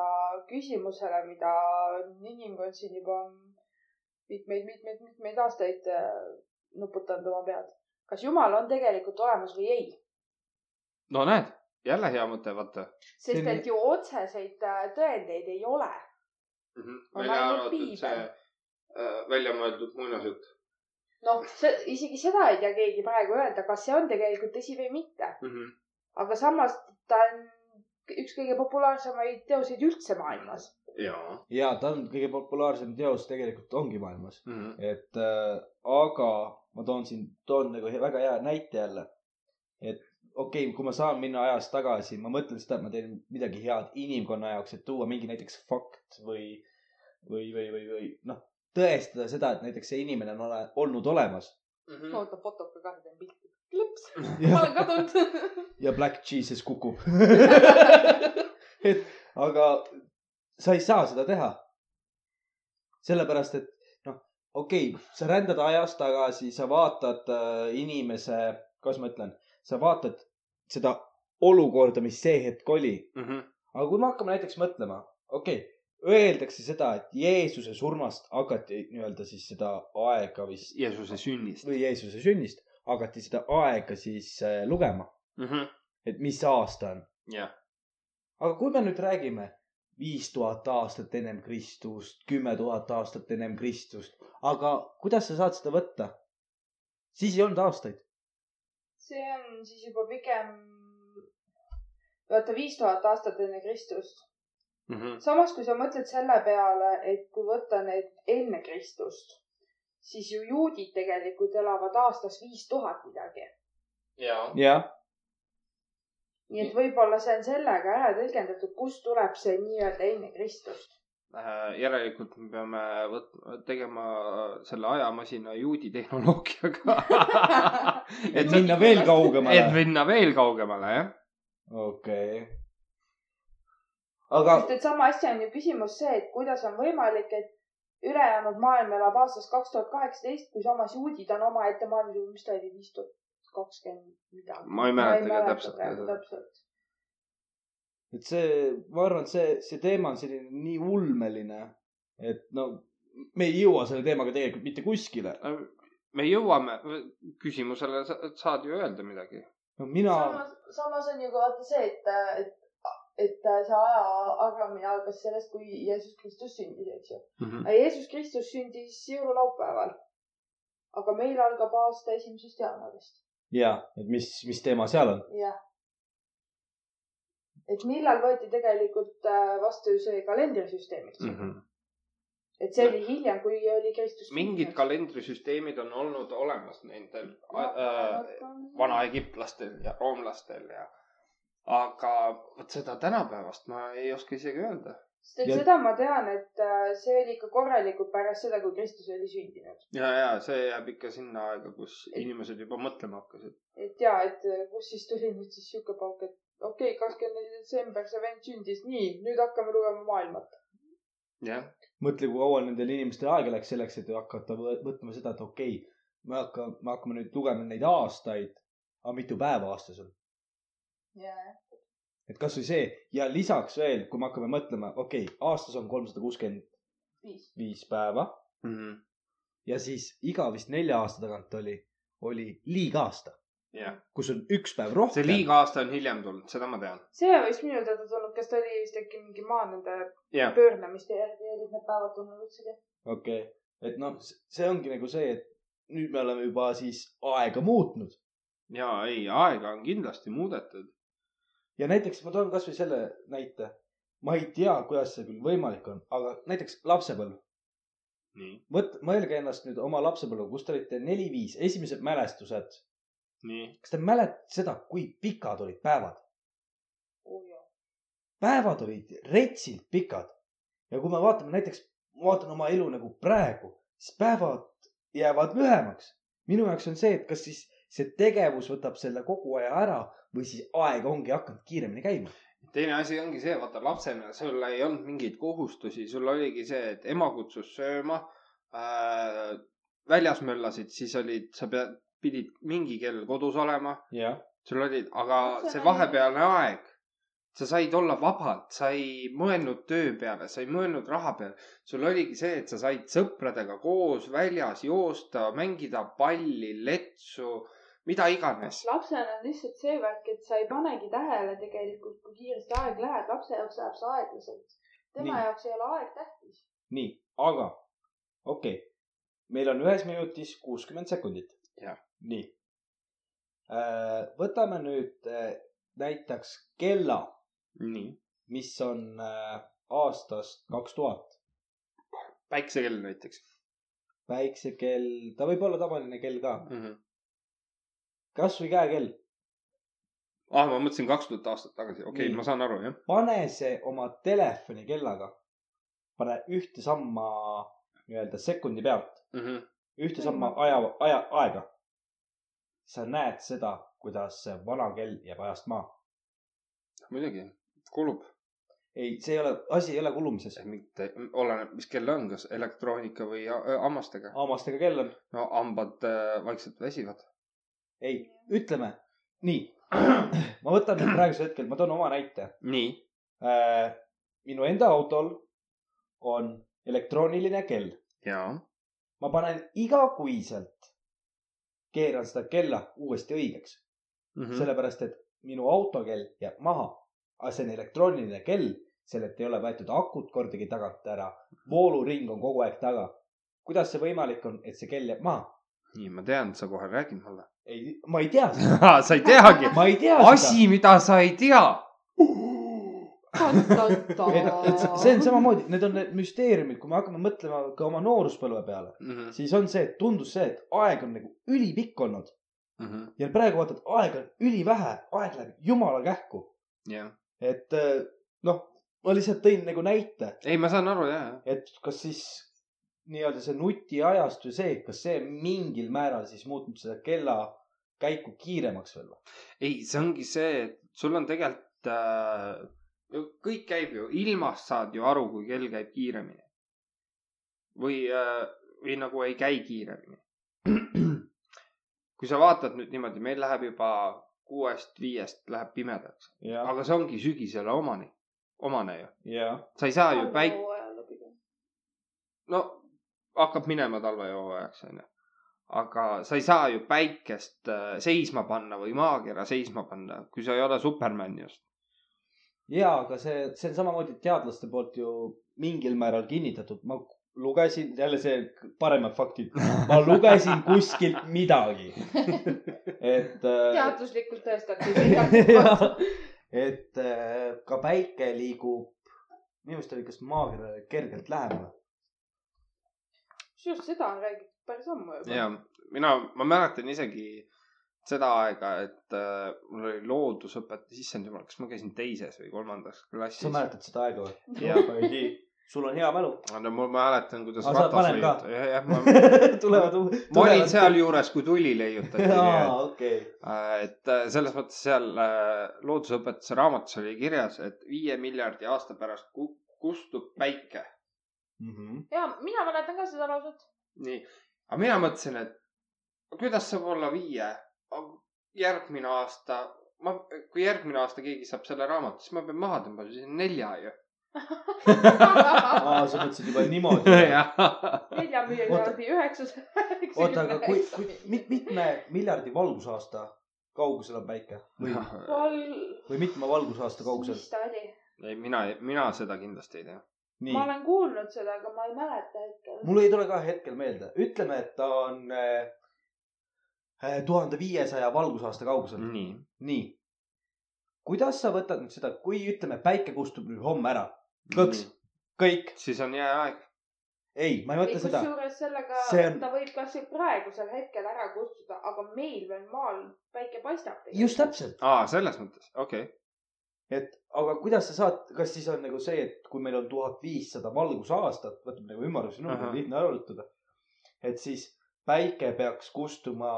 Speaker 2: küsimusele , mida on inimkond siin juba mitmeid-mitmeid-mitmeid aastaid äh, nuputanud oma pead . kas jumal on tegelikult olemas või ei ?
Speaker 1: no näed , jälle hea mõte , vaata .
Speaker 2: sest
Speaker 3: See on-
Speaker 2: et ju otseseid äh, tõendeid ei ole . On
Speaker 1: Mhm. välja
Speaker 2: ainult
Speaker 1: arvatud see
Speaker 2: piibel.
Speaker 1: äh, väljamõeldud muinasjutt .
Speaker 2: noh , see isegi seda ei tea keegi praegu öelda , kas see on tegelikult tõsi või mitte ,
Speaker 1: mm . -hmm.
Speaker 2: aga samas ta on üks kõige populaarsemaid teoseid üldse maailmas .
Speaker 1: ja
Speaker 3: ja ta on kõige populaarsem teos tegelikult ongi maailmas .
Speaker 1: mm . -hmm.
Speaker 3: et äh, aga ma toon siin , toon nagu he- väga hea näite jälle . et okei okay, , kui ma saan minna ajas tagasi , ma mõtlen seda , et ma teen midagi head inimkonna jaoks , et tuua mingi näiteks fakt või , või , või , või , või noh , tõestada seda , et näiteks see inimene on ole, olnud olemas .
Speaker 1: Mm -hmm.
Speaker 2: oota , fotoga ka teen pilti . klips , ma olen kadunud .
Speaker 3: ja Black Jesus kukub et aga sa ei saa seda teha . sellepärast , et noh , okei okay, , sa rändad ajas tagasi , sa vaatad äh, inimese , kuidas ma ütlen , sa vaatad seda olukorda , mis see hetk oli .
Speaker 1: Mhm.
Speaker 3: aga kui me hakkame näiteks mõtlema , okei okay, , öeldakse seda , et Jeesuse surmast hakati nii-öelda siis seda aega vist
Speaker 1: Jeesuse sünnist .
Speaker 3: või Jeesuse sünnist hakati seda aega siis äh, lugema ,
Speaker 1: Mhm.
Speaker 3: et mis aasta on .
Speaker 1: jah ,
Speaker 3: aga kui me nüüd räägime viis tuhat aastat ennem Kristust , kümme tuhat aastat ennem Kristust , aga kuidas sa saad seda võtta ? siis ei olnud aastaid .
Speaker 2: see on siis juba pigem , vaata viis tuhat aastat enne Kristust .
Speaker 1: Mhm.
Speaker 2: samas , kui sa mõtled selle peale , et kui võtta need enne Kristust , siis ju juudid tegelikult elavad aastas viis tuhat midagi .
Speaker 1: ja ,
Speaker 3: jah ,
Speaker 2: nii et võib-olla see on sellega ära tõlgendatud , kust tuleb see nii-öelda enne Kristust .
Speaker 1: Äh, järelikult me peame võtma , tegema selle ajamasina juudi tehnoloogiaga
Speaker 3: et minna veel
Speaker 1: et
Speaker 3: kaugemale .
Speaker 1: minna veel kaugemale , jah .
Speaker 3: okei . aga
Speaker 2: sest et sama asja on ju küsimus see , et kuidas on võimalik , et ülejäänud maailm elab aastas kaks tuhat kaheksateist , kui samas juudid on omaette maailmas juba , mis ta oli , viis tuhat kakskümmend midagi .
Speaker 1: Ma ei mäleta ka täpselt.
Speaker 2: praegu täpselt .
Speaker 3: et see , ma arvan , et see , see teema on selline nii ulmeline , et no me ei jõua selle teemaga tegelikult mitte kuskile .
Speaker 1: Äh, me jõuame , küsimusele sa- saad ju öelda midagi .
Speaker 3: no mina ,
Speaker 2: samas , samas on ju ka vaata see , et , et , et see aja arvamine algas sellest , kui Jeesus Kristus sündis , eks ju .
Speaker 1: Mhm.
Speaker 2: Jeesus Kristus sündis jõululaupäeval . aga meil algab aasta esimesest jaanuarist .
Speaker 3: ja , et mis , mis teema seal on ?
Speaker 2: jah . et millal võeti tegelikult äh, vastu see kalendrisüsteem , eks
Speaker 1: Mm.
Speaker 2: ju .
Speaker 1: Mhm.
Speaker 2: et see oli hiljem , kui oli Kristus .
Speaker 1: mingid . kalendrisüsteemid on olnud olemas nendel äh, vanaegiptlastel ja roomlastel ja , aga vot seda tänapäevast ma ei oska isegi öelda .
Speaker 2: sest et
Speaker 3: Ja-
Speaker 2: seda ma tean , et äh, see oli ikka korralikult pärast seda , kui Kristus oli sündinud .
Speaker 1: ja , ja see jääb ikka sinna aega , kus inimesed juba mõtlema hakkasid .
Speaker 2: et ja , et äh, kus siis tuli nüüd siis sihuke pauk , et okei okay, , kakskümmend neli detsember see vend sündis , nii , nüüd hakkame lugema maailma .
Speaker 1: jah ,
Speaker 3: mõtle , kui kaua nendel inimestel aega läks selleks , et hakata võ- võtma seda , et okei okay, , me hakkame , me hakkame nüüd lugema neid aastaid , aga mitu päeva aastas on .
Speaker 2: jajah .
Speaker 3: et kasvõi see ja lisaks veel , kui me hakkame mõtlema , okei okay, , aastas on kolmsada kuuskümmend
Speaker 2: viis .
Speaker 3: viis päeva
Speaker 1: mm -hmm.
Speaker 3: ja siis iga vist nelja aasta tagant oli , oli liigaasta ,
Speaker 1: jah ,
Speaker 3: kus on üks päev rohkem .
Speaker 1: see liigaasta on hiljem tulnud , seda ma tean .
Speaker 2: see võis minu teada tulnud , kas ta oli vist äkki mingi maa nende
Speaker 1: jah ,
Speaker 2: pöörlemiste järgi olid need päevad tulnud üldsegi .
Speaker 3: okei okay. , et noh , see ongi nagu see , et nüüd me oleme juba siis aega muutnud
Speaker 1: ja ei , aega on kindlasti muudetud .
Speaker 3: ja näiteks ma toon kasvõi selle näite . ma ei tea , kuidas see küll võimalik on , aga näiteks lapsepõlv .
Speaker 1: nii ,
Speaker 3: võt- , mõelge ennast nüüd oma lapsepõlve , kus te olite neli-viis , esimesed mälestused .
Speaker 1: nii .
Speaker 3: kas te mäletate seda , kui pikad olid päevad ? päevad olid retsilt pikad . ja kui me vaatame näiteks , ma vaatan oma elu nagu praegu , siis päevad jäävad lühemaks . minu jaoks on see , et kas siis see tegevus võtab selle kogu aja ära või siis aeg ongi hakanud kiiremini käima .
Speaker 1: teine asi ongi see , vaata lapsena sul ei olnud mingeid kohustusi , sul oligi see , et ema kutsus sööma äh, . väljas möllasid , siis olid , sa pead , pidid mingi kell kodus olema ,
Speaker 3: jah ,
Speaker 1: sul olid , aga
Speaker 2: See
Speaker 1: see
Speaker 2: oli-
Speaker 1: vahepealne aeg , sa said olla vabalt , sa ei mõelnud töö peale , sa ei mõelnud raha peale . sul oligi see , et sa said sõpradega koos väljas joosta , mängida palli , letsu , mida iganes .
Speaker 2: lapsena on lihtsalt see värk , et sa ei panegi tähele tegelikult , kui kiiresti aeg läheb , lapse jaoks läheb see aeglaselt . tema
Speaker 3: Nii.
Speaker 2: Nii. jaoks ei ole aeg tähtis .
Speaker 3: nii , aga okei okay. , meil on ühes minutis kuuskümmend sekundit .
Speaker 1: Jah.
Speaker 3: nii . võtame nüüd äh, näiteks kella ,
Speaker 1: nii ,
Speaker 3: mis on äh, aastast kaks tuhat .
Speaker 1: päiksekell näiteks
Speaker 3: päiksekell , ta võib olla tavaline kell ka ,
Speaker 1: mm . -hmm.
Speaker 3: kasvõi käekell .
Speaker 1: ah , ma mõtlesin kaks tuhat aastat tagasi , okei
Speaker 3: Nii.
Speaker 1: okay, , ma saan aru , jah .
Speaker 3: pane see oma telefoni kellaga , pane ühte samma nii-öelda sekundi pealt ,
Speaker 1: mm . -hmm.
Speaker 3: ühte samma aja , aja , aega . sa näed seda , kuidas see vana kell jääb ajast maha .
Speaker 1: muidugi , kulub .
Speaker 3: ei , see ei ole , asi ei ole kulumises .
Speaker 1: mitte , oleneb , mis kell on , kas elektroonika või a- ö, hammastega .
Speaker 3: hammastega kell on ,
Speaker 1: no hambad äh, vaikselt väsivad .
Speaker 3: ei , ütleme nii . ma võtan nüüd praegusel hetkel , ma toon oma näite .
Speaker 1: nii .
Speaker 3: minu enda autol on elektrooniline kell .
Speaker 1: jaa .
Speaker 3: ma panen igakuiselt , keeran seda kella uuesti õigeks . Mhm.
Speaker 1: Mhm.
Speaker 3: sellepärast , et minu autokell jääb maha , aga see on elektrooniline kell , sellelt ei ole võetud akut kordagi tagant ära , vooluring on kogu aeg taga . kuidas see võimalik on , et see kell jääb maha ?
Speaker 1: nii , ma tean , sa kohe räägid mulle .
Speaker 3: ei , ma ei tea seda ,
Speaker 1: sa ei teagi .
Speaker 3: ma ei tea seda .
Speaker 1: asi , mida sa ei tea .
Speaker 3: et , et see on samamoodi , need on need müsteeriumid , kui me hakkame mõtlema ka oma nooruspõlve peale , siis on see , et tundus see , et aeg on nagu ülipikk olnud
Speaker 1: Mhm,
Speaker 3: ja praegu vaatad , aega on ülivähe , aeg läheb jumala kähku ,
Speaker 1: jah ,
Speaker 3: et eh, noh , ma lihtsalt tõin nagu näite
Speaker 1: ei , ma saan aru , jaa , jaa .
Speaker 3: et kas siis nii-öelda see nutiajastu ja see , kas see mingil määral siis muutub seda kella käiku kiiremaks veel või ?
Speaker 1: ei , see ongi see , et sul on tegelikult äh, , kõik käib ju , ilmast saad ju aru , kui kell käib kiiremini . või äh, , või nagu ei käi kiiremini . kui sa vaatad nüüd niimoodi , meil läheb juba kuuest-viiest läheb pimedaks ,
Speaker 3: jah ,
Speaker 1: aga see ongi sügisele omane , omane ju .
Speaker 3: jah ,
Speaker 1: sa ei saa ju päik- , no hakkab minema talvehooajaks onju . aga sa ei saa ju päikest äh, seisma panna või maakera seisma panna , kui sa ei ole Superman just .
Speaker 3: ja aga see , see on samamoodi teadlaste poolt ju mingil määral kinnitatud , ma lugesin jälle see paremad faktid , ma lugesin kuskilt midagi , et äh,
Speaker 2: teaduslikult
Speaker 3: Jah.
Speaker 2: tõestatud .
Speaker 3: et äh, ka päike liigub , minu arust oli kas maakerale kergelt lähemale .
Speaker 2: kusjuures seda on räägitud päris ammu juba .
Speaker 1: ja mina , ma mäletan isegi seda aega , et äh, mul oli loodusõpetaja , issand jumal , kas ma käisin teises või kolmandas klassis
Speaker 3: sa ? mäletad seda aega või ?
Speaker 1: jah ,
Speaker 3: sul on hea mälu .
Speaker 1: no ma mäletan , kuidas
Speaker 3: Aga sa oled vanem ka?
Speaker 1: leiut- jah , jah , ma ,
Speaker 3: tulevad .
Speaker 1: ma olin . sealjuures , kui tuli leiutati .
Speaker 3: aa , okei .
Speaker 1: Äh, et äh, selles mõttes seal äh, loodusõpetuse raamatus oli kirjas , et viie miljardi aasta pärast ku- kustub päike .
Speaker 3: Mhm.
Speaker 2: ja mina mäletan ka seda lauset .
Speaker 1: nii , aga mina mõtlesin , et kuidas saab olla viie , järgmine aasta , ma , kui järgmine aasta keegi saab selle raamatu , siis ma pean maha tõmbama , siis on nelja ju .
Speaker 3: aa , sa mõtlesid juba niimoodi .
Speaker 2: nelja miljardi üheksas .
Speaker 3: oota , aga kui , kui mit, , mitme miljardi valgusaasta kaugusel on päike või , või mitme valgusaasta kaugusel ?
Speaker 2: mis ta oli ?
Speaker 1: ei , mina , mina seda kindlasti ei tea .
Speaker 3: nii
Speaker 2: ma , olen kuulnud seda , aga ma ei mäleta hetkel .
Speaker 3: mul ei tule ka hetkel meelde , ütleme , et ta on tuhande viiesaja valgusaasta kaugusel .
Speaker 1: nii ,
Speaker 3: nii . kuidas sa võtad nüüd seda , kui ütleme , päike kustub nüüd homme ära , Kõks. kõik ,
Speaker 1: siis on jääaeg .
Speaker 3: ei , ma ei mõtle seda .
Speaker 2: kusjuures sellega
Speaker 3: See on-
Speaker 2: ta võib kasvõi praegusel hetkel ära kustuda , aga meil veel maal päike paistab .
Speaker 3: just . täpselt ,
Speaker 1: aa , selles mõttes , okei okay. .
Speaker 3: et aga kuidas sa saad , kas siis on nagu see , et kui meil on tuhat viissada valgusaastat , võtame nagu ümmarguse numbri
Speaker 1: Ahah. ,
Speaker 3: lihtne arvutada . et siis päike peaks kustuma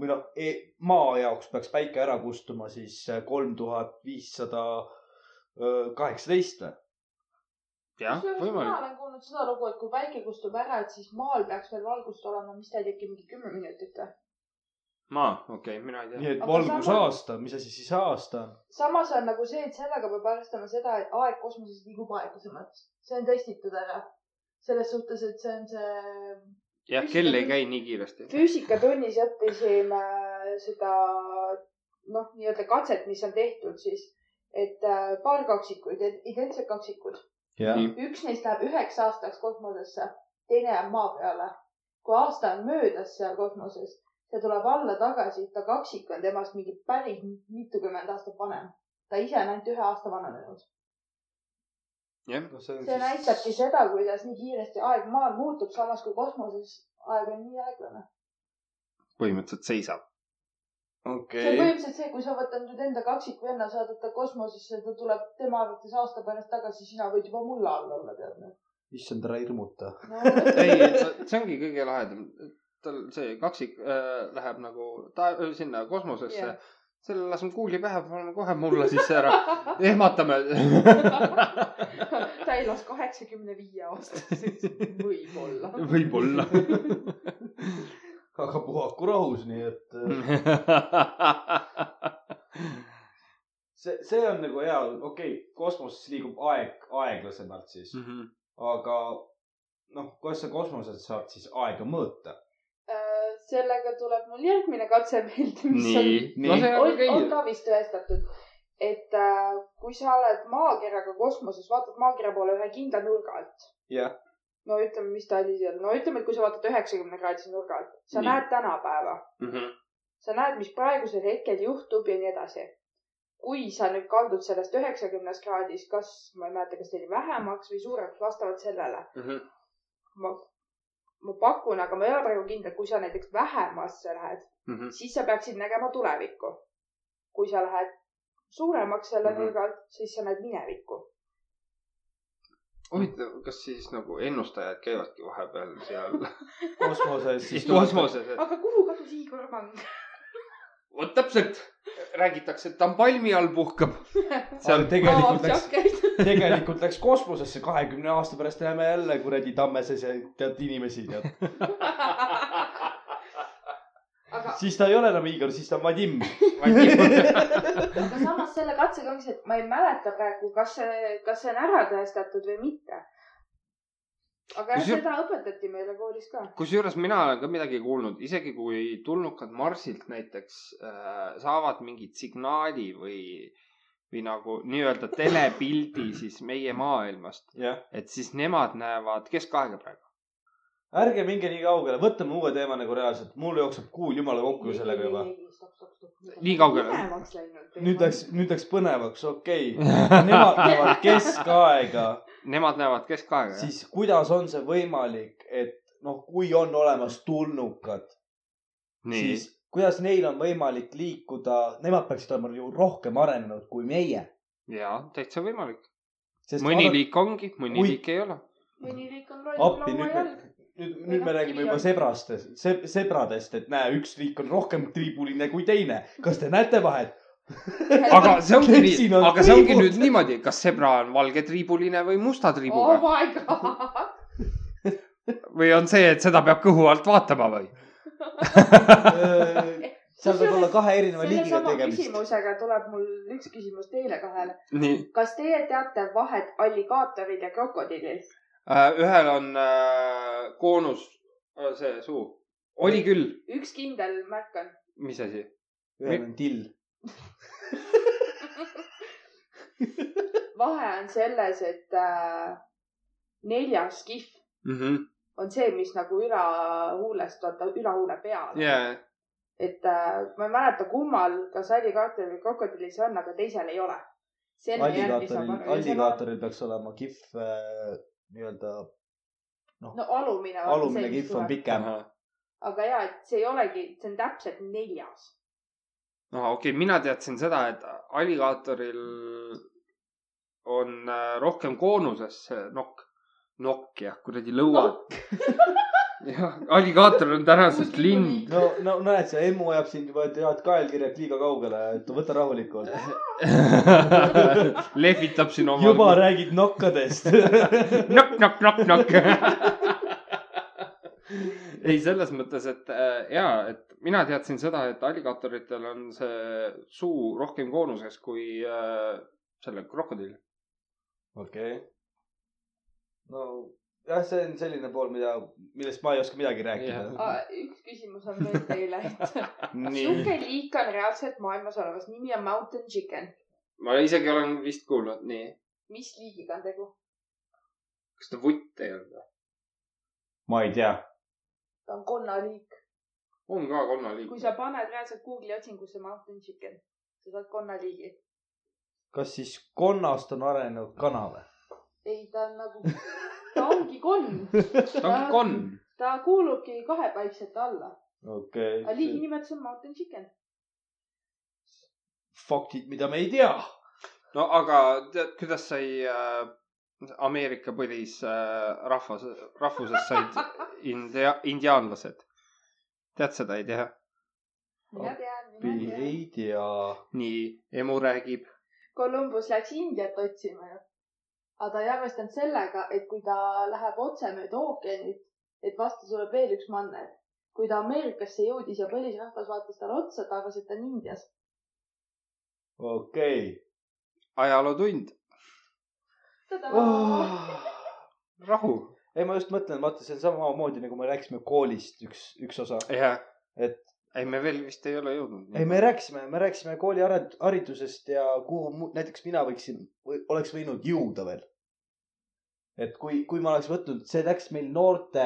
Speaker 3: või noh e, , maa jaoks peaks päike ära kustuma siis kolm tuhat viissada kaheksateist või ?
Speaker 1: jah ,
Speaker 2: mina
Speaker 1: võimalik .
Speaker 2: olen kuulnud seda lugu , et kui päike kustub ära , et siis maal peaks veel valgust olema , mis ta ei teki mingi kümme minutit või ?
Speaker 1: maa , okei okay, , mina ei tea
Speaker 3: nii . et
Speaker 2: Aga
Speaker 3: valgusaasta , mis asi siis aasta on ?
Speaker 2: samas on nagu see , et sellega peab arvestama seda , et aeg kosmoses liigub aeglasemalt . see on testitud ära . selles suhtes , et see on see ,
Speaker 1: jah , kell ei käi nii kiiresti .
Speaker 2: füüsikatunnis õppisime seda noh , nii-öelda katset , mis on tehtud siis , et äh, paar kaksikuid , identsed kaksikud .
Speaker 3: jah ,
Speaker 2: üks neist läheb üheks aastaks kosmosesse , teine jääb maa peale . kui aasta on möödas seal kosmoses , see tuleb alla tagasi , ta kaksik on temast mingi päris mitukümmend aastat vanem . ta ise on ainult ühe aasta vananenud .
Speaker 1: jah ,
Speaker 2: see näitabki seda , kuidas nii kiiresti aeg maal muutub , samas kui kosmoses aeg on nii aeglane .
Speaker 1: põhimõtteliselt seisab .
Speaker 2: see on
Speaker 3: okei .
Speaker 2: põhimõtteliselt see , kui sa võtad nüüd enda kaksikvenna , saadad ta kosmosesse , ta tuleb tema arvates aasta pärast tagasi , sina võid juba mulla all olla , tead . noh.
Speaker 3: issand , ära hirmuta .
Speaker 1: ei , see ongi kõige lahedam . tal see kaksik äh, läheb nagu ta sinna kosmosesse
Speaker 2: Jah.
Speaker 1: yeah. , selle laseme kuuli pähe , paneme kohe mulla sisse ära , ehmatame
Speaker 2: ta elas kaheksakümne viie aastaseks , võib-olla .
Speaker 1: võib-olla .
Speaker 3: aga puhaku rahus , nii et
Speaker 1: Hmm.
Speaker 3: äh, see , see on nagu hea , okei okay, , kosmoses liigub aeg aeglasemalt siis ,
Speaker 1: Mm. Mhm.
Speaker 3: aga noh , kuidas sa kosmoses saad siis aega mõõta ?
Speaker 2: Äh, sellega tuleb mul järgmine katse meelde , mis
Speaker 1: nii , no see on
Speaker 2: on ,
Speaker 1: nagu
Speaker 2: on, on
Speaker 1: okei .
Speaker 2: ka vist tõestatud , et äh, kui sa oled maakeraga kosmoses , vaatad maakera poole ühe kindla nurga alt .
Speaker 3: Jah. .
Speaker 2: no ütleme , mis ta oli seal , no ütleme , et kui sa vaatad üheksakümne kraadise nurga alt , sa
Speaker 1: Nii.
Speaker 2: nii. näed tänapäeva ,
Speaker 1: Mhm,
Speaker 2: sa näed , mis praegusel hetkel juhtub ja nii edasi . kui sa nüüd kaldud sellest üheksakümnes kraadis , kas , ma ei mäleta , kas ta oli vähemaks või suuremaks , vastavalt sellele .
Speaker 1: mhm,
Speaker 2: ma , ma pakun , aga ma ei ole praegu kindel , kui sa näiteks vähemasse lähed ,
Speaker 1: mhm.
Speaker 2: siis sa peaksid nägema tulevikku . kui sa lähed suuremaks selle
Speaker 1: Mhm.
Speaker 2: nurga alt , siis sa näed minevikku .
Speaker 1: huvitav , kas siis nagu ennustajad käivadki vahepeal seal
Speaker 3: kosmoses siis
Speaker 1: kosmoses , et
Speaker 2: aga kuhu kadus Igor Mang ?
Speaker 1: vot täpselt , räägitakse , et ta on palmi all puhkab .
Speaker 3: seal tegelikult läks ,
Speaker 2: läks .
Speaker 3: tegelikult läks kosmosesse , kahekümne aasta pärast näeme jälle kuradi Tammeses ja tead inimesi tead .
Speaker 2: aga ,
Speaker 3: siis ta ei ole enam Igor , siis ta on Vadim .
Speaker 2: aga samas selle katsega ongi see , et ma ei mäleta praegu , kas see , kas see on ära tõestatud või mitte . aga jah ,
Speaker 1: Kusjuures-
Speaker 2: seda õpetati meile koolis ka .
Speaker 1: kusjuures mina olen ka midagi kuulnud , isegi kui tulnukad Marsilt näiteks äh, saavad mingit signaali või , või nagu nii-öelda telepildi siis meie maailmast ,
Speaker 3: jah ,
Speaker 1: et siis nemad näevad keskaega praegu .
Speaker 3: ärge minge nii kaugele , võtame uue teema nagu reaalselt , mul jookseb kuul jumala kokku sellega juba .
Speaker 1: Nii kaugele.
Speaker 2: minevaks läinud .
Speaker 3: nüüd läks , nüüd läks põnevaks , okei okay. . Nemad näevad keskaega ,
Speaker 1: Nemad näevad keskaega , jah ?
Speaker 3: siis kuidas on see võimalik , et noh , kui on olemas tulnukad ,
Speaker 1: nii ,
Speaker 3: siis kuidas neil on võimalik liikuda , nemad peaksid olema ju rohkem arenenud kui meie .
Speaker 1: jaa , täitsa võimalik .
Speaker 3: sest
Speaker 1: mõni
Speaker 3: vaadake-
Speaker 1: liik ongi , mõni
Speaker 3: Ui.
Speaker 1: liik ei ole .
Speaker 2: mõni liik on
Speaker 3: appi
Speaker 2: loll
Speaker 3: nüüd
Speaker 2: laua
Speaker 3: me
Speaker 2: jalg .,
Speaker 3: nüüd ,
Speaker 2: Või
Speaker 3: nüüd me
Speaker 2: noh,
Speaker 3: räägime
Speaker 2: nii
Speaker 3: juba
Speaker 2: on.
Speaker 3: sebrastest , seb- , sebradest , et näe , üks liik on rohkem triibuline kui teine . kas te näete vahet ?
Speaker 1: aga see ongi nii
Speaker 3: Keksil , on
Speaker 1: aga see ongi
Speaker 3: triibud.
Speaker 1: nüüd niimoodi , kas zebra on valgetriibuline või musta
Speaker 2: oh
Speaker 1: triibuga
Speaker 2: my god .
Speaker 1: või on see , et seda peab kõhu alt vaatama või ?
Speaker 3: Äh, seal võib olla kahe erineva
Speaker 2: selle
Speaker 3: liigiga
Speaker 2: sama
Speaker 3: tegemist .
Speaker 2: küsimusega tuleb mul üks küsimus teile kahele .
Speaker 1: nii ,
Speaker 2: kas teie teate vahet alligaatoril ja krokodillil ?
Speaker 1: ühel on äh, koonus , see suu , oli küll ,
Speaker 2: üks kindel märk on .
Speaker 1: mis asi ?
Speaker 3: ühel on till .
Speaker 2: vahe on selles , et äh, neljas kihv
Speaker 1: Mhm.
Speaker 2: on see , mis nagu ülahuulest , vaata ülahuule peal .
Speaker 1: jaa ,
Speaker 2: et äh, ma ei mäleta , kummal , kas alligaatoril või krokodillil see on , aga teisel ei ole .
Speaker 3: alligaatoril , alligaatoril peaks olema kihv äh, nii-öelda ,
Speaker 2: no alumine .
Speaker 3: alumine kihv on pikem .
Speaker 2: aga ja , et see ei olegi , see on täpselt neljas .
Speaker 1: no okei okay, , mina teadsin seda , et alligaatoril on äh, rohkem koonuses see nokk , nokk jah , kuradi lõuad . jah , alligaator on tänasest lind .
Speaker 3: no , no näed , see emmu ajab sind juba , et head kaelkirjad liiga kaugele , et võta rahulikult .
Speaker 1: lehvitab siin oma . nagu
Speaker 3: juba räägid nokkadest .
Speaker 1: nokk , nokk , nokk , nokk . ei , selles mõttes , et äh, ja , et mina teadsin seda , et alligaatoritel on see suu rohkem koonuses kui äh, sellel krokodillil .
Speaker 3: okei okay. . no jah , see on selline pool , mida , millest ma ei oska midagi rääkida .
Speaker 2: Ah, üks küsimus on veel teile , et
Speaker 3: nii ,
Speaker 2: sihuke liik on reaalselt maailmas olemas , nimi on mountain chicken .
Speaker 1: ma isegi olen vist kuulnud nii .
Speaker 2: mis liigiga on tegu ?
Speaker 1: kas ta vutt ei olnud või ?
Speaker 3: ma ei tea .
Speaker 2: ta on konnaliik .
Speaker 1: on ka konnaliik
Speaker 2: kui . sa paned reaalselt Google'i otsingusse mountain chicken , sa saad konnaliigi .
Speaker 3: kas siis konnast on arenenud kana või ?
Speaker 2: ei , ta on nagu , ta ongi konn .
Speaker 1: ta ongi konn .
Speaker 2: ta kuulubki kahepaiksete alla ,
Speaker 3: okei
Speaker 2: aga liigi
Speaker 3: okay. ,
Speaker 2: nimetus on mountain chicken .
Speaker 3: faktid , mida me ei tea .
Speaker 1: no aga tead , kuidas sai äh, Ameerika põlis äh, rahvas , rahvusest said india- , indiaanlased ? tead seda ei tea ?
Speaker 9: mina tean , mina tean .
Speaker 3: ei tea .
Speaker 1: nii , emu räägib .
Speaker 9: Kolumbus läks Indiat otsima ju . aga ta ei arvestanud sellega , et kui ta läheb otse mööda ookeanit , et vastu tuleb veel üks manner . kui ta Ameerikasse jõudis ja põlisrahvas vaatas talle otsa , ta arvas , et ta on Indias .
Speaker 3: okei
Speaker 1: ajalootund ,
Speaker 9: tadaa .
Speaker 3: oh. .
Speaker 1: rahu .
Speaker 3: ei , ma just mõtlen , vaata , see on samamoodi nagu me rääkisime koolist üks , üks osa .
Speaker 1: jah .
Speaker 3: Et-
Speaker 1: ei , me veel vist ei ole jõudnud .
Speaker 3: ei , me rääkisime , me rääkisime kooli are- haridusest ja kuhu mu- näiteks mina võiksin või oleks võinud jõuda veel . et kui , kui ma oleks võtnud , see läks meil noorte ,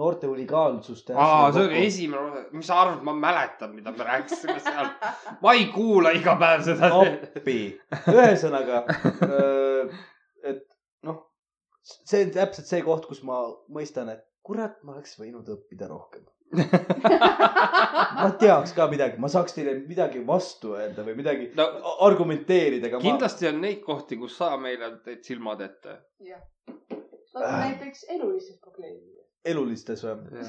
Speaker 3: noorte huligaansuste .
Speaker 1: aa , see oli . esimene osa , mis sa arvad , ma mäletan , mida me rääkisime seal . ma ei kuula iga päev seda no. .
Speaker 3: appi , ühesõnaga , et noh , see on täpselt see koht , kus ma mõistan , et kurat , ma oleks võinud õppida rohkem . ma teaks ka midagi , ma saaks teile midagi vastu öelda või midagi
Speaker 1: no
Speaker 3: a- argumenteerida , aga ma .
Speaker 1: kindlasti on neid kohti , kus sa meile teed silmad ette .
Speaker 9: no näiteks elulised probleemid .
Speaker 3: elulistes või ,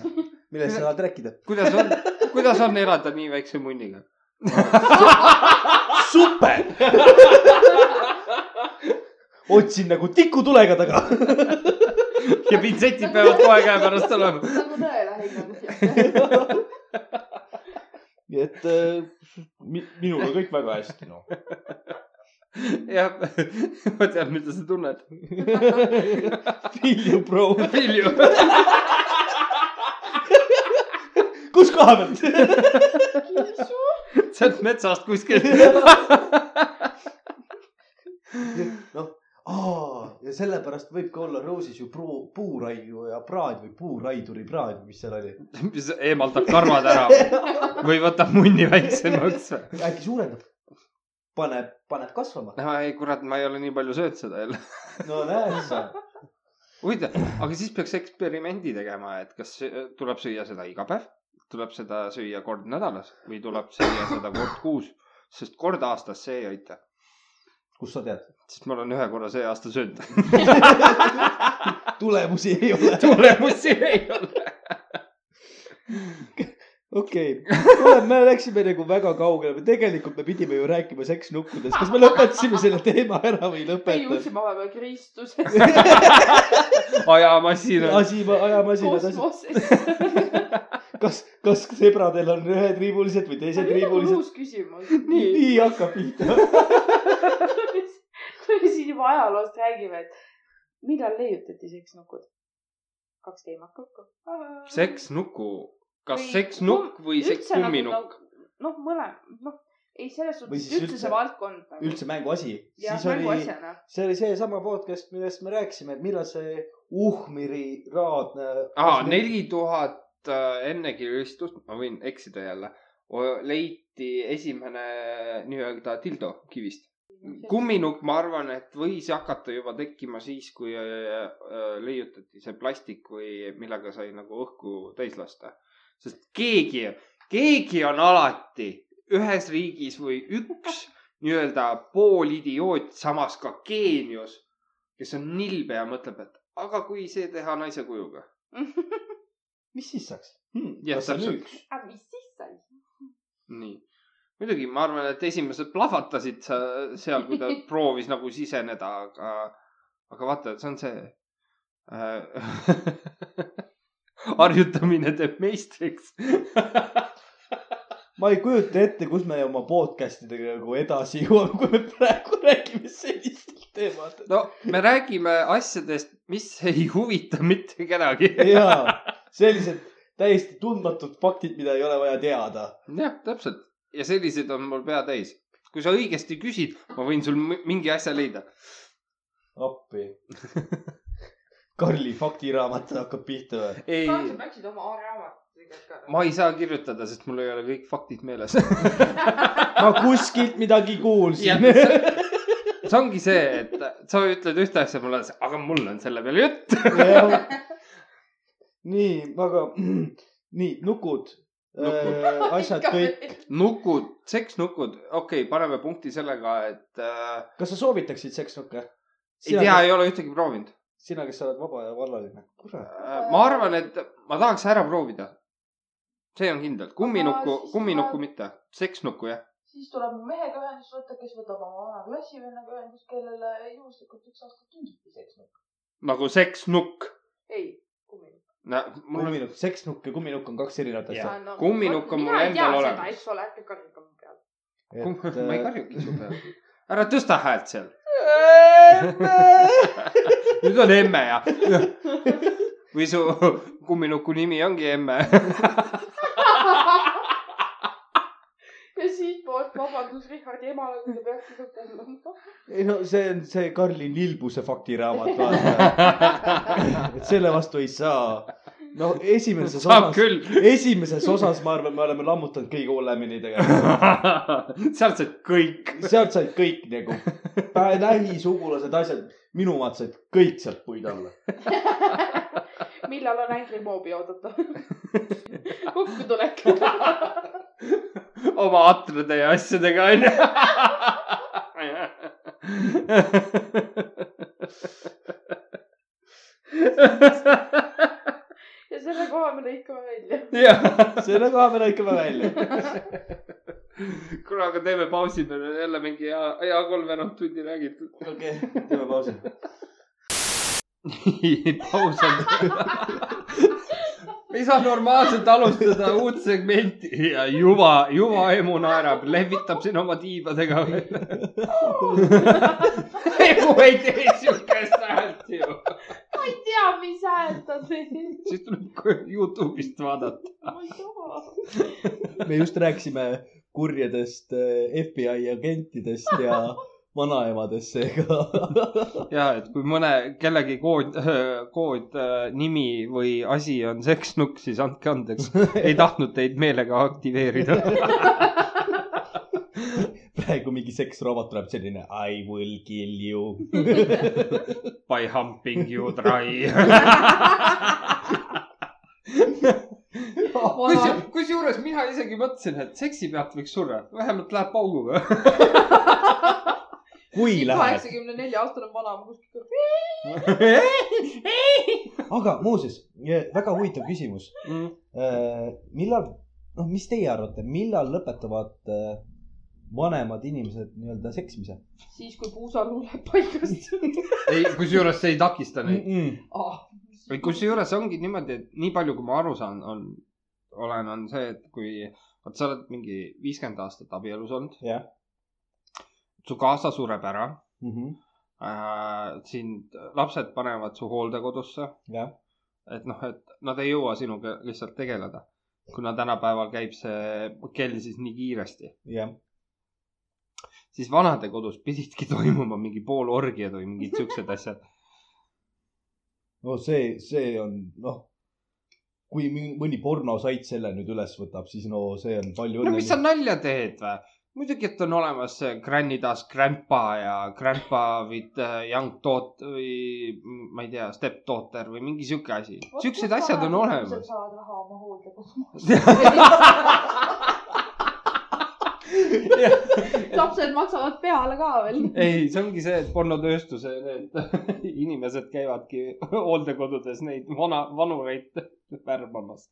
Speaker 3: millest sa tahad rääkida ?
Speaker 1: kuidas on , kuidas on elada nii väikse munniga ?
Speaker 3: super otsin nagu tikutulega taga .
Speaker 1: ja pintsetid peavad kohe käepärast olema .
Speaker 9: nagu tõele hinnanud .
Speaker 3: nii et äh, mi- minul on kõik väga hästi , noh .
Speaker 1: jah , ma tean , mida sa tunned .
Speaker 3: Feel you bro .
Speaker 1: Vilju .
Speaker 3: kus koha pealt ?
Speaker 1: sealt metsast kuskilt .
Speaker 3: noh , ja sellepärast võibki olla Rose'is ju puu , puuraiuja praad või puuraiduri praad , mis seal oli .
Speaker 1: mis eemaldab karvad ära või võtab munni väiksemaks .
Speaker 3: äkki suurendab ? paneb , paneb kasvama .
Speaker 1: no ei , kurat , ma ei ole nii palju söönud seda jälle .
Speaker 3: no näed sa .
Speaker 1: huvitav , aga siis peaks eksperimendi tegema , et kas äh, tuleb süüa seda iga päev , tuleb seda süüa kord nädalas või tuleb süüa seda kord kuus , sest kord aastas see ei aita ,
Speaker 3: kust sa tead ?
Speaker 1: sest ma olen ühe korra see aasta söönud .
Speaker 3: tulemusi ei ole .
Speaker 1: tulemusi ei ole .
Speaker 3: okei okay. , kuule , me läksime nagu väga kaugele , tegelikult me pidime ju rääkima seksnukkudest , kas me lõpetasime selle teema ära või ei
Speaker 2: me
Speaker 3: lõpetanud ?
Speaker 2: jõudsime vahepeal Kristusesse ,
Speaker 1: ajamasin on .
Speaker 3: asi , ajame asjad asja ,
Speaker 2: kosmosesse .
Speaker 3: kas , kas sõbradel on ühetriibulised või teisetriibulised ?
Speaker 2: uus küsimus .
Speaker 3: nii, nii hakkab pihta .
Speaker 2: kui me siin juba ajaloost räägime , et millal leiutati seksnukud ? kaks teemat kokku .
Speaker 1: seksnuku , kas
Speaker 2: Või
Speaker 1: seksnukk või sekskumminukk ?
Speaker 2: nagu, ? noh , mõlemad , noh , ei selles
Speaker 3: Või
Speaker 2: suhtes
Speaker 3: siis
Speaker 2: üldse see
Speaker 3: üldse-
Speaker 2: valdkond nagu. .
Speaker 3: üldse mänguasi ,
Speaker 2: jah ,
Speaker 3: siis
Speaker 2: nagu
Speaker 3: oli ,
Speaker 2: asjana .
Speaker 3: see oli seesama podcast , millest me rääkisime , et millal see Uhmiri raadne .
Speaker 1: aa , neli tuhat enne kiristust , ma võin eksida jälle , leiti esimene nii-öelda tildo kivist . kumminukk , ma arvan , et võis hakata juba tekkima siis , kui äh, äh, leiutati see plastik või millega sai nagu õhku täis lasta . sest keegi , keegi on alati ühes riigis või üks nii-öelda poolidioot , samas ka geenius , kes on nilbe ja mõtleb , et aga kui see teha naise kujuga .
Speaker 3: mis siis saaks hmm, ?
Speaker 1: jah,
Speaker 3: kas see on
Speaker 1: täpselt.
Speaker 3: üks ?
Speaker 2: aga mis siis sai ?
Speaker 1: nii , muidugi ma arvan , et esimesed plahvatasid sa- seal , kui ta proovis nagu siseneda , aga , aga vaata , see on see äh, . harjutamine teeb meistriks .
Speaker 3: ma ei kujuta ette , kus me oma podcast idega nagu edasi jõuame , kui me praegu räägime sellistest teemadest .
Speaker 1: no me räägime asjadest , mis ei huvita mitte kedagi .
Speaker 3: jaa , sellised täiesti tundmatud faktid , mida ei ole vaja teada .
Speaker 1: jah , täpselt ja selliseid on mul pea täis . kui sa õigesti küsid , ma võin sul mi- mingi asja leida .
Speaker 3: appi . Karli faktiraamat hakkab pihta või ?
Speaker 1: ei ,
Speaker 2: Karl , sa peaksid oma raamatutega ka .
Speaker 1: ma ei saa kirjutada , sest mul ei ole kõik faktid meeles .
Speaker 3: ma kuskilt midagi
Speaker 1: Jah.
Speaker 3: kuulsin .
Speaker 1: see ongi see , et sa ütled ühte asja mulle , aga mul on selle peale jutt .
Speaker 3: nii , aga nii , nukud .
Speaker 1: Nukud.
Speaker 3: asjad kõik ,
Speaker 1: nukud , seksnukud , okei okay, , paneme punkti sellega , et äh,
Speaker 3: kas sa soovitaksid seksnukke ?
Speaker 1: ei tea , ei ole ühtegi proovinud
Speaker 3: sina , kes sa oled vaba ja vallaline . kurat .
Speaker 1: äh, . ma arvan , et ma tahaks ära proovida . see on kindel , kumminukku
Speaker 2: siis ,
Speaker 1: kumminukku
Speaker 2: ma-
Speaker 1: mitte , seksnukku jah .
Speaker 2: siis tuleb mu mehega ühendust võtta , kes võtab oma vana klassivennaga ühendust , kellele juhuslikult üks aasta kingiti seksnukk .
Speaker 1: nagu seksnukk .
Speaker 2: ei , kumminukk .
Speaker 1: mul on ,
Speaker 3: kumminukk , seksnukk ja kumminukk on kaks erinevat asja .
Speaker 1: Jaa.
Speaker 2: nagu
Speaker 1: Kumminukk on mul endal olemas.
Speaker 2: eks ole , ärge karjuge mu peale .
Speaker 1: ma
Speaker 3: äh,
Speaker 1: ei karjugi su peale . ära tõsta häält seal . nüüd on emme ja . või su kumminuku nimi ongi emme .
Speaker 2: ja siitpoolt vabandus Richardi emale , kui ta peaks seda ütlema .
Speaker 3: ei no see on see Karli Nilbuse faktiraamat , vaata . et selle vastu ei saa . no esimeses
Speaker 1: saab
Speaker 3: osas ,
Speaker 1: küll .
Speaker 3: esimeses osas , ma arvan , me oleme lammutanud kõige hullemini tegelikult .
Speaker 1: sealt said kõik .
Speaker 3: sealt said kõik nagu pä- lähisugulased , asjad , minu omad said kõik sealt puid alla .
Speaker 2: millal on Angry Mobi oodata ? kokkutulek .
Speaker 1: oma atrade ja asjadega onju .
Speaker 2: ja selle koha me lõikame välja .
Speaker 1: jah ,
Speaker 3: selle koha me lõikame välja .
Speaker 1: kuule , aga teeme pausi , meil on jälle mingi hea , hea kolmveerand tundi räägitud .
Speaker 3: okei okay, , teeme pausi .
Speaker 1: paus on . me ei saa normaalselt alustada uut segmenti ja juba , juba emu naerab , lehvitab siin oma tiibadega . emu ei tee siukest häält ju .
Speaker 2: ma ei tea , mis hääl ta teeb .
Speaker 1: siis tuleb Youtube'ist vaadata .
Speaker 2: ma ei taha .
Speaker 3: me just rääkisime kurjadest eh, FBI agentidest ja vanaemadest , seega .
Speaker 1: ja , et kui mõne , kellegi kood , kood , nimi või asi on seksnukk , siis andke andeks . ei tahtnud teid meelega aktiveerida .
Speaker 3: praegu mingi seksrobot tuleb selline I will kill you .
Speaker 1: By humping you dry . Kusju- kusjuures mina isegi mõtlesin , et seksi pealt võiks surra , vähemalt läheb pauguga .
Speaker 3: kui läheb ,
Speaker 2: kaheksakümne nelja aastane vanaema kuskil .
Speaker 3: aga muuseas , väga huvitav küsimus .
Speaker 1: Mm.
Speaker 3: millal , noh , mis teie arvate , millal lõpetavad eh, vanemad inimesed nii-öelda seksmise
Speaker 2: siis , kui puusaluu läheb paigast . Ah,
Speaker 1: ei , kusjuures see ei takista
Speaker 3: mm ?
Speaker 1: neid .
Speaker 3: -mm.
Speaker 1: kusjuures ongi niimoodi , et nii palju , kui ma aru saan , on , olen , on see , et kui , vot sa oled mingi viiskümmend aastat abielus olnud .
Speaker 3: Jah.
Speaker 1: su kaasa sureb ära
Speaker 3: Mm -hmm.
Speaker 1: äh, , sind lapsed panevad su hooldekodusse .
Speaker 3: jah ,
Speaker 1: et noh , et nad ei jõua sinuga lihtsalt tegeleda , kuna tänapäeval käib see kell siis nii kiiresti .
Speaker 3: jah .
Speaker 1: siis vanadekodus pididki toimuma mingi pool orgiad või mingid siuksed asjad .
Speaker 3: no see , see on , noh , kui mi- mõni pornosait selle nüüd üles võtab , siis no see on palju
Speaker 1: no mis sa nalja teed või ? muidugi , et on olemas see Granny does grandpa ja grandpa with äh, young daughter või m- ma ei tea , stepdaughter või mingi sihuke asi . siuksed asjad on olemas .
Speaker 2: saavad raha oma hooldekodu . lapsed maksavad peale ka veel .
Speaker 1: ei , see ongi see , et pornotööstuse need inimesed käivadki hooldekodudes neid vana , vanureid värbamas .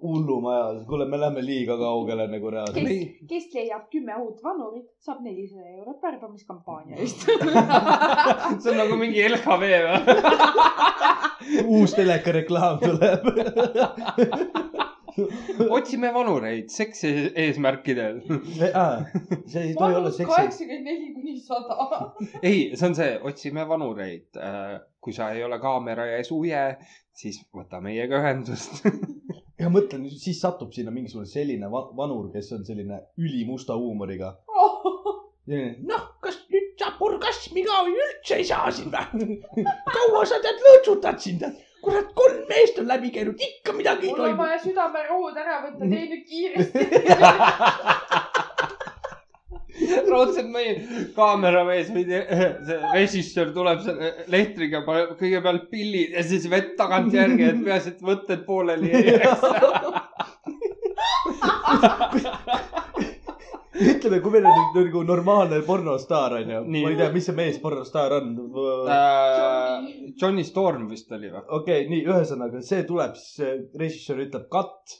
Speaker 3: hullumajas , kuule , me läheme liiga kaugele nagu reaalselt .
Speaker 2: kes , kes leiab kümme uut vanurit , saab nelisada eurot värbamiskampaania eest .
Speaker 1: see on nagu mingi LHV või ?
Speaker 3: uus telekareklaam tuleb .
Speaker 1: otsime vanureid seksi eesmärkidel .
Speaker 3: see ei tohi olla seksi .
Speaker 2: kaheksakümmend neli kuni sada .
Speaker 1: ei , see on see , otsime vanureid . kui sa ei ole kaamera ees uje , siis võta meiega ühendust .
Speaker 3: ja mõtlen , siis satub sinna mingisugune selline va- vanur , kes on selline ülimusta huumoriga .
Speaker 10: noh , kas nüüd saab orgasmi ka või üldse ei saa siin või ? kaua sa tead lõõtsutad siin tead ? kurat , kolm meest on läbi käinud , ikka midagi ei
Speaker 2: mul on
Speaker 10: toimu .
Speaker 2: vaja südamerohud ära võtta , tee nüüd kiiresti .
Speaker 1: raudselt meie kaameramees või te- see režissöör tuleb selle lehtriga , paneb kõigepealt pillid ja siis vett tagantjärgi , et peaasi , et võtted pooleli ei jääks .
Speaker 3: ütleme , kui meil on nüüd nagu normaalne pornostaar onju ,
Speaker 1: Nii. Äh.
Speaker 3: ma ei tea , mis see mees pornostaar on . okei
Speaker 1: Johnny Storm vist oli või ?
Speaker 3: okay, , nii ühesõnaga see tuleb , siis režissöör ütleb cut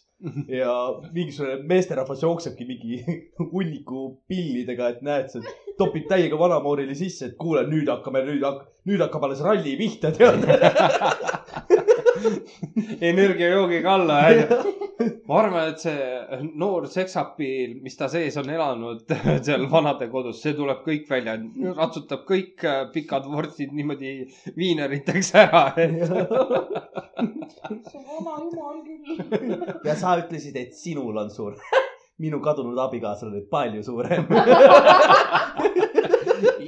Speaker 3: ja mingisugune meesterahvas jooksebki mingi hunniku pillidega , et näed , see topib täiega vanamoorile sisse , et kuule , nüüd hakkame , nüüd hakkab , nüüd hakkab alles ralli pihta , tead .
Speaker 1: energiajoogiga alla , onju . ma arvan , et see noor seksapiil , mis ta sees on elanud seal vanadekodus , see tuleb kõik välja , ratsutab kõik äh, pikad vorstid niimoodi viineriteks ära .
Speaker 2: see on vana jumal küll .
Speaker 3: ja sa ütlesid , et sinul on suur . minu kadunud abikaasal oli palju suurem .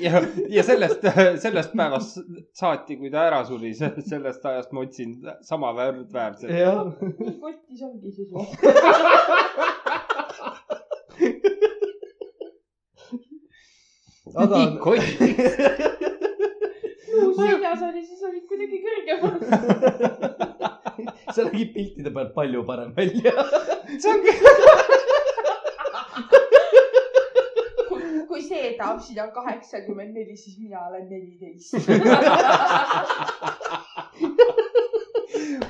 Speaker 1: ja , ja sellest , sellest päevast saati , kui ta ära suri , sellest ajast ma otsin sama värdväärset .
Speaker 3: jah ,
Speaker 2: nii kotis ongi siis või ?
Speaker 3: aga
Speaker 2: muu seljas oli , siis olid kuidagi kõrgemal .
Speaker 3: see nägi piltide pealt palju parem välja .
Speaker 1: see ongi
Speaker 2: kui see tahab sina kaheksakümmend neli , siis mina olen neliteist .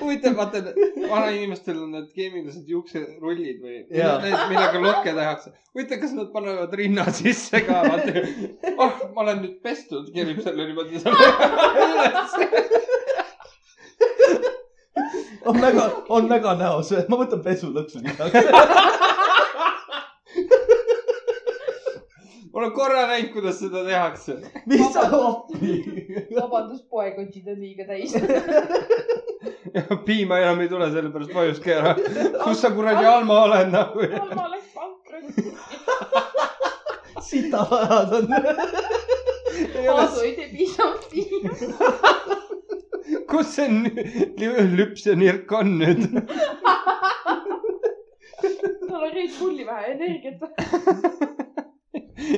Speaker 1: huvitav , vaata vanainimestel on need keemilised juukserullid või
Speaker 3: Jaa.
Speaker 1: need , millega lokke tehakse . huvitav , kas nad panevad rinna sisse ka , vaata . ah , ma olen nüüd pestud , kerib selle niimoodi selle ülesse .
Speaker 3: on väga , on väga näos , ma võtan pesu lõksu .
Speaker 1: ma olen korra näinud , kuidas seda tehakse .
Speaker 3: mis sa appi ?
Speaker 2: vabandust , poekotid on liiga täis .
Speaker 1: piima enam ei tule , sellepärast vajuski ära . kus sa kuradi Alma oled nagu ?
Speaker 2: ma läks pankrotti .
Speaker 3: sita vajad on .
Speaker 2: Aadu ei tee piisavalt piima .
Speaker 1: kus see nü- lü- lüps ja nirk on nüüd ?
Speaker 2: tal on Red Bulli vähe energiat .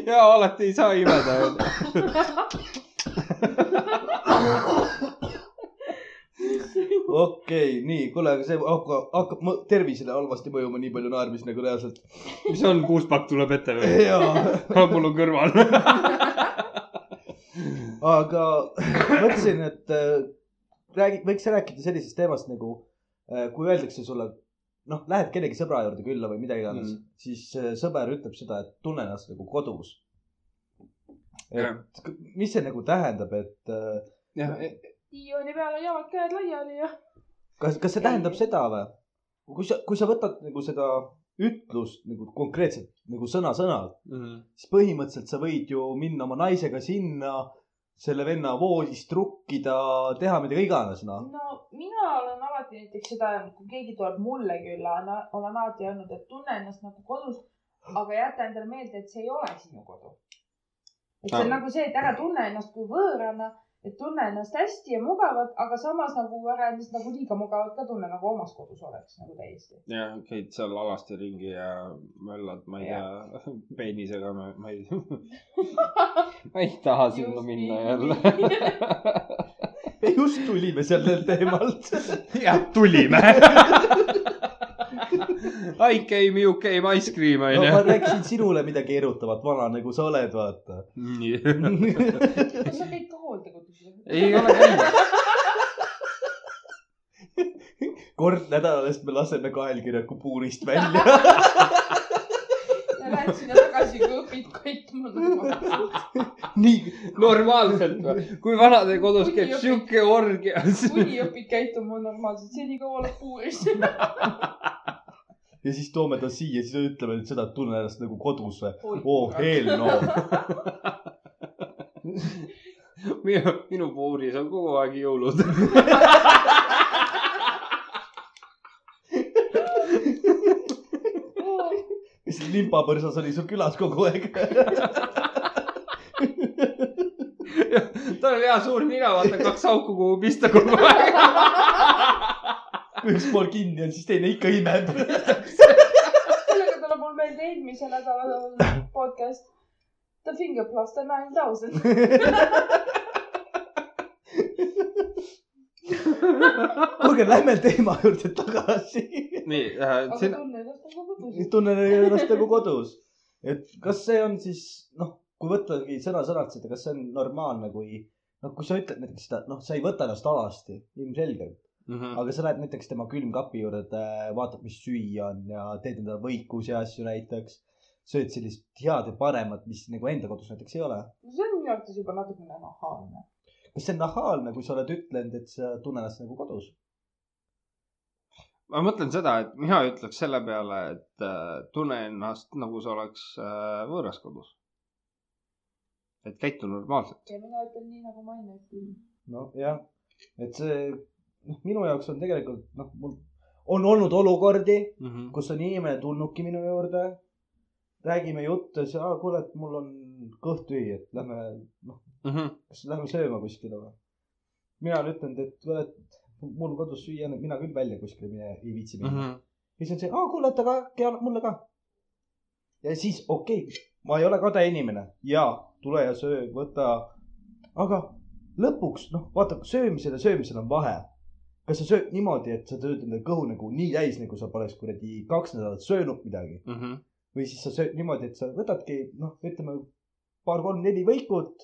Speaker 1: ja alati ei saa imeda .
Speaker 3: okei , nii , kuule , aga see hakkab , hakkab mu tervisele halvasti mõjuma , nii palju naermist nagu reaalselt .
Speaker 1: mis on , kuus pakk tuleb ette või ?
Speaker 3: jaa ,
Speaker 1: mul on kõrval .
Speaker 3: aga mõtlesin , et äh, räägi , võiks rääkida sellisest teemast nagu , kui öeldakse sulle , noh , lähed kellegi sõbra juurde külla või mida iganes mm.
Speaker 1: Mm. ,
Speaker 3: siis äh, sõber ütleb seda , et tunne ennast nagu kodus . et
Speaker 1: Jah.
Speaker 3: k- mis see nagu tähendab , et äh,
Speaker 1: jah , e-
Speaker 2: diivani peal on jalad käed laiali ja .
Speaker 3: kas , kas see tähendab seda või ? kui sa , kui sa võtad nagu seda ütlust nagu konkreetselt nagu sõna-sõnalt ,
Speaker 1: mm. .
Speaker 3: siis põhimõtteliselt sa võid ju minna oma naisega sinna , selle venna voodist trukkida , teha midagi iganes , noh .
Speaker 2: no mina olen alati näiteks seda öelnud , kui keegi tuleb mulle külla , olen alati öelnud , et tunne ennast nagu kodus , aga jäta endale meelde , et see ei ole sinu kodu . et see on
Speaker 1: Ah.
Speaker 2: nagu see , et ära tunne ennast kui võõrana , et tunne ennast hästi ja mugavalt , aga samas nagu ära ennast nagu liiga mugavalt ka tunne , nagu omas kodus oleks nagu täiesti .
Speaker 1: jah , käid seal alasti ringi ja möllad , ma ei tea , peenisega , ma , ma ei , ma ei taha sinna
Speaker 2: Just
Speaker 1: minna
Speaker 2: nii.
Speaker 1: jälle .
Speaker 3: me just tulime sellel teemalt .
Speaker 1: jah , tulime . I came , you came , ice cream
Speaker 3: no ma
Speaker 1: onju .
Speaker 3: rääkisin sinule midagi erutavat , vana nagu sa oled , vaata .
Speaker 2: kas sa käid ka hooldekodus ?
Speaker 1: ei ole käinud .
Speaker 3: kord nädalas me laseme kaelkirjaku puurist välja .
Speaker 2: ja lähed sinna tagasi , kui õpid kaitma .
Speaker 3: nii ,
Speaker 1: normaalselt või ? kui vanadekodus
Speaker 2: Kuni
Speaker 1: käib
Speaker 2: õpid-
Speaker 1: sihuke orgia , siis
Speaker 2: kuni õpid käituma normaalselt , senikaua oled puuris .
Speaker 3: ja siis toome ta siia , siis ütleme nüüd seda , et tunne ennast nagu kodus või ? oo , Oh, hell no .
Speaker 1: minu , minu puuris on kogu aeg jõulud .
Speaker 2: Oh,
Speaker 3: ja siis limpapõrsas oli sul külas kogu aeg .
Speaker 1: tal on hea suur nina , vaata kaks auku , kuhu pista kogu aeg .
Speaker 3: üks pool kinni on , siis teine ikka imeb .
Speaker 2: sellega tuleb mul meelde eelmise nädala podcast The Finger Plus The Nine Thousand .
Speaker 3: kuulge , lähme teema juurde tagasi
Speaker 1: nii äh, ,
Speaker 2: aga
Speaker 1: sina ,
Speaker 2: tunne ennast nagu
Speaker 3: siis
Speaker 2: kodus .
Speaker 3: tunnen ennast nagu kodus . et kas see on siis noh , kui võttagi sõna-sõnalt seda , kas see on normaalne , kui noh , kui sa ütled näiteks seda , noh , sa ei võta ennast alasti , ilmselgelt .
Speaker 1: mhmh ,
Speaker 3: aga sa lähed näiteks tema külmkapi juurde , vaatad , mis süüa on ja teed endale võikusi ja asju näiteks . sööd sellist head ja paremat , mis nagu enda kodus näiteks ei ole .
Speaker 2: see on minu arvates juba natukene nahaalne .
Speaker 3: kas see on nahaalne , kui sa oled ütlenud , et sa tunned ennast nagu kodus ?
Speaker 1: ma mõtlen seda , et mina ütleks selle peale , et äh, tunne ennast nagu sa oleks äh, võõras kodus . et käitu normaalselt .
Speaker 2: ja mina ütlen nii , nagu ma enne ütlesin .
Speaker 3: nojah , et see , noh , minu jaoks on tegelikult , noh , mul on olnud olukordi ,
Speaker 1: Mhm.
Speaker 3: kus on inimene tulnudki minu juurde , räägime juttu ja siis , aa , kuule , et mul on kõht tühi , et lähme , noh ,
Speaker 1: Mhm,
Speaker 3: kas lähme sööma kuskile või ? mina olen ütelnud , et kuule , et mul kodus süüa , mina küll välja kuskile mine, ei viitsi
Speaker 1: mhm,
Speaker 3: minna mm . -hmm. ja siis on see , aa , kuule , oota , aga äkki annad mulle ka . ja siis , okei okay, , ma ei ole kade inimene ja tule ja söö , võta . aga lõpuks , noh , vaata , söömisel ja söömisel on vahe . kas sa sööd niimoodi , et sa tööd enda kõhu nagu nii täis , nagu sa poleks kuradi kaks nädalat söönud midagi
Speaker 1: mhm,
Speaker 3: või siis sa sööd niimoodi , et sa võtadki noh , ütleme paar-kolm-neli võikut ,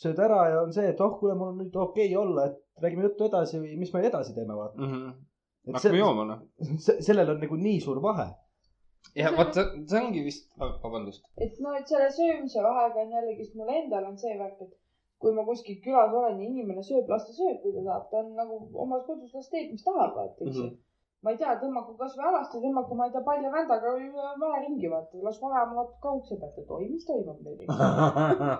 Speaker 3: sööd ära ja on see , et oh , kuule , mul on nüüd okei okay olla , et räägime juttu edasi või mis me edasi teeme , vaata . et
Speaker 1: mhm. hakkame jooma noh .
Speaker 3: se- sellel on nagu nii suur vahe .
Speaker 1: ja vot see , see ongi vist , vabandust .
Speaker 2: et no , et selle söömise vahega on jällegist mul endal on see värk , et kui ma kuskil külas olen ja inimene sööb , las ta sööb , kui ta tahab , ta on nagu omas kodus , las teeb , mis tahab , vaata , eks ju
Speaker 1: Mhm.
Speaker 2: ma ei tea , tõmmaku kasvõi alast ja tõmmaku , ma ei tea , palja vändaga üle mäe ringi , vaata , las vanaema vaatab kaugse pealt , et oi , mis toimub meil ikka .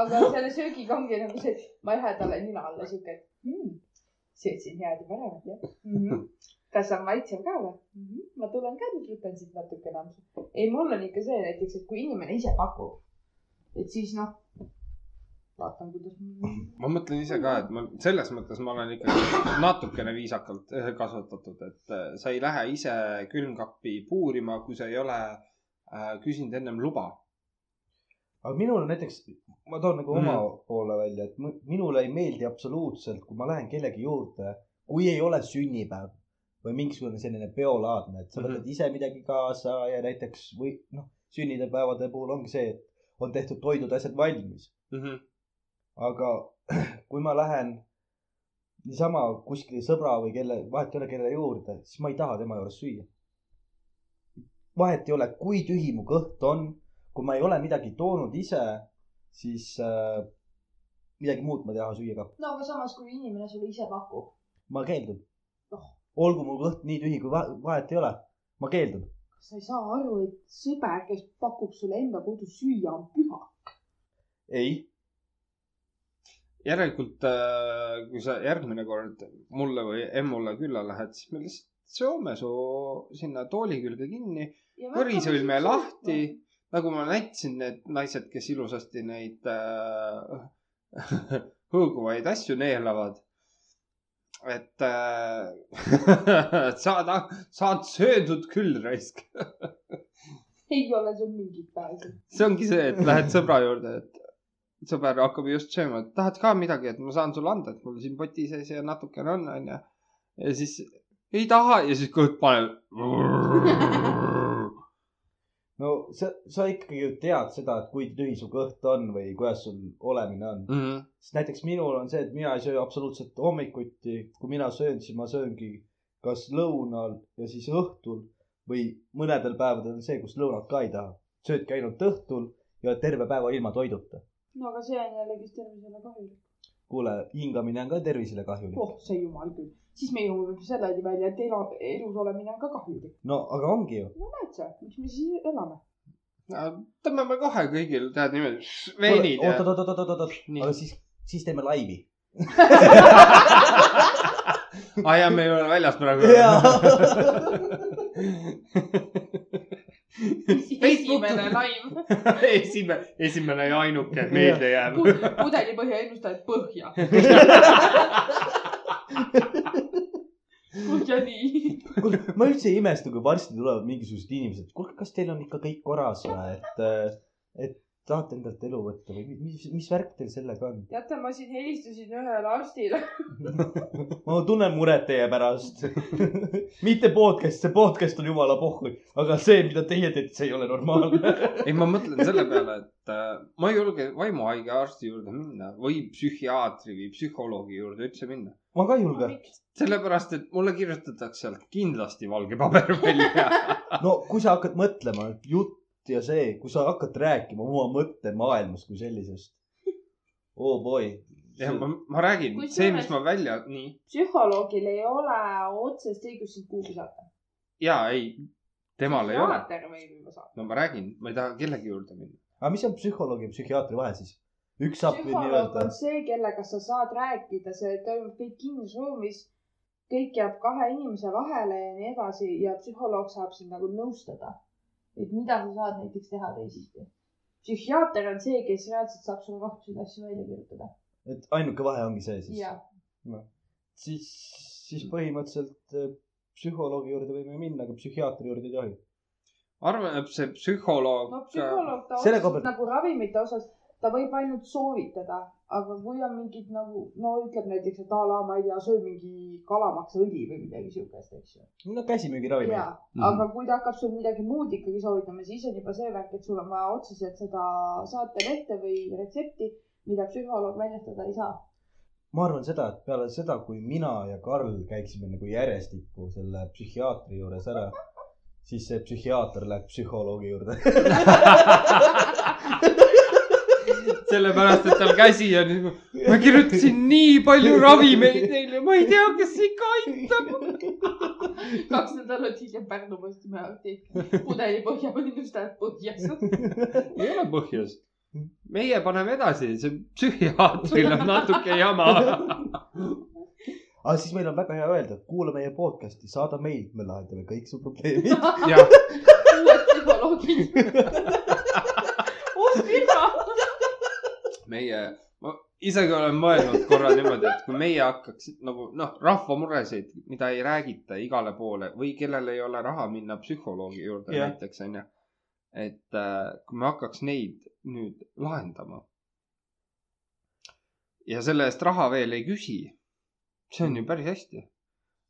Speaker 2: aga selle söögiga ongi nagu see , et ma ei lähe talle nina alla siuke , et mm, söötsin head ja paremat jah mm . -hmm. kas on maitsev ka või mm ? -hmm. ma tulen ka nüüd võtan siit natuke enam . ei , mul on ikka see näiteks , et kui inimene ise pakub , et siis noh , vaatan , kuidas .
Speaker 1: ma mõtlen ise ka , et ma selles mõttes ma olen ikkagi natukene viisakalt äh, kasvatatud , et äh, sa ei lähe ise külmkappi puurima , kui sa ei ole äh, küsinud ennem luba .
Speaker 3: aga minul on näiteks , ma toon nagu oma poole välja , et mu- minule ei meeldi absoluutselt , kui ma lähen kellegi juurde , kui ei ole sünnipäev või mingisugune selline peolaadne , et sa
Speaker 1: Mhm.
Speaker 3: võtad ise midagi kaasa ja näiteks või noh , sünnipäevade puhul ongi see , et on tehtud toidud asjad valmis .
Speaker 1: Mhm.
Speaker 3: aga kui ma lähen niisama kuskile sõbra või kelle , vahet ei ole , kelle juurde , siis ma ei taha tema juures süüa . vahet ei ole , kui tühi mu kõht on , kui ma ei ole midagi toonud ise , siis äh, midagi muud ma ei taha süüa ka ,
Speaker 2: no aga samas , kui inimene sulle ise pakub ,
Speaker 3: ma keeldun
Speaker 2: Oh. .
Speaker 3: olgu mu kõht nii tühi , kui va- vahet ei ole , ma keeldun .
Speaker 2: kas sa ei saa aru , et sõber , kes pakub sulle enda kodus süüa , on püha ?
Speaker 3: ei ,
Speaker 1: järelikult , kui sa järgmine kord mulle või emmule külla lähed , siis me lihtsalt seome su sinna tooli külge kinni , kõrisõlme lahti , nagu ma näitasin , need naised , kes ilusasti neid äh, hõõguvaid asju neelavad . et äh, saad , saad söödud küll , raisk .
Speaker 2: ei ole sul mingit pääsu .
Speaker 1: see ongi see , et lähed sõbra juurde , et sõber hakkab just sööma , et tahad ka midagi , et ma saan sulle anda , et mul siin poti sees ja natukene on , onju . ja siis ei taha ja siis kõht paneb .
Speaker 3: no sa , sa ikkagi ju tead seda , et kui tühi su kõht on või kuidas sul olemine on . sest näiteks minul on see , et mina ei söö absoluutselt hommikuti , kui mina söön , siis ma sööngi kas lõunal ja siis õhtul või mõnedel päevadel on see , kus lõunat ka ei taha . söödki ainult õhtul ja terve päeva ilma toiduta .
Speaker 2: no aga see on jällegist tervisele kahjulik .
Speaker 3: kuule , hingamine on ka tervisele kahjulik .
Speaker 2: oh sa jumal küll , siis me jõuame selleni välja , et elu , elus olemine on ka kahjulik .
Speaker 3: no aga ongi ju .
Speaker 2: no näed sa , miks me siis elame ?
Speaker 1: tõmbame kohe kõigil , tead niimoodi , veinid ja
Speaker 3: oot , oot , oot , oot , oot , oot ,
Speaker 1: Nii.
Speaker 3: aga siis , siis teeme laivi .
Speaker 1: aa jaa , me ei ole väljas praegu .
Speaker 2: esimene laim ,
Speaker 1: esimene , esimene ja ainuke meelde jääv .
Speaker 2: pudelipõhja ennustajad põhja . põhja nii .
Speaker 3: kuule , ma üldse ei imesta , kui varsti tulevad mingisugused inimesed , kuulge , kas teil on ikka kõik korras või , et , et tahate endalt elu võtta või mi- mis , mis värk teil sellega on ?
Speaker 2: teate , ma siin helistasin ühele arstile .
Speaker 3: ma tunnen muret teie pärast . mitte podcast , see podcast on jumala pohhu , aga see , mida teie teete , see ei ole normaalne .
Speaker 1: ei , ma mõtlen selle peale , et äh, ma ei julge vaimuhaige arsti juurde minna või psühhiaatri või psühholoogi juurde üldse minna ,
Speaker 3: ma ka ei julge .
Speaker 1: sellepärast , et mulle kirjutatakse sealt kindlasti valge paber välja
Speaker 3: no kui sa hakkad mõtlema , et jutt ja see , kui sa hakkad rääkima oma mõttemaailmast kui sellisest . oo oh boy ,
Speaker 1: ja ma , ma räägin ,
Speaker 11: Kusjuures-
Speaker 1: see , mis ma välja , nii
Speaker 2: psühholoogil ei ole otsest õigust sind kuhugi saata .
Speaker 1: ja ei , temal ei ole .
Speaker 2: psühhiaater võib juba saata .
Speaker 1: no ma räägin , ma ei taha kellegi juurde minna .
Speaker 3: aga mis on psühholoogi ja psühhiaatri vahe siis ? üks saab nüüd
Speaker 2: psühholoog
Speaker 3: nii-öelda
Speaker 2: on , see , kellega sa saad rääkida , see toimub kõik kinnises ruumis , kõik jääb kahe inimese vahele ja nii edasi ja psühholoog saab sind nagu nõustada , et mida sa saad näiteks teha teisiti . psühhiaater on see , kes reaalselt saab sulle rohtusid asju välja kirjutada .
Speaker 3: et ainuke vahe ongi see siis
Speaker 2: Jah. .
Speaker 3: noh , siis , siis põhimõtteliselt eh, psühholoogi juurde võime minna , aga psühhiaatri juurde ei tohi .
Speaker 1: arvan , et see psühholoog
Speaker 2: no psühholoog ta
Speaker 3: äh, Selle koha
Speaker 2: otseselt
Speaker 3: pealt-
Speaker 2: nagu ravimite osas , ta võib ainult soovitada , aga kui on mingid nagu no ütleb näiteks , et a la ma ei tea , söö mingi kalamaksaõli või midagi siukest , eks ju .
Speaker 3: no käsimüügiravim .
Speaker 2: ja , aga kui ta hakkab sul midagi muud ikkagi soovitama , siis on juba see värk , et sul on vaja otseselt seda saatelehte või retsepti , mida psühholoog väljastada ei saa .
Speaker 3: ma arvan seda , et peale seda , kui mina ja Karl käiksime nagu järjestikku selle psühhiaatri juures ära , siis see psühhiaater läheb psühholoogi juurde .
Speaker 1: sellepärast , et tal käsi on nagu , ma kirjutasin nii palju ravimeid neile , ma ei tea , kas ikka aitab .
Speaker 11: kaks nädalat hiljem Pärnumaa ostime apteeki , pudeli põhja panin just ära põhja .
Speaker 1: ei ole põhjust . meie paneme edasi , see psühhiaatril on natuke jama .
Speaker 3: aga siis meil on väga hea öelda , kuula meie podcast'i , saada meil , me lahendame kõik su probleemid .
Speaker 1: jah ,
Speaker 11: uued psühholoogid . oh mina .
Speaker 1: meie , ma isegi olen mõelnud korra niimoodi , et kui meie hakkaks nagu noh , rahva muresid , mida ei räägita igale poole või kellel ei ole raha minna psühholoogi juurde
Speaker 3: Jah.
Speaker 1: yeah. näiteks onju . et äh, kui me hakkaks neid nüüd lahendama . ja selle eest raha veel ei küsi . see on ju päris hästi .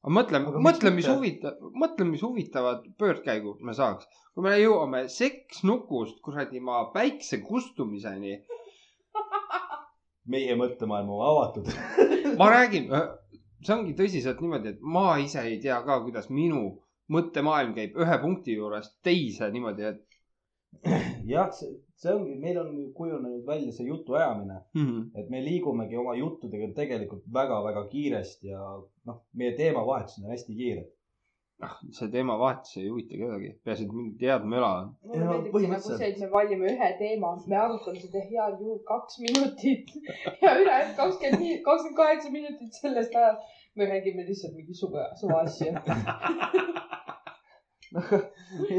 Speaker 1: aga mõtle
Speaker 3: Aga , miks
Speaker 1: mõtle , mis
Speaker 3: mitte?
Speaker 1: huvitav , mõtle , mis huvitavad pöördkäigud me saaks , kui me jõuame seksnukust kuradi maa päikse kustumiseni
Speaker 3: meie mõttemaailm on avatud .
Speaker 1: ma räägin , see ongi tõsiselt niimoodi , et ma ise ei tea ka , kuidas minu mõttemaailm käib ühe punkti juurest teise niimoodi , et
Speaker 3: jah , see , see ongi , meil on kujunenud välja see jutuajamine ,
Speaker 1: mm,
Speaker 3: et me liigumegi oma juttudega tegelikult väga-väga kiiresti ja noh , meie teemavahetused on hästi kiired .
Speaker 1: ah, see teemavahetus ei huvita kedagi , peaasi , et mingi tead möla on .
Speaker 3: Ei,
Speaker 2: mulle
Speaker 3: no
Speaker 2: meeldib see nagu
Speaker 3: põhimõtteliselt-
Speaker 2: see , et me valime ühe teema , me arutame seda heal juhul kaks minutit ja ülejäänud kakskümmend , kakskümmend kaheksa minutit sellest ajast me räägime lihtsalt mingi suva , suva asju .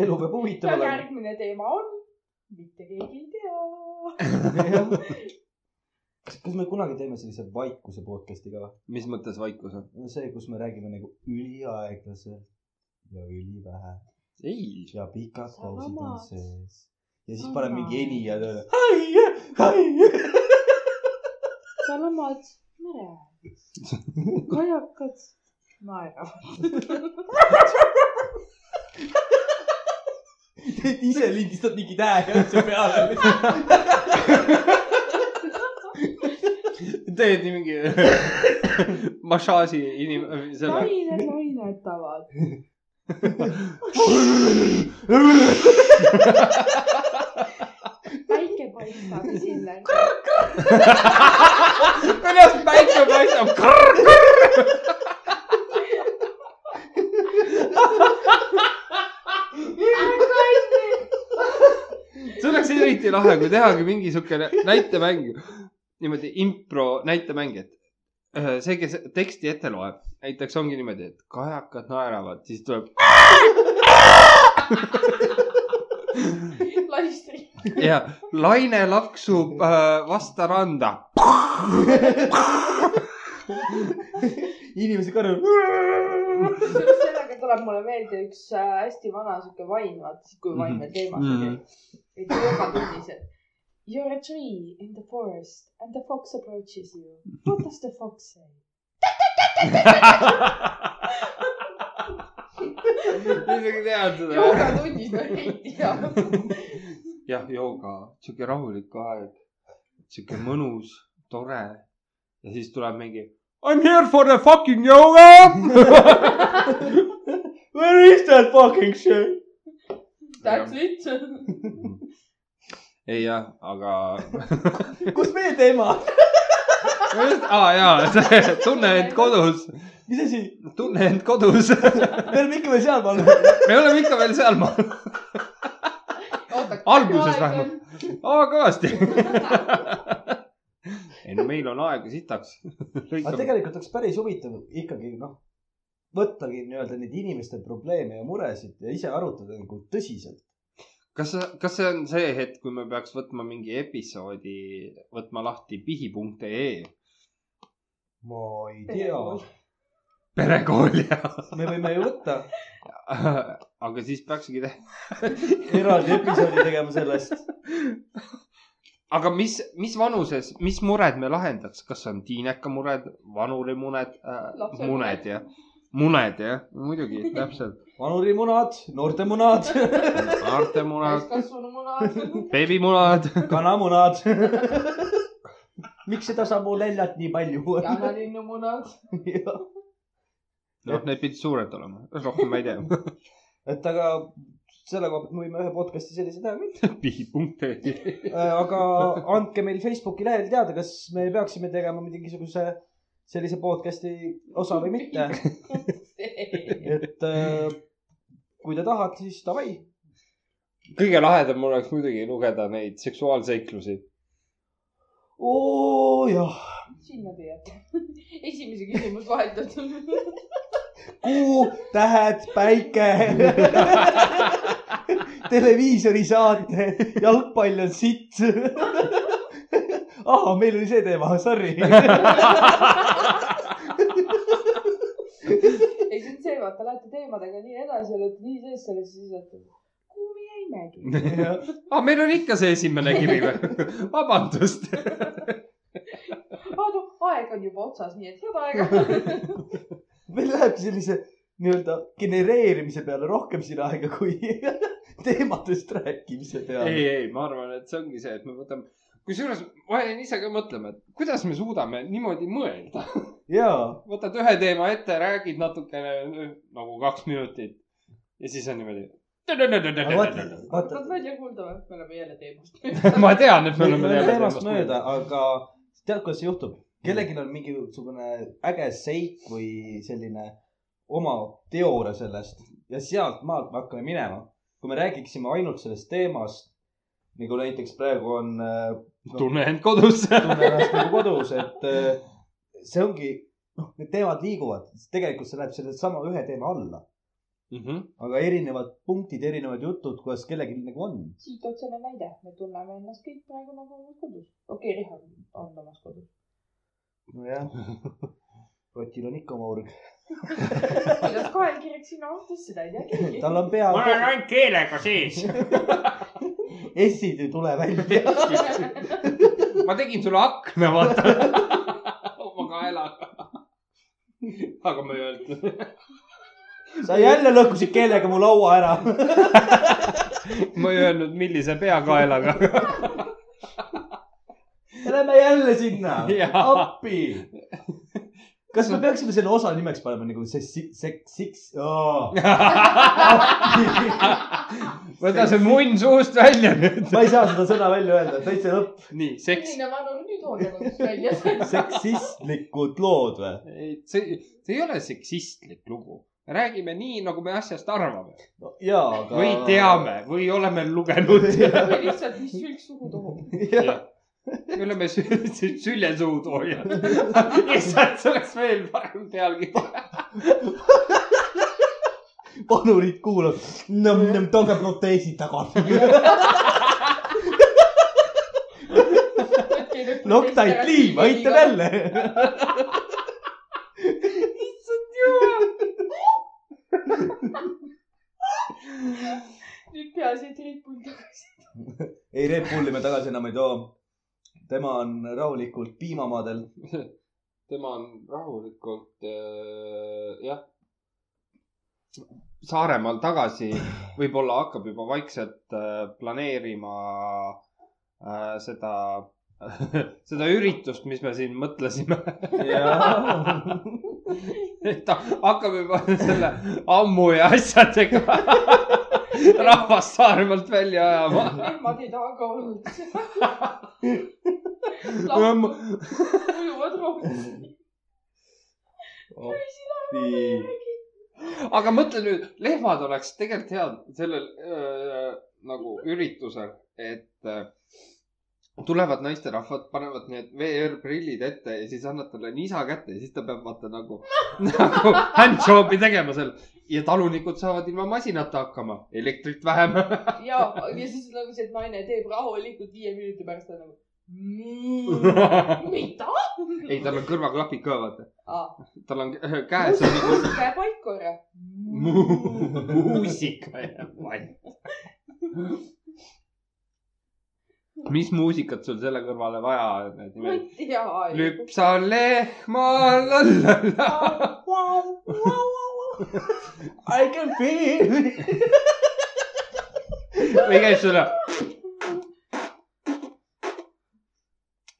Speaker 3: elu peab
Speaker 2: ja
Speaker 3: huvitav olema .
Speaker 2: järgmine teema on , mitte keegi ei tea .
Speaker 3: kas kas me kunagi teeme sellise vaikuse podcast'i ka või ?
Speaker 1: mis mõttes vaikus on ?
Speaker 3: on see , kus me räägime nagu üliaeglaselt ja ülivähe
Speaker 1: ei ,
Speaker 3: ja pikad pausid on
Speaker 2: Samas.
Speaker 3: sees . ja siis paneb mingi
Speaker 2: Samas.
Speaker 3: enija tööle . ai , ai .
Speaker 2: sa lamad mere ääres , kajakad naeravad .
Speaker 3: ise lindistad mingi tähega üldse peale .
Speaker 1: teed nii mingi massaaži inim- , selle .
Speaker 2: lained lainetavad . päike paistab sinna .
Speaker 1: kuidas päike paistab ? see oleks eriti lahe , kui tehagi mingi siukene näitemäng , niimoodi impro näitemäng , et äh, see , kes teksti ette loeb , näiteks ongi niimoodi , et kajakad naeravad , siis tuleb
Speaker 2: laistri .
Speaker 1: ja laine laksub äh, vasta randa .
Speaker 3: inimese kõrv .
Speaker 2: sellega tuleb mulle meelde üks äh, hästi vana sihuke vaim , vaata siis kui vaim veel teemas oli
Speaker 1: Mhm. .
Speaker 2: et joogatunnis , et you are a tree in the forest and the fox approaches you . What does the fox say ?
Speaker 1: isegi tean seda .
Speaker 2: joogatunnis me ei tea .
Speaker 1: jah , jooga , sihuke rahulik aeg , sihuke mõnus , tore ja siis tuleb mingi I m here for the fucking yoga .
Speaker 3: Where is that fucking shit ?
Speaker 2: That's it .
Speaker 1: ei jah , aga
Speaker 3: kus meie teema on ?
Speaker 1: aa jaa , see tunne end kodus ,
Speaker 3: mis asi ?
Speaker 1: tunne end kodus .
Speaker 3: me oleme ikka veel sealmaal . aga
Speaker 1: me oleme ikka veel sealmaal , alguses vähemalt .. aa kõvasti . ei no meil on aega sitaks .
Speaker 3: tegelikult oleks päris huvitav ikkagi noh , võttagi nii-öelda neid inimeste probleeme ja muresid ja ise arutada nagu tõsiselt .
Speaker 1: kas , kas see on see hetk , kui me peaks võtma mingi episoodi , võtma lahti E? pihi.ee
Speaker 3: ma ei tea ,
Speaker 1: perekool ja ,
Speaker 3: me võime ju võtta
Speaker 1: aga siis peaksigi te- ,
Speaker 3: eraldi episoodi tegema sellest .
Speaker 1: aga mis , mis vanuses , mis mured me lahendaks , kas on tiineka mured , vanuri mured äh, ,
Speaker 2: Lapse
Speaker 1: muned ja , muned jah , muidugi täpselt ,
Speaker 3: vanurimunad , noortemunad ,
Speaker 1: naarte munad ,
Speaker 2: täiskasvanumuna .
Speaker 1: beebimunad ,
Speaker 3: kanamunad . miks seda samu näljalt nii palju on ?
Speaker 2: janalinnumuna .
Speaker 1: noh , need pidid suured olema , rohkem ma ei tea ,
Speaker 3: et aga selle koha pealt me võime ühe podcast'i sellise teha küll .
Speaker 1: pihi.ee
Speaker 3: Äh, aga andke meil Facebooki lehel teada , kas me peaksime tegema mingisuguse sellise podcast'i osa või mitte . et äh, kui te tahate , siis davai .
Speaker 1: kõige lahedam oleks muidugi lugeda neid seksuaalseiklusi .
Speaker 3: oo jah ,
Speaker 2: sinna te jääte . esimese küsimus vahetatud .
Speaker 3: kuu , tähed , päike , televiisorisaate , jalgpall on sitt . ahah , meil oli see teema , sorry .
Speaker 2: ei , see on see , vaata , lähete teemadega nii edasi , olete nii sees selles , siis olete . kuhu me jäimegi ?
Speaker 1: aa , Ah, meil on ikka see esimene kiri või ? vabandust .
Speaker 2: aa , noh , aeg on juba otsas , nii et head aega .
Speaker 3: meil lähebki sellise nii-öelda genereerimise peale rohkem siin aega kui teemadest rääkimise
Speaker 1: ei
Speaker 3: peale .,
Speaker 1: ei , ma arvan , et see ongi see , et me võtame , kusjuures ma jäin ise ka mõtlema , et kuidas me suudame niimoodi mõelda .
Speaker 3: jaa ,
Speaker 1: võtad ühe teema ette , räägid natukene nagu kaks minutit ja siis on niimoodi .
Speaker 3: aga vaata , vaata ,
Speaker 2: tahad välja kuulda või ? me oleme jälle teemast .
Speaker 1: ma tean , et
Speaker 3: me
Speaker 1: me
Speaker 3: oleme
Speaker 1: oleme
Speaker 3: teemast mööda ,. aga tead , kuidas see juhtub ? kellelgi on mingisugune äge seik või selline oma teooria sellest ja sealtmaalt me hakkame minema . kui me räägiksime ainult sellest teemast , nagu näiteks praegu on äh,
Speaker 1: tunne end kodus .
Speaker 3: tunne ennast nagu kodus , et äh, see ongi , noh , need teemad liiguvad , tegelikult see läheb sellesama ühe teema alla , aga erinevad punktid , erinevad jutud , kuidas kellelgi nagu on .
Speaker 2: siit otsene näide , me tunneme ennast kõik praegu nagu oma kodus . okei okay, , Riho on omas kodus .
Speaker 3: nojah , rotil on ikka oma urg ,
Speaker 2: kuidas kael kirjaks sinna vahtus , seda ei tea keegi .
Speaker 3: tal on pea ,
Speaker 1: ainult keelega sees .
Speaker 3: S-id ei tule välja .
Speaker 1: ma tegin sulle akna , vaata oma kaelaga . aga ma ei öelnud .
Speaker 3: sa jälle lõhkusid keelega mu laua ära .
Speaker 1: ma ei öelnud , millise peakaelaga .
Speaker 3: Lähme jälle sinna ,
Speaker 1: Jaa.
Speaker 3: appi . kas me peaksime selle osa nimeks panema nagu see , see , siks ,
Speaker 1: võta see munn suust välja nüüd .
Speaker 3: ma ei saa seda sõna välja öelda , täitsa lõpp .
Speaker 1: nii , seks .
Speaker 2: milline vanur nüüd hooldekodust väljas ?
Speaker 3: seksistlikud lood või ?
Speaker 1: ei , see , see ei ole seksistlik lugu . räägime nii , nagu me asjast arvame
Speaker 3: jaa , aga .
Speaker 1: või . teame või oleme lugenud .
Speaker 2: või lihtsalt , mis sülg suhu toob ?
Speaker 1: me oleme sü- sü- sülje suhu toonud . issand , see oleks veel parem pealkiri .
Speaker 3: panurid kuulavad , nõmm-nõmm , tooge proteesid tagasi . Loctite liim , aitab . jälle .
Speaker 2: nüüd peaasi , et Red Bull tagasi .
Speaker 3: ei , Red Bulli me tagasi enam ei too . tema on rahulikult piimamaadel .
Speaker 1: tema on rahulikult äh, , jah . Saaremaal tagasi võib-olla hakkab juba vaikselt äh, planeerima äh, seda seda üritust , mis me siin mõtlesime .
Speaker 3: jaa .
Speaker 1: et ha- hakkame juba selle ammu ja asjadega rahvast Saaremaalt välja ajama .
Speaker 2: emad ei taha ka olla . ujuvad rohkem .
Speaker 3: nii .
Speaker 1: aga mõtle nüüd , lehmad oleks tegelikult head sellel öö, nagu üritusel , et öö, tulevad naisterahvad , panevad need VR-prillid ette ja siis annad talle nisa kätte ja siis ta peab vaata nagu , nagu handjob'i tegema seal ja talunikud saavad ilma masinata hakkama , elektrit vähem .
Speaker 2: ja , ja siis nagu see naine teeb rahulikult viie minuti pärast ta on nagu . mida ? Ah,
Speaker 1: ei , tal on kõrvaklapid ka , vaata .
Speaker 2: Aa.
Speaker 1: tal on äh, käes on nagu
Speaker 2: muusika jääb vait korra .
Speaker 1: mu- muusika jääb vait . mis muusikat sul selle kõrvale vaja
Speaker 2: ma
Speaker 1: on ?
Speaker 2: ei tea .
Speaker 1: lüpsa lehma , lallalla .
Speaker 3: I can feel it .
Speaker 1: või käib sulle ?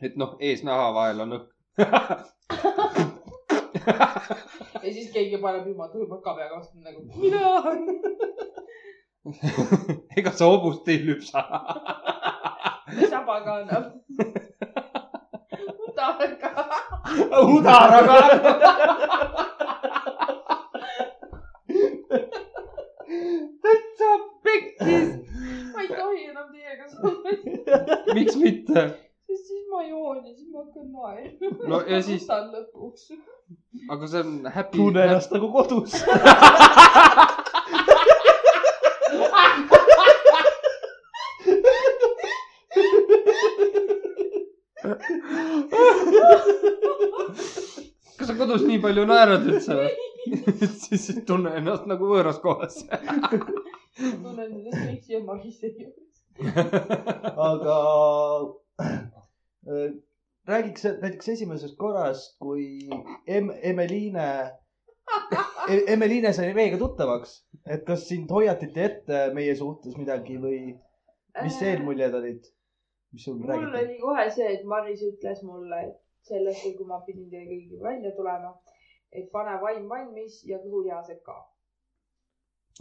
Speaker 1: et noh , ees-naha vahel on õhk .
Speaker 2: ja siis keegi paneb jumal tulma ka peaga vastu nagu . mina .
Speaker 1: ega sa hobust ei lüpsa .
Speaker 2: saba ka annab . tahad ka ?
Speaker 1: udaraga . täitsa pekkis .
Speaker 2: ma ei tohi enam teiega suhelda ,
Speaker 1: miks mitte ?
Speaker 2: sest siis ma joon ja siis ma hakkan naerma .
Speaker 1: no ja siis ,
Speaker 2: võtan lõpuks .
Speaker 1: aga see on happy .
Speaker 3: tunnen ennast nagu kodus .
Speaker 1: kas sa kodus nii palju naerad üldse või ? siis ei tunne ennast nagu võõras kohas .
Speaker 2: tunnen ennast kõik siia magise juures .
Speaker 3: aga äh, räägiks näiteks esimesest korrast , kui em, Emeliine e, , Emeliine sai meiega tuttavaks , et kas sind hoiatati ette meie suhtes midagi või mis
Speaker 2: Äh.
Speaker 3: eelmuljed olid , mis sul
Speaker 9: Äh, mul
Speaker 3: räägiti ?
Speaker 9: oli kohe see , et Maris ütles mulle , et sellest , kui ma pidin teie kõigiga välja tulema , et pane vaim valmis ja kõhulihased ka .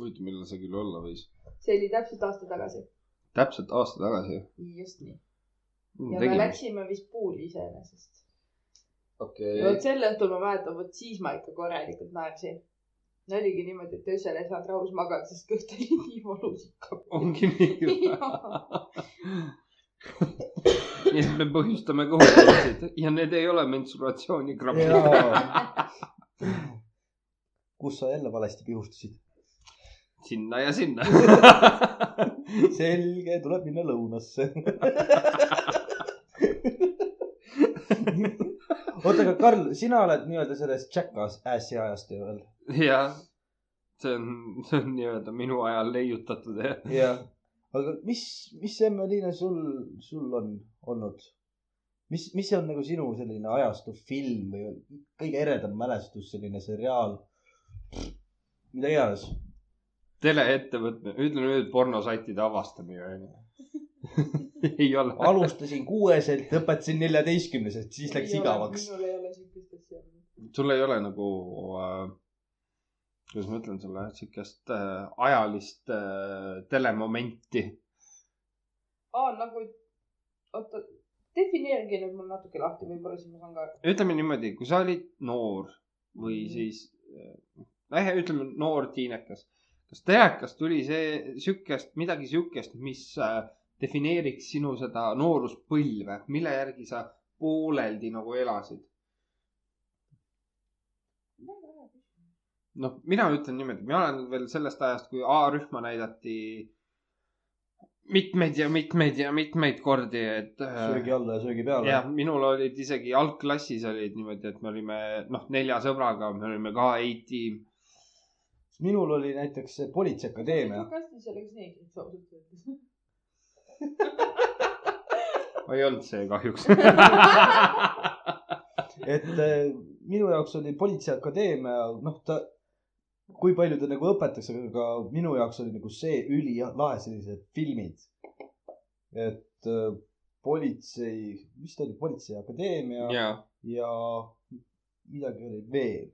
Speaker 1: huvitav , millal see küll olla võis ?
Speaker 9: see oli täpselt aasta tagasi .
Speaker 1: täpselt aasta tagasi .
Speaker 9: just nii .
Speaker 1: Mm,
Speaker 9: ja me läksime vist puuli iseenesest .
Speaker 12: okei
Speaker 9: vot sel õhtul ma mäletan , vot siis ma ikka korralikult naersin . no oligi niimoodi , et öösel ei saanud rahus magada , sest kõht oli nii valus ikka .
Speaker 1: ongi nii ju .
Speaker 9: jaa ,
Speaker 1: nii et me põhjustame kõhutusid ja need ei ole mensuratsioonikrapid .
Speaker 3: kus sa jälle valesti pihustasid ?
Speaker 1: sinna ja sinna .
Speaker 3: selge , tuleb minna lõunasse . oota , aga Karl , sina oled nii-öelda selles Jackass-i ajast ju veel .
Speaker 1: ja see on , see on nii-öelda minu ajal leiutatud jah .
Speaker 3: jah , aga mis , mis Emmeliina sul , sul on olnud ? mis , mis on nagu sinu selline ajastu film või kõige eredam mälestus , selline seriaal ? mida iganes .
Speaker 1: teleettevõtmine , ütleme nüüd pornosaitide avastamine onju ei ole .
Speaker 3: alustasin kuueselt , lõpetasin neljateistkümneselt , siis läks igavaks .
Speaker 2: minul ei ole siukest asja .
Speaker 1: sul ei ole nagu äh, , kuidas ma ütlen sulle , siukest äh, ajalist äh, telemomenti .
Speaker 2: aa , nagu , oota , defineerige nüüd mul natuke lahti , võib-olla siis ma saan ka .
Speaker 1: ütleme niimoodi , kui sa olid noor või siis äh, , ütleme noor tiinekas , kas telekas tuli see siukest , midagi siukest , mis äh, defineeriks sinu seda nooruspõlve , mille järgi sa pooleldi nagu elasid ? noh , mina ütlen niimoodi , mina olen veel sellest ajast , kui A-rühma näidati mitmeid ja mitmeid ja mitmeid kordi , et .
Speaker 3: söögi alla ja söögi peale
Speaker 1: jah ,. minul olid isegi algklassis olid niimoodi , et me olime noh , nelja sõbraga , me olime ka A-tiim .
Speaker 3: minul oli näiteks see Politseiakadeemia .
Speaker 2: kastis oleks neegrit ausalt öeldes .
Speaker 1: ma ei olnud see kahjuks .
Speaker 3: et eh, minu jaoks oli Politseiakadeemia , noh , ta , kui palju ta nagu õpetaks , aga minu jaoks oli nagu see ülilahe sellised filmid . et eh, politsei , mis ta oli , politseiakadeemia ja,
Speaker 1: jaa ,
Speaker 3: ja midagi oli veel .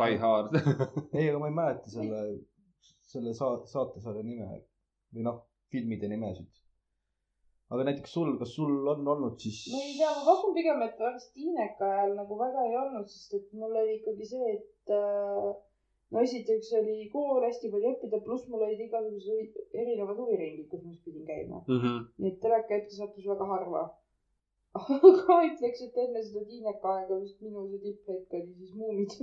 Speaker 1: Die Hard .
Speaker 3: ei , aga ma ei mäleta selle , selle saa- , saatesarja nime või noh , filmide nimesid . aga näiteks sul , kas sul on olnud siis ?
Speaker 2: ma ei tea , ma pakun pigem , et vist Tiineka ajal nagu väga ei olnud , sest et mul oli ikkagi see , et äh, no esiteks oli kool hästi palju õppida , pluss mul olid igasugused huvi- erinevad huviringid , kus ma siis pidin käima .
Speaker 1: Mhm,
Speaker 2: nii et teleka ette sattus väga harva . aga ütleks , et enne seda Tiineka aega vist minu see tipphetk oli siis Muumid .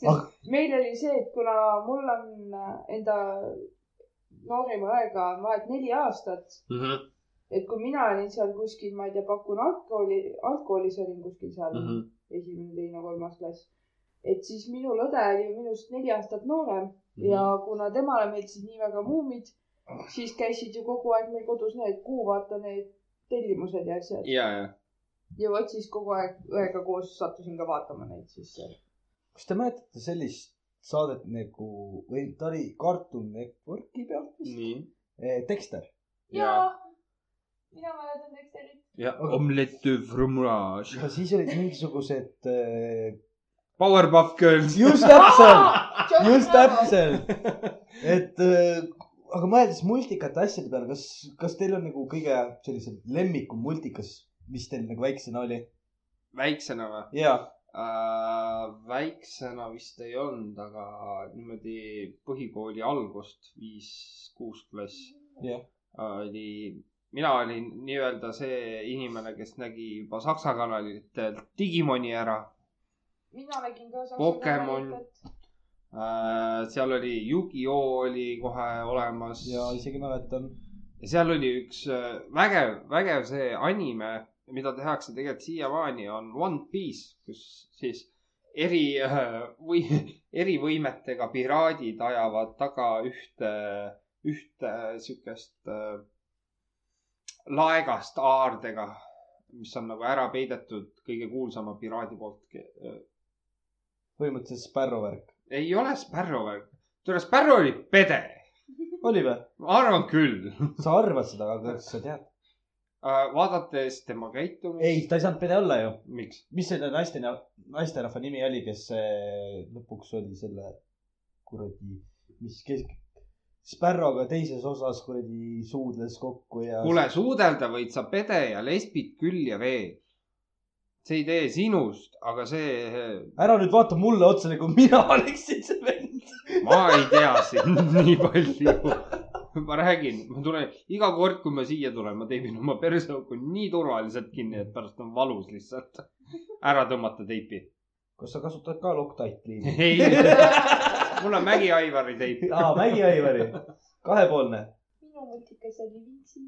Speaker 2: sest meil oli see , et kuna mul on äh, enda noorima aega on vahet neli aastat
Speaker 1: mhm,
Speaker 2: et kui mina olin seal kuskil , ma ei tea , pakun algkooli , algkoolis olin kuskil seal
Speaker 1: mhm,
Speaker 2: mm -hmm. esimene , teine , kolmas klass , et siis minu lõde oli minust neli aastat noorem mm -hmm. ja kuna temale meeldisid nii väga muumid , siis käisid ju kogu aeg meil kodus need kuu , vaata need tellimused ja asjad
Speaker 1: ja , ja .
Speaker 2: ja vot siis kogu aeg õega koos sattusin ka vaatama neid siis .
Speaker 3: kas te mäletate sellist saadet nagu , või ta oli Cartoon Networki pealt vist ?
Speaker 1: nii .
Speaker 3: Dexter .
Speaker 1: ja ,
Speaker 2: mina mäletan Dexterit .
Speaker 1: ja omelette de fromage .
Speaker 3: ja siis olid mingisugused eh,
Speaker 1: Powerpuff Girls .
Speaker 3: just täpselt , just täpselt , et äh, aga mõeldes multikate asjade peale , kas , kas teil on nagu kõige sellisem lemmiku multikas , mis teil nagu väiksena oli ?
Speaker 1: väiksena või ?
Speaker 3: ja ,
Speaker 1: Äh, väiksena vist ei olnud , aga niimoodi põhikooli algust , viis-kuus klass äh,
Speaker 3: Jah.
Speaker 1: oli , mina olin nii-öelda see inimene , kes nägi juba Saksa kanalitelt Digimoni ära
Speaker 2: mina nägin ka .
Speaker 1: Pokemon. . äh, . seal oli Yugi-Oo oli kohe olemas
Speaker 3: ja isegi mäletan .
Speaker 1: ja seal oli üks äh, vägev , vägev see anime , mida tehakse tegelikult siiamaani , on One Piece , kus siis eri äh, või erivõimetega piraadid ajavad taga ühte , ühte siukest äh, laegast aardega , mis on nagu ära peidetud kõige kuulsama piraadi poolt äh,
Speaker 3: põhimõtteliselt Sparrow värk .
Speaker 1: ei ole Sparrow , tule Sparrow oli pede ,
Speaker 3: oli või ?
Speaker 1: ma arvan küll .
Speaker 3: sa arvad seda , aga kas sa tead ?
Speaker 1: vaadates tema käitumist .
Speaker 3: ei , ta ei saanud pere olla ju .
Speaker 1: miks ?
Speaker 3: mis selle naiste , naisterahva nimi oli , kes äh, lõpuks oli selle kuradi , mis kes- , Sparrowga teises osas kuradi suudles kokku ja .
Speaker 1: kuule , suudelda võid sa pede ja lesbid küll ja veel . see ei tee sinust , aga see ,
Speaker 3: ära nüüd vaata mulle otsa , nagu mina oleksin see vend .
Speaker 1: ma ei tea sind nii palju . ma räägin , ma tulen iga kord , kui ma siia tulen , ma teebin oma perseauku nii turvaliselt kinni , et pärast on valus lihtsalt ära tõmmata teipi .
Speaker 3: kas sa kasutad ka Loctite liini ?
Speaker 1: ei , mul on Mägi-Aivari teip .
Speaker 3: aa , Mägi-Aivari , kahepoolne .
Speaker 2: minu mõtikas oli Vintsi .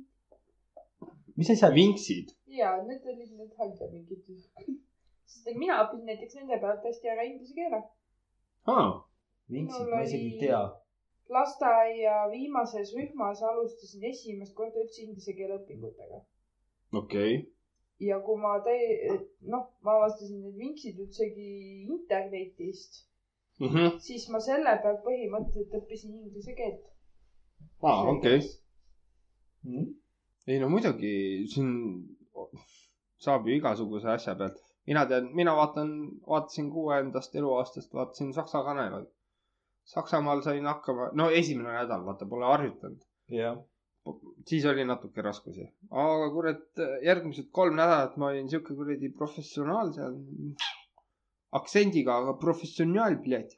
Speaker 3: mis asjad ?
Speaker 1: vinksid .
Speaker 2: ja need olid need halda mingid . sest et mina õppisin näiteks nende pealt hästi ära inglise keele .
Speaker 3: vintsid , ma isegi ei tea .
Speaker 2: lasteaia viimases rühmas alustasin esimest korda üldse inglise keele õpingutega
Speaker 1: okei .
Speaker 2: ja kui ma täi- , noh , ma avastasin need vintsid üldsegi internetist ,
Speaker 1: Mhm.
Speaker 2: siis ma selle pealt põhimõtteliselt õppisin inglise keelt .
Speaker 1: aa , okei .
Speaker 3: Hmm?
Speaker 1: ei no muidugi , siin saab ju igasuguse asja pealt . mina tean , mina vaatan , vaatasin kuuendast eluaastast , vaatasin Saksa kanaleid . Saksamaal sain hakkama , no esimene nädal , vaata , pole harjutanud .
Speaker 3: jah .
Speaker 1: siis oli natuke raskusi , aga kurat , järgmised kolm nädalat ma olin siuke kuradi professionaal seal . aktsendiga , aga professionaal , plät .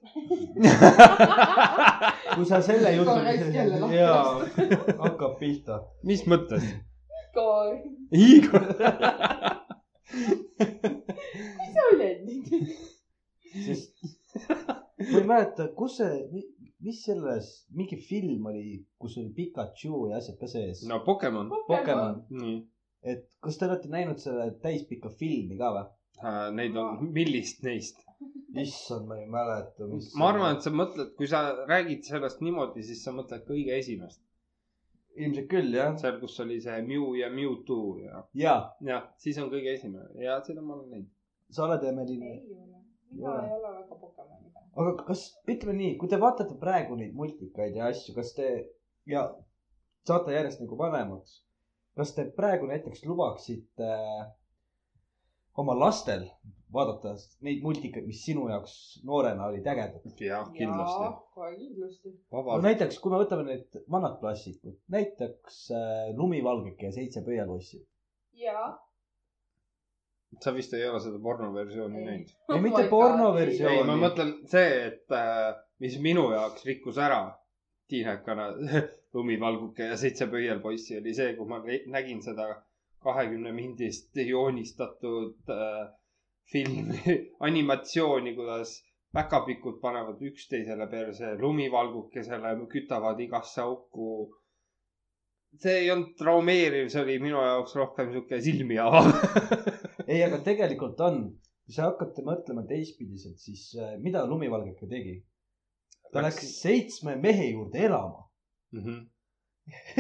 Speaker 3: kui sa selle jutu
Speaker 13: Korraks jälle lahti .
Speaker 3: jaa , hakkab pihta .
Speaker 1: mis mõttes ?
Speaker 2: Igor ,
Speaker 1: Igor .
Speaker 2: mis sa oled nüüd ?
Speaker 3: sest ma ei mäleta , kus see , mis selles , mingi film oli , kus oli Pikachu ja asjad ka sees .
Speaker 1: no Pokemon .
Speaker 3: Pokemon ,
Speaker 1: nii ,
Speaker 3: et kas te olete näinud selle täispika filmi ka või ?
Speaker 1: Äh, neid on , millist neist ?
Speaker 3: issand , ma ei mäleta , mis .
Speaker 1: ma arvan , et sa mõtled , kui sa räägid sellest niimoodi , siis sa mõtled kõige esimest ,
Speaker 3: ilmselt küll jah .
Speaker 1: seal , kus oli see Mew ja Mewtwo ja ,
Speaker 3: jaa ,
Speaker 1: jah , siis on kõige esimene ja seda ma olen näinud .
Speaker 3: sa oled emeline .
Speaker 2: mina ei ole väga Pokemoni fänn .
Speaker 3: aga kas , ütleme nii , kui te vaatate praegu neid multikaid ja asju , kas te ja saate järjest nagu vanemaks , kas te praegu näiteks lubaksite äh, oma lastel vaadata neid multikaid , mis sinu jaoks noorena olid ägedad ?
Speaker 1: jah ,
Speaker 2: jaa
Speaker 1: Ah, kindlasti .,
Speaker 2: kohe kindlasti .
Speaker 3: no
Speaker 1: vabalt .
Speaker 3: näiteks , kui me võtame need vanad klassikud , näiteks äh, Lumivalgeke ja Seitse pöialossi .
Speaker 2: jaa .
Speaker 1: sa vist ei ole seda pornoversiooni näinud ?
Speaker 2: Oh
Speaker 3: ei , mitte pornoversiooni .
Speaker 1: ei , ma mõtlen see , et äh, mis minu jaoks rikkus ära tiinekana lumivalguke ja seitse pöialpoissi oli see , kui ma re- nägin seda kahekümne mindist joonistatud äh, filmi , animatsiooni , kuidas päkapikud panevad üksteisele perse , lumivalgukesele kütavad igasse auku . see ei olnud traumeeriv , see oli minu jaoks rohkem sihuke silmi avav
Speaker 3: ei , aga tegelikult on , kui sa hakkad mõtlema teistpidiselt , siis äh, mida Lumivalgeke tegi ? ta läks seitsme mehe juurde elama .
Speaker 1: mm . -hmm.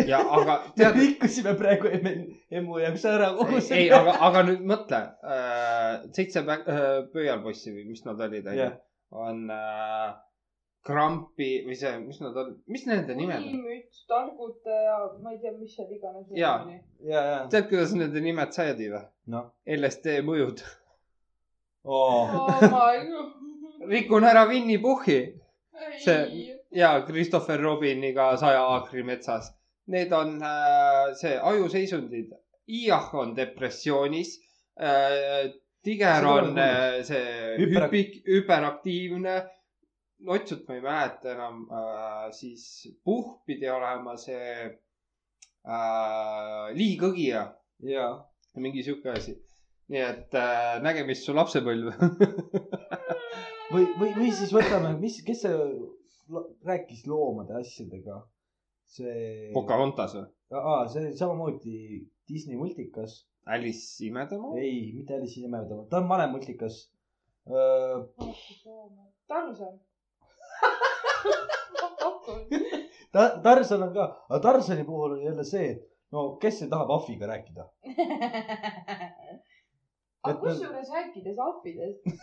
Speaker 1: ja aga
Speaker 3: me
Speaker 1: tead ,
Speaker 3: kõikusime praegu emme , emmu jaoks ära kogu
Speaker 1: ei ,
Speaker 3: selle .
Speaker 1: aga , aga nüüd mõtle äh, , seitse pä- äh, pöialpoissi või mis nad olid , onju
Speaker 3: Jah. ,
Speaker 1: on äh, krampi või see , mis nad on , mis nende nimed on ?
Speaker 2: inimüts , targutaja , ma ei tea , mis seal iganes .
Speaker 1: Jaa. .
Speaker 3: ja , ja .
Speaker 1: tead , kuidas nende nimed saadi või ?
Speaker 3: Noh.
Speaker 1: LSD mõjud .
Speaker 3: oo ,
Speaker 2: oh my god .
Speaker 1: rikun ära Winny Puhhi
Speaker 2: see .
Speaker 1: See- ja Christopher Robiniga Saja aakri metsas . Need on äh, see ajuseisundid . Iah on depressioonis äh, . tiger
Speaker 3: Seda
Speaker 1: on
Speaker 3: ma ei
Speaker 1: äh, see
Speaker 3: Hüperak-
Speaker 1: hüpik , hüperaktiivne . Notsut ma ei mäleta enam äh, , siis Puhh pidi olema see äh, liigõgija ,
Speaker 3: ja .
Speaker 1: mingi sihuke asi . nii et äh, nägemist su lapsepõlve .
Speaker 3: või , või , või siis võtame , mis , kes see lo- rääkis loomade asjadega ? see .
Speaker 1: Pocahontas või ?
Speaker 3: see oli samamoodi Disney multikas .
Speaker 1: Alice imedemaa ?
Speaker 3: ei , mitte Alice ei imeta , ta on vanem multikas .
Speaker 2: Tarzan .
Speaker 3: ta , Tarzan on ka , aga Tarzani puhul on jälle see , no kes see tahab ahviga rääkida ?
Speaker 2: aga
Speaker 3: Et-
Speaker 2: kusjuures rääkides ahvidest .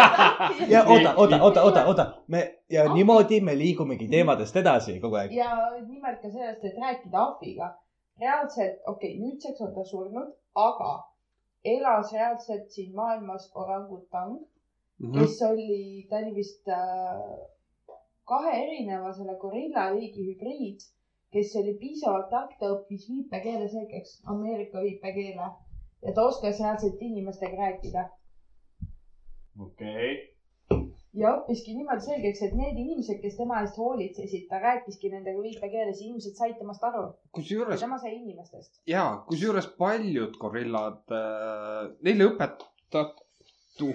Speaker 3: ja oota , oota , oota , oota , oota , me ja niimoodi me liigumegi teemadest edasi kogu aeg .
Speaker 2: ja nimelt ka sellest , et rääkida ahviga . reaalselt , okei okay, , nüüdseks on ta surnud , aga elas reaalselt siin maailmas orangutang , kes oli , ta oli vist äh, kahe erineva selle gorillaliigi hübriid , kes oli piisavalt tark , ta õppis viipekeele selgeks , Ameerika viipekeele ja ta oskas reaalselt inimestega rääkida
Speaker 1: okei .
Speaker 2: ja õppiski niimoodi selgeks , et need inimesed , kes tema eest hoolitsesid , ta rääkiski nendega viipekeeles , inimesed said temast aru ja
Speaker 1: kusjuures
Speaker 2: tema sai inimestest .
Speaker 1: ja kusjuures paljud gorillad äh, , neile õpetatu ,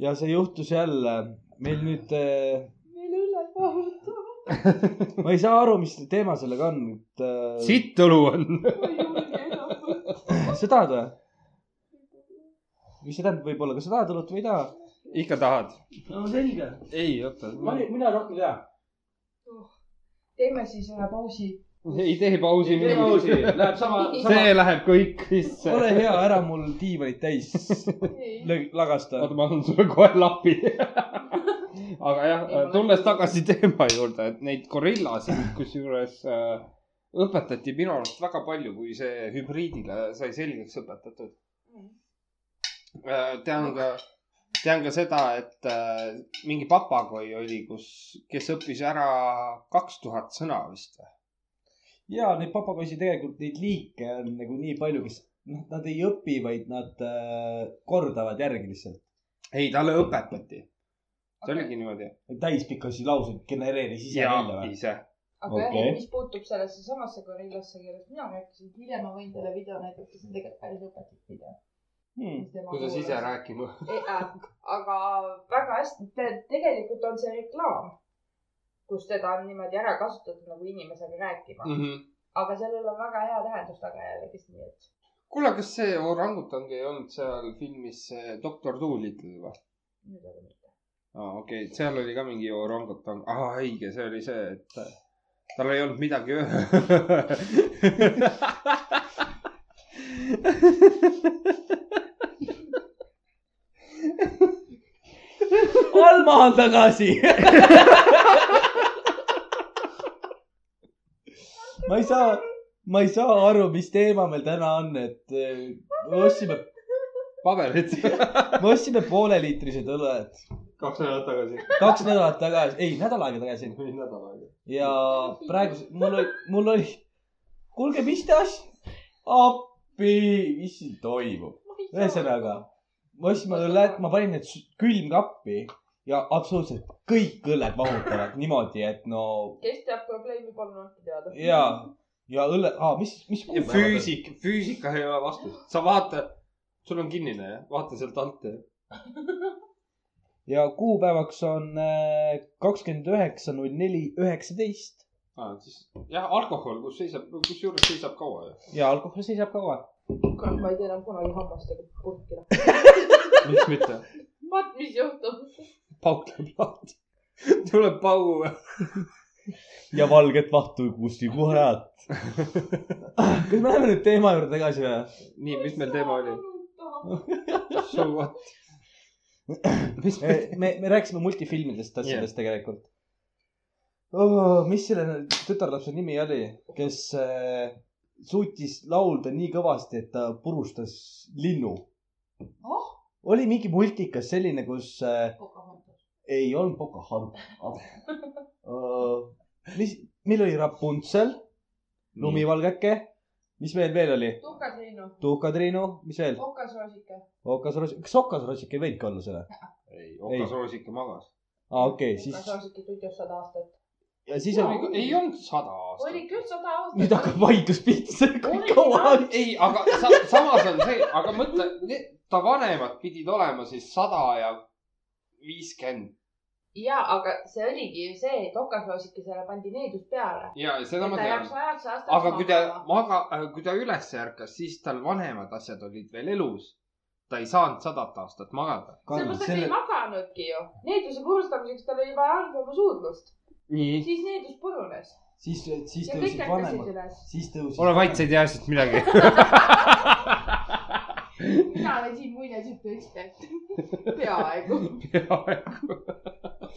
Speaker 3: ja see juhtus jälle , meil nüüd äh, ,
Speaker 2: meil õlled vahutavad .
Speaker 3: ma ei saa aru , mis teema sellega on , et äh, .
Speaker 1: sitt õlu on .
Speaker 2: ma ei julge enam võtta .
Speaker 3: sa tahad või ? mis see tähendab , võib-olla , kas sa tahad õlut või ei taha ?
Speaker 1: ikka tahad ?
Speaker 3: no selge ,
Speaker 1: ei , oota ,
Speaker 3: mina rohkem ei taha .
Speaker 2: teeme siis ühe pausi .
Speaker 1: ei tee pausi .
Speaker 3: läheb sama
Speaker 1: see läheb kõik sisse .
Speaker 3: ole hea , ära mul diivanit täis lö- lagasta .
Speaker 1: oota , ma annan sulle kohe lapi . aga jah , tulles tagasi teema juurde , et neid gorillasid kusjuures äh, õpetati minu arust väga palju , kui see hübriidile sai selgeks õpetatud . Äh, tean ka , tean ka seda , et äh, mingi papagoi oli , kus , kes õppis ära kaks tuhat sõna vist või ?
Speaker 3: ja neid papagoisi tegelikult , neid liike on nagu nii palju , kes noh , nad ei õpi , vaid nad äh, kordavad järgi lihtsalt .
Speaker 1: ei , talle õpetati . see oligi niimoodi .
Speaker 3: täispikkasi lauseid genereeris ise
Speaker 1: ja
Speaker 3: välja või ?
Speaker 1: ise .
Speaker 2: aga okay.
Speaker 3: Okei.
Speaker 2: jah , mis puutub sellesse samasse gorillasse , kellest mina rääkisin , hiljem ma võin teile video näidata , see on tegelikult päris õpetlik video .
Speaker 3: Hmm.
Speaker 1: kuidas ise ? rääkima .
Speaker 2: aga väga hästi , tegelikult on see reklaam , kus teda on niimoodi ära kasutatud nagu inimesega rääkima
Speaker 1: Hmm.
Speaker 2: mm. ,
Speaker 1: Mhm.
Speaker 2: aga sellel on väga hea tähendus tagajärjeks , nii et
Speaker 1: kuule , kas see orangutang ei olnud seal filmis see doktor Doolittle või ?
Speaker 2: nüüd on nii .
Speaker 1: aa , okei okay. , seal oli ka mingi orangutang . aa , õige , see oli see , et äh, tal ei olnud midagi
Speaker 3: Alma on tagasi . ma ei saa , ma ei saa aru , mis teema meil täna on , et eh, me ostsime ,
Speaker 1: paberit
Speaker 3: me ostsime pooleliitrised õlled
Speaker 1: kaks nädalat tagasi
Speaker 3: kaks nädalat tagasi , ei , nädal aega tagasi
Speaker 1: või nädal aega .
Speaker 3: ja praegu mul oli , mul oli , kuulge , mis te as- , appi , mis siin toimub ? ühesõnaga , ma ostsin õlled , ma panin need s- külmkappi ja absoluutselt kõik õlled mahutavad niimoodi , et no
Speaker 2: kes teab probleemi , palun andke teada .
Speaker 3: ja , ja õlle ah, , mis , mis kuupäev ?
Speaker 1: füüsik , füüsika ei ole vastus , sa vaata , sul on kinnine jah , vaata sealt alt .
Speaker 3: ja kuupäevaks on äh, kakskümmend üheksa , null neli , üheksateist
Speaker 1: Ah, siis jah , alkohol , kus seisab , kusjuures seisab kaua ju .
Speaker 3: ja alkohol seisab kaua .
Speaker 2: kurat , ma ei tee enam kunagi hammastega purki lahti .
Speaker 1: miks mitte ?
Speaker 2: vaat , mis juhtub .
Speaker 1: pauk läheb lahti , tuleb paugu .
Speaker 3: ja valget vahtu kustikurat kas me läheme nüüd teema juurde tagasi või ?
Speaker 1: nii , mis meil teema oli ?? So what ? mis
Speaker 3: me
Speaker 1: meil ,,
Speaker 3: me, me rääkisime multifilmidest asjadest yeah. tegelikult oh, . mis selle tütarlapse nimi oli , kes äh, suutis laulda nii kõvasti , et ta purustas linnu
Speaker 2: Oh?
Speaker 3: oli mingi multikas selline , kus äh, ei olnud Pocahontas uh, . mis , meil oli Rapuntsel , lumivalgeke , mis meil veel oli ?
Speaker 2: tukas Reinu ,
Speaker 3: Tuhkatriinu , mis veel ?
Speaker 2: okas roosike .
Speaker 3: okasroosik , kas okasroosik ei võinudki olla selle ?
Speaker 1: ei , Okas Roosike magas .
Speaker 3: aa , okei okay, ,
Speaker 2: okas
Speaker 3: siis
Speaker 2: roosike tutjus sada aastat .
Speaker 3: ja siis oli ,
Speaker 1: ei olnud sada aastat
Speaker 2: oli . küll sada
Speaker 3: nüüd
Speaker 2: aastat .
Speaker 3: hakkab vaidlus pihta , see on kõik kaua aega .
Speaker 1: ei , aga sa, samas on see , aga mõtle , ta vanemad pidid olema siis sada ja viiskümmend
Speaker 2: ja , aga see oligi ju see , et okas roosikesele pandi needus peale .
Speaker 1: ja seda ma
Speaker 2: ta
Speaker 1: tean
Speaker 2: jääb . sajaks aastaks .
Speaker 1: aga kui ta . maga , kui ta üles ärkas , siis tal vanemad asjad olid veel elus . ta ei saanud sadat aastat magada .
Speaker 2: sellepärast , et ta ei maganudki ju . needuse purustamiseks tal oli vaja arvama suudlust .
Speaker 1: nii .
Speaker 2: siis needus purunes
Speaker 3: siis , siis
Speaker 2: ja kõik
Speaker 3: tõusid
Speaker 2: ärkasid
Speaker 3: vanemad ,
Speaker 2: üles .
Speaker 3: siis tõusid .
Speaker 1: ole vait , sa ei tea asjast midagi .
Speaker 2: mina olen siin muinasjutu ekspert . peaaegu .
Speaker 1: peaaegu .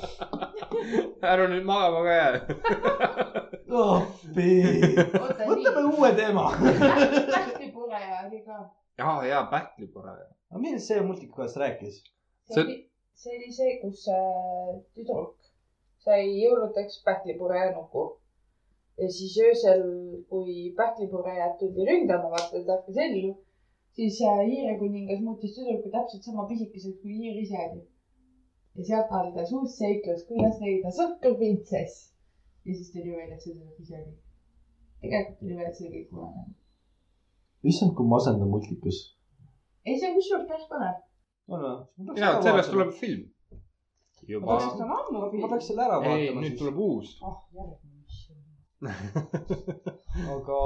Speaker 1: ära nüüd magama ka jää .
Speaker 3: appi ,
Speaker 2: oota ,
Speaker 3: võtame
Speaker 2: nii .
Speaker 3: uue teema .
Speaker 2: tähtipureja oli ka .
Speaker 1: ja , ja pähkli pole .
Speaker 3: aga millest see multikas rääkis ?
Speaker 2: see
Speaker 1: See-
Speaker 2: oli , see oli see , kus äh, tüdruk sai jõuludeks pähklipureja nuku . ja siis öösel , kui pähklipurejad tuldi ründama , vaata ta hakkas ellu , siis äh, Iire kuningas muutis tüdruku täpselt sama pisikeseks kui Iir ise oli . ja sealt algas uus seiklus , kuidas leida sõkrupintsess . ja siis tuli välja , et see tüdruk ise oli . tegelikult tuli välja , et see oli kõik punane .
Speaker 3: issand , kui masendav multikas .
Speaker 2: ei , see on kusjuures päris põnev .
Speaker 3: on
Speaker 1: ja ,
Speaker 3: või ?
Speaker 1: sellest tuleb film .
Speaker 2: ma
Speaker 1: juba .
Speaker 2: peaks seda ammu
Speaker 3: ma peaks selle ära
Speaker 1: ei ,
Speaker 3: vaatama
Speaker 1: nüüd
Speaker 3: siis ,
Speaker 1: tuleb uus .
Speaker 2: ah , järgmine , mis see on .
Speaker 3: aga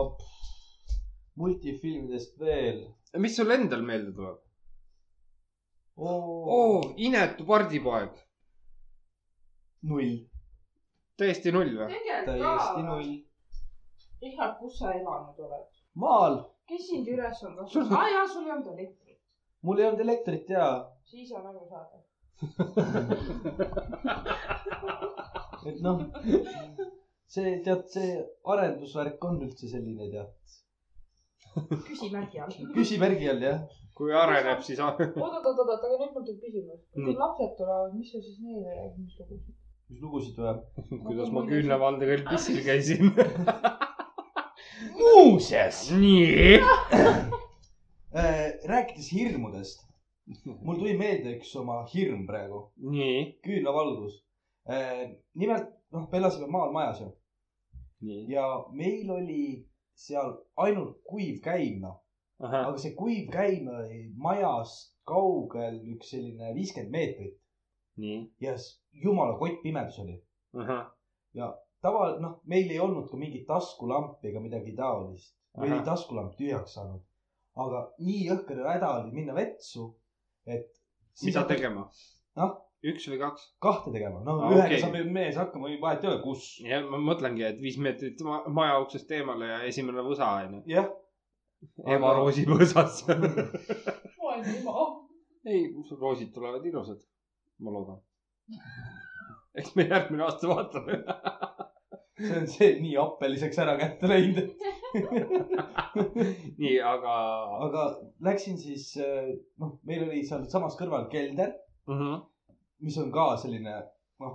Speaker 3: multifilmidest veel .
Speaker 1: mis sul endal meelde tuleb ? oo , inetu pardipoeg .
Speaker 3: null ,
Speaker 1: täiesti null või ?
Speaker 2: tegelikult
Speaker 3: täiesti
Speaker 2: ka .
Speaker 3: null .
Speaker 2: Richard , kus sa elanud oled ?
Speaker 3: maal ,
Speaker 2: kes sind üles on kasvanud ? aa jaa , sul ei olnud elektrit .
Speaker 3: mul ei olnud elektrit ja ,
Speaker 2: siis on arusaadav .
Speaker 3: et noh , see tead , see arendusvärk on üldse selline tead ,
Speaker 2: küsimärgi all .
Speaker 3: küsimärgi all jah .
Speaker 1: kui areneb , siis a-
Speaker 2: oot , oot , oot , aga nüüd mul tuleb küsimus .
Speaker 1: Nii.
Speaker 2: kui lapsed tulevad , mis sa siis neile räägid , mis lugusid ?
Speaker 3: mis lugusid või ?
Speaker 1: kuidas ma küünlavandega pissil käisin .
Speaker 10: muuseas ,
Speaker 1: nii .
Speaker 3: Äh, rääkides hirmudest , mul tuli meelde üks oma hirm praegu ,
Speaker 1: nii .
Speaker 3: küünlavalgus . nimelt , noh , me elasime maal majas ju
Speaker 1: nii .
Speaker 3: ja meil oli seal ainult kuiv käimla ,
Speaker 1: ahah ,
Speaker 3: aga see kuiv käimla oli majast kaugel üks selline viiskümmend meetrit
Speaker 1: nii .
Speaker 3: ja s- jumala kott pimedus oli .
Speaker 1: ahah ,
Speaker 3: tava , noh , meil ei olnud ka mingit taskulampi ega midagi taolist . meil oli
Speaker 1: Ahah.
Speaker 3: taskulamp tühjaks saanud . aga nii jõhker häda oli minna vetsu , et .
Speaker 1: mida ? tegema
Speaker 3: Noh? ?
Speaker 1: üks või kaks ?
Speaker 3: kahte tegema , no
Speaker 1: Aa,
Speaker 3: ah, ühega
Speaker 1: okei.
Speaker 3: okay. saab ju mees hakkama , vahet ei ole , kus .
Speaker 1: jah , ma mõtlengi , et viis meetrit ma- maja uksest eemale ja esimene võsa onju .
Speaker 3: jah ,
Speaker 1: ema roosipõõsas .
Speaker 2: ma olen ema .
Speaker 1: ei , roosid tulevad ilusad , ma loodan . eks me järgmine aasta vaatame .
Speaker 3: see on see nii appeliseks ära kätte läinud .
Speaker 1: nii , aga
Speaker 3: aga läksin siis , noh , meil oli sealsamas kõrval kelder ,
Speaker 1: mm .
Speaker 3: Mhm.
Speaker 1: -hmm.
Speaker 3: mis on ka selline , noh ,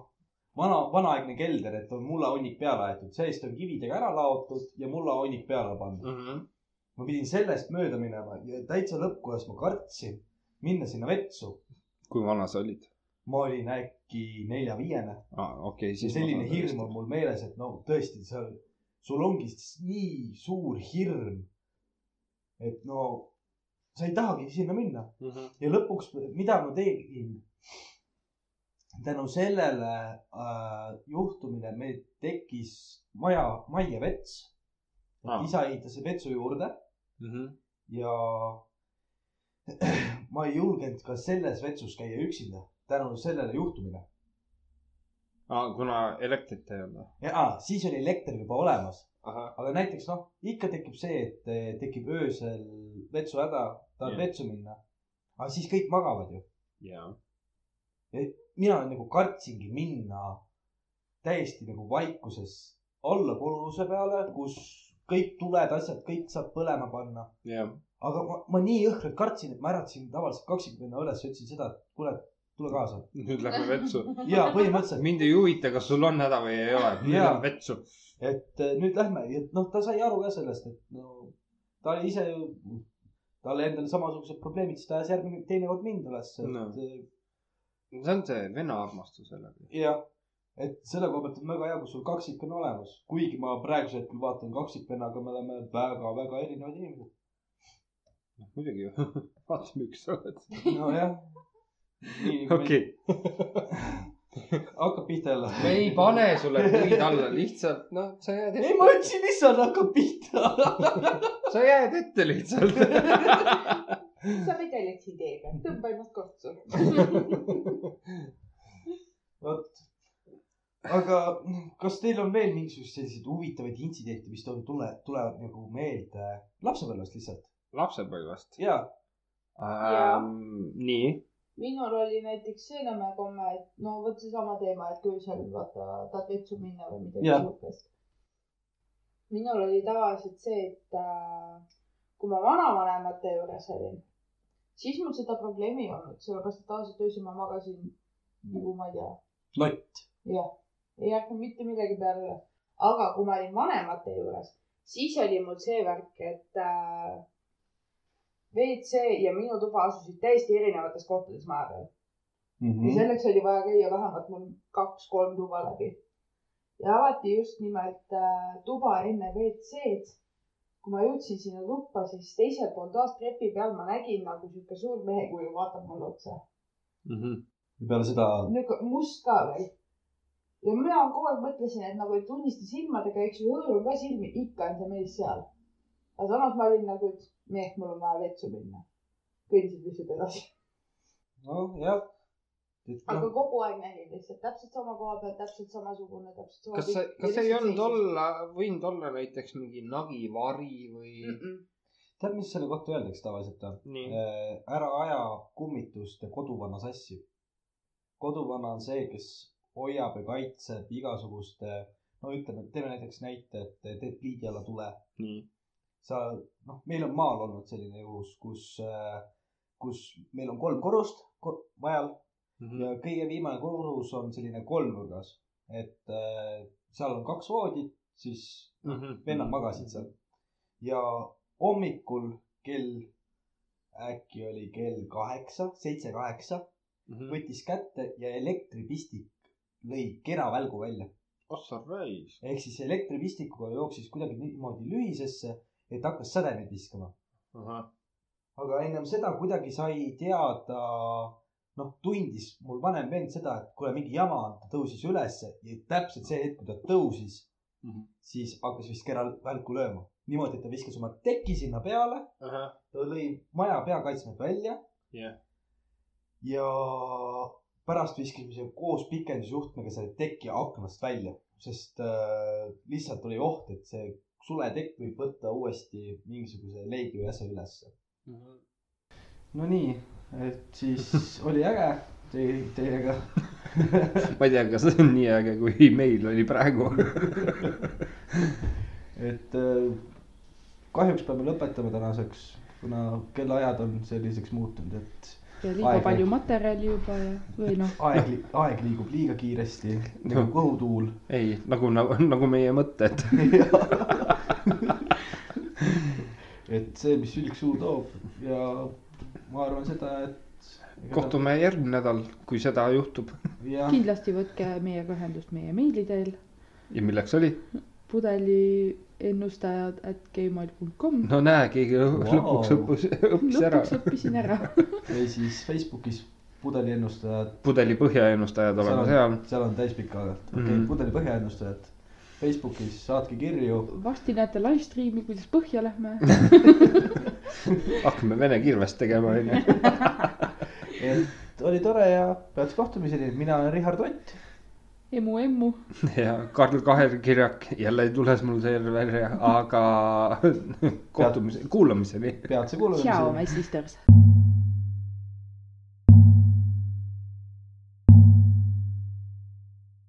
Speaker 3: vana , vanaaegne kelder , et on mullaonnik peale aetud , seest on kividega ära laotud ja mullaonnik peale pandud .
Speaker 1: Mm -hmm.
Speaker 3: ma pidin sellest mööda minema ja täitsa lõppkohas ma kartsin minna sinna vetsu .
Speaker 1: kui vana sa olid
Speaker 3: ma olin äkki nelja-viiene
Speaker 1: ah, ? okei okay, ,
Speaker 3: ja
Speaker 1: siis .
Speaker 3: selline hirm on . mul meeles , et no tõesti , seal , sul ongi s- nii suur hirm , et no sa ei tahagi sinna minna
Speaker 1: Mhm.
Speaker 3: ja lõpuks , mida ma tegin ? tänu sellele äh, juhtumile meil tekkis maja , majja vets .
Speaker 1: Aa.
Speaker 3: isa ehitas vetsu juurde
Speaker 1: Mhm.
Speaker 3: ja ma ei julgenud ka selles vetsus käia üksinda tänu sellele juhtumile .
Speaker 1: Ah, kuna elektrit ei olnud .
Speaker 3: ja siis oli elekter juba olemas ,
Speaker 1: ahah ,
Speaker 3: aga näiteks noh , ikka tekib see , et eh, tekib öösel vetsuhäda , tahad
Speaker 1: Jah.
Speaker 3: vetsu minna . aga siis kõik magavad ju .
Speaker 1: jaa .
Speaker 3: mina nagu kartsingi minna täiesti nagu vaikuses alla koluse peale , kus kõik tuled , asjad , kõik saab põlema panna .
Speaker 1: jah ,
Speaker 3: aga ma, ma nii õhkralt kartsin , et ma äratasin tavaliselt kaksikümne üles , ütlesin seda , et kuule , tule kaasa .
Speaker 1: nüüd lähme vetsu .
Speaker 3: ja põhimõtteliselt ,
Speaker 1: mind ei huvita , kas sul on häda või ei ole , nüüd
Speaker 3: Jaa.
Speaker 1: lähme vetsu .
Speaker 3: et eh, nüüd lähme ja noh , ta sai aru ka sellest , et no ta oli ise ju , tal endal samasugused probleemid , siis ta ajas järgmine , teinekord mind üles , et
Speaker 1: No.
Speaker 3: eh,
Speaker 1: see on see vene armastus jällegi .
Speaker 3: jah , et selle koha pealt on väga hea , kui sul kaksik on olemas , kuigi ma praegusel hetkel vaatan kaksikvennaga , me oleme väga-väga erinevad inimesed .
Speaker 1: Noh, muidugi ju , vaatame , üks sa oled .
Speaker 3: nojah .
Speaker 1: okei .
Speaker 3: hakkab pihta jälle .
Speaker 1: me ei pane sulle puid alla , lihtsalt noh , sa jääd
Speaker 3: ei , ma ütlesin , issand , hakkab pihta .
Speaker 1: sa jääd ette lihtsalt .
Speaker 14: sa vedeled siin tee peal , tõmba ennast kohtu .
Speaker 3: vot . aga noh, kas teil on veel mingisuguseid selliseid huvitavaid intsidente , mis teil tule , tulevad nagu meelde lapsepõlvest lihtsalt ?
Speaker 1: lapsepõlvest
Speaker 3: ja ,
Speaker 1: ähm, . nii .
Speaker 2: minul oli näiteks see nõme komme , et no vot seesama teema , et kui seal vaata tahad vetsu minna või midagi
Speaker 3: Jah.
Speaker 2: siukest . minul oli tavaliselt see , et äh, kui ma vanavanemate juures olin , siis mul seda probleemi ei olnud , sellepärast et tavaliselt öösel ma magasin nagu ma ei tea .
Speaker 3: Lott.
Speaker 2: jah , ei hakanud mitte midagi peale . aga kui ma olin vanemate juures , siis oli mul see värk , et äh, WC ja minu tuba asusid täiesti erinevates kohtades maja peal
Speaker 3: mm
Speaker 2: ja selleks oli vaja käia vähemalt mul kaks-kolm tuba läbi . ja alati just nimelt äh, tuba enne WC-d . kui ma jõudsin sinna tuppa , siis teisel pool taas trepi peal ma nägin nagu sihuke suur mehe kuju vaatab mulle otsa .
Speaker 1: Mhm.
Speaker 3: peale seda ,
Speaker 2: nihuke must ka veel . ja mina kogu aeg mõtlesin , et nagu ei tunnista silmadega , eks ju , hõõrun ka silmi , ikka on see mees seal . aga samas ma olin nagu , et meh , mul on vaja vetsu minna . kõndisin lihtsalt edasi .
Speaker 3: nojah . noh,
Speaker 2: aga kogu aeg nägin lihtsalt täpselt sama koha peal , täpselt samasugune , täpselt sama .
Speaker 1: kas see , kas see ei olnud ? olla , võinud olla näiteks mingi nagivari või mm ? -mm.
Speaker 3: tead , mis selle kohta öeldakse tavaliselt või ?
Speaker 1: nii ,
Speaker 3: Äh, ära aja kummitust ja koduvana sassi . koduvana on see , kes hoiab ja kaitseb igasuguste , no ütleme , teeme näiteks näite , et teed pliidi alla tule .
Speaker 1: nii .
Speaker 3: sa , noh , meil on maal olnud selline juhus , kus , kus meil on kolm korrust ko- majal
Speaker 1: Mm. Mhm.
Speaker 3: ja kõige viimane korrus on selline kolmnurgas , et äh, seal on kaks voodit , siis
Speaker 1: Mhm. Mm.
Speaker 3: vennad magasid seal . ja hommikul kell , äkki oli kell kaheksa , seitse-kaheksa ,
Speaker 1: seal .
Speaker 3: võttis kätte ja elektripistik lõi kera välgu välja .
Speaker 1: ossa raisk .
Speaker 3: ehk siis elektripistikuga jooksis kuidagi niimoodi lühisesse , et hakkas sädemeid viskama . aga ennem seda kuidagi sai teada , noh , tundis mul vanem vend seda , et kuule , mingi jama on , ta tõusis ülesse ja täpselt see hetk , kui ta tõusis mm ,
Speaker 1: Mhm.
Speaker 3: -hmm. siis hakkas vist keral välku lööma . niimoodi , et ta viskas oma teki sinna peale , ta lõi maja peakaitsmed välja
Speaker 1: Jah.
Speaker 3: ja pärast viskasime selle koos pikendusjuhtmega selle teki aknast välja , sest äh, lihtsalt oli oht , et see suletekk võib võtta uuesti mingisuguse leegi
Speaker 1: Mhm.
Speaker 3: või asja ülesse . no nii , et siis oli äge . Teie , teiega .
Speaker 12: ma ei tea , kas see on nii äge , kui meil oli praegu .
Speaker 3: et äh, kahjuks peame lõpetama tänaseks , kuna kellaajad on selliseks muutunud , et
Speaker 9: ja liiga
Speaker 3: Aeg-
Speaker 9: palju materjali juba ja , või noh ,
Speaker 3: aeg , aeg liigub liiga kiiresti nagu
Speaker 12: Jah.
Speaker 3: kõhutuul .
Speaker 12: ei , nagu , nagu , nagu meie mõtted .
Speaker 3: et see , mis sülg suu toob ja ma arvan seda , et .
Speaker 12: kohtume järgmine nädal , kui seda juhtub .
Speaker 3: jah ,
Speaker 9: kindlasti võtke meiega ühendust meie meili teel
Speaker 12: ja milleks oli ?
Speaker 9: pudeliennustajad at gmail punkt kom .
Speaker 12: no näe , keegi wow.
Speaker 3: Vau.
Speaker 12: lõpuks õppis , õppis ära
Speaker 9: lõpuks . õppisin ära .
Speaker 3: või siis Facebookis pudeliennustajad ,
Speaker 12: pudeli põhjaennustajad oleme seal .
Speaker 3: seal on täispikk aeg-ajalt , okei okay,
Speaker 12: Mhm. ,
Speaker 3: pudeli põhjaennustajad . Facebookis saatke kirju ,
Speaker 9: varsti näete live stream'i , kuidas põhja lähme .
Speaker 12: hakkame vene kirvest tegema , onju .
Speaker 3: et oli tore ja peatse kohtumiseni , mina olen Richard Ott .
Speaker 9: emu , emu .
Speaker 12: ja Karl Kaher kirjak , jälle tules mul server , aga kohtumise , kuulamiseni .
Speaker 3: peatse
Speaker 9: tšau ,
Speaker 3: kuulamiseni .
Speaker 9: my sisters .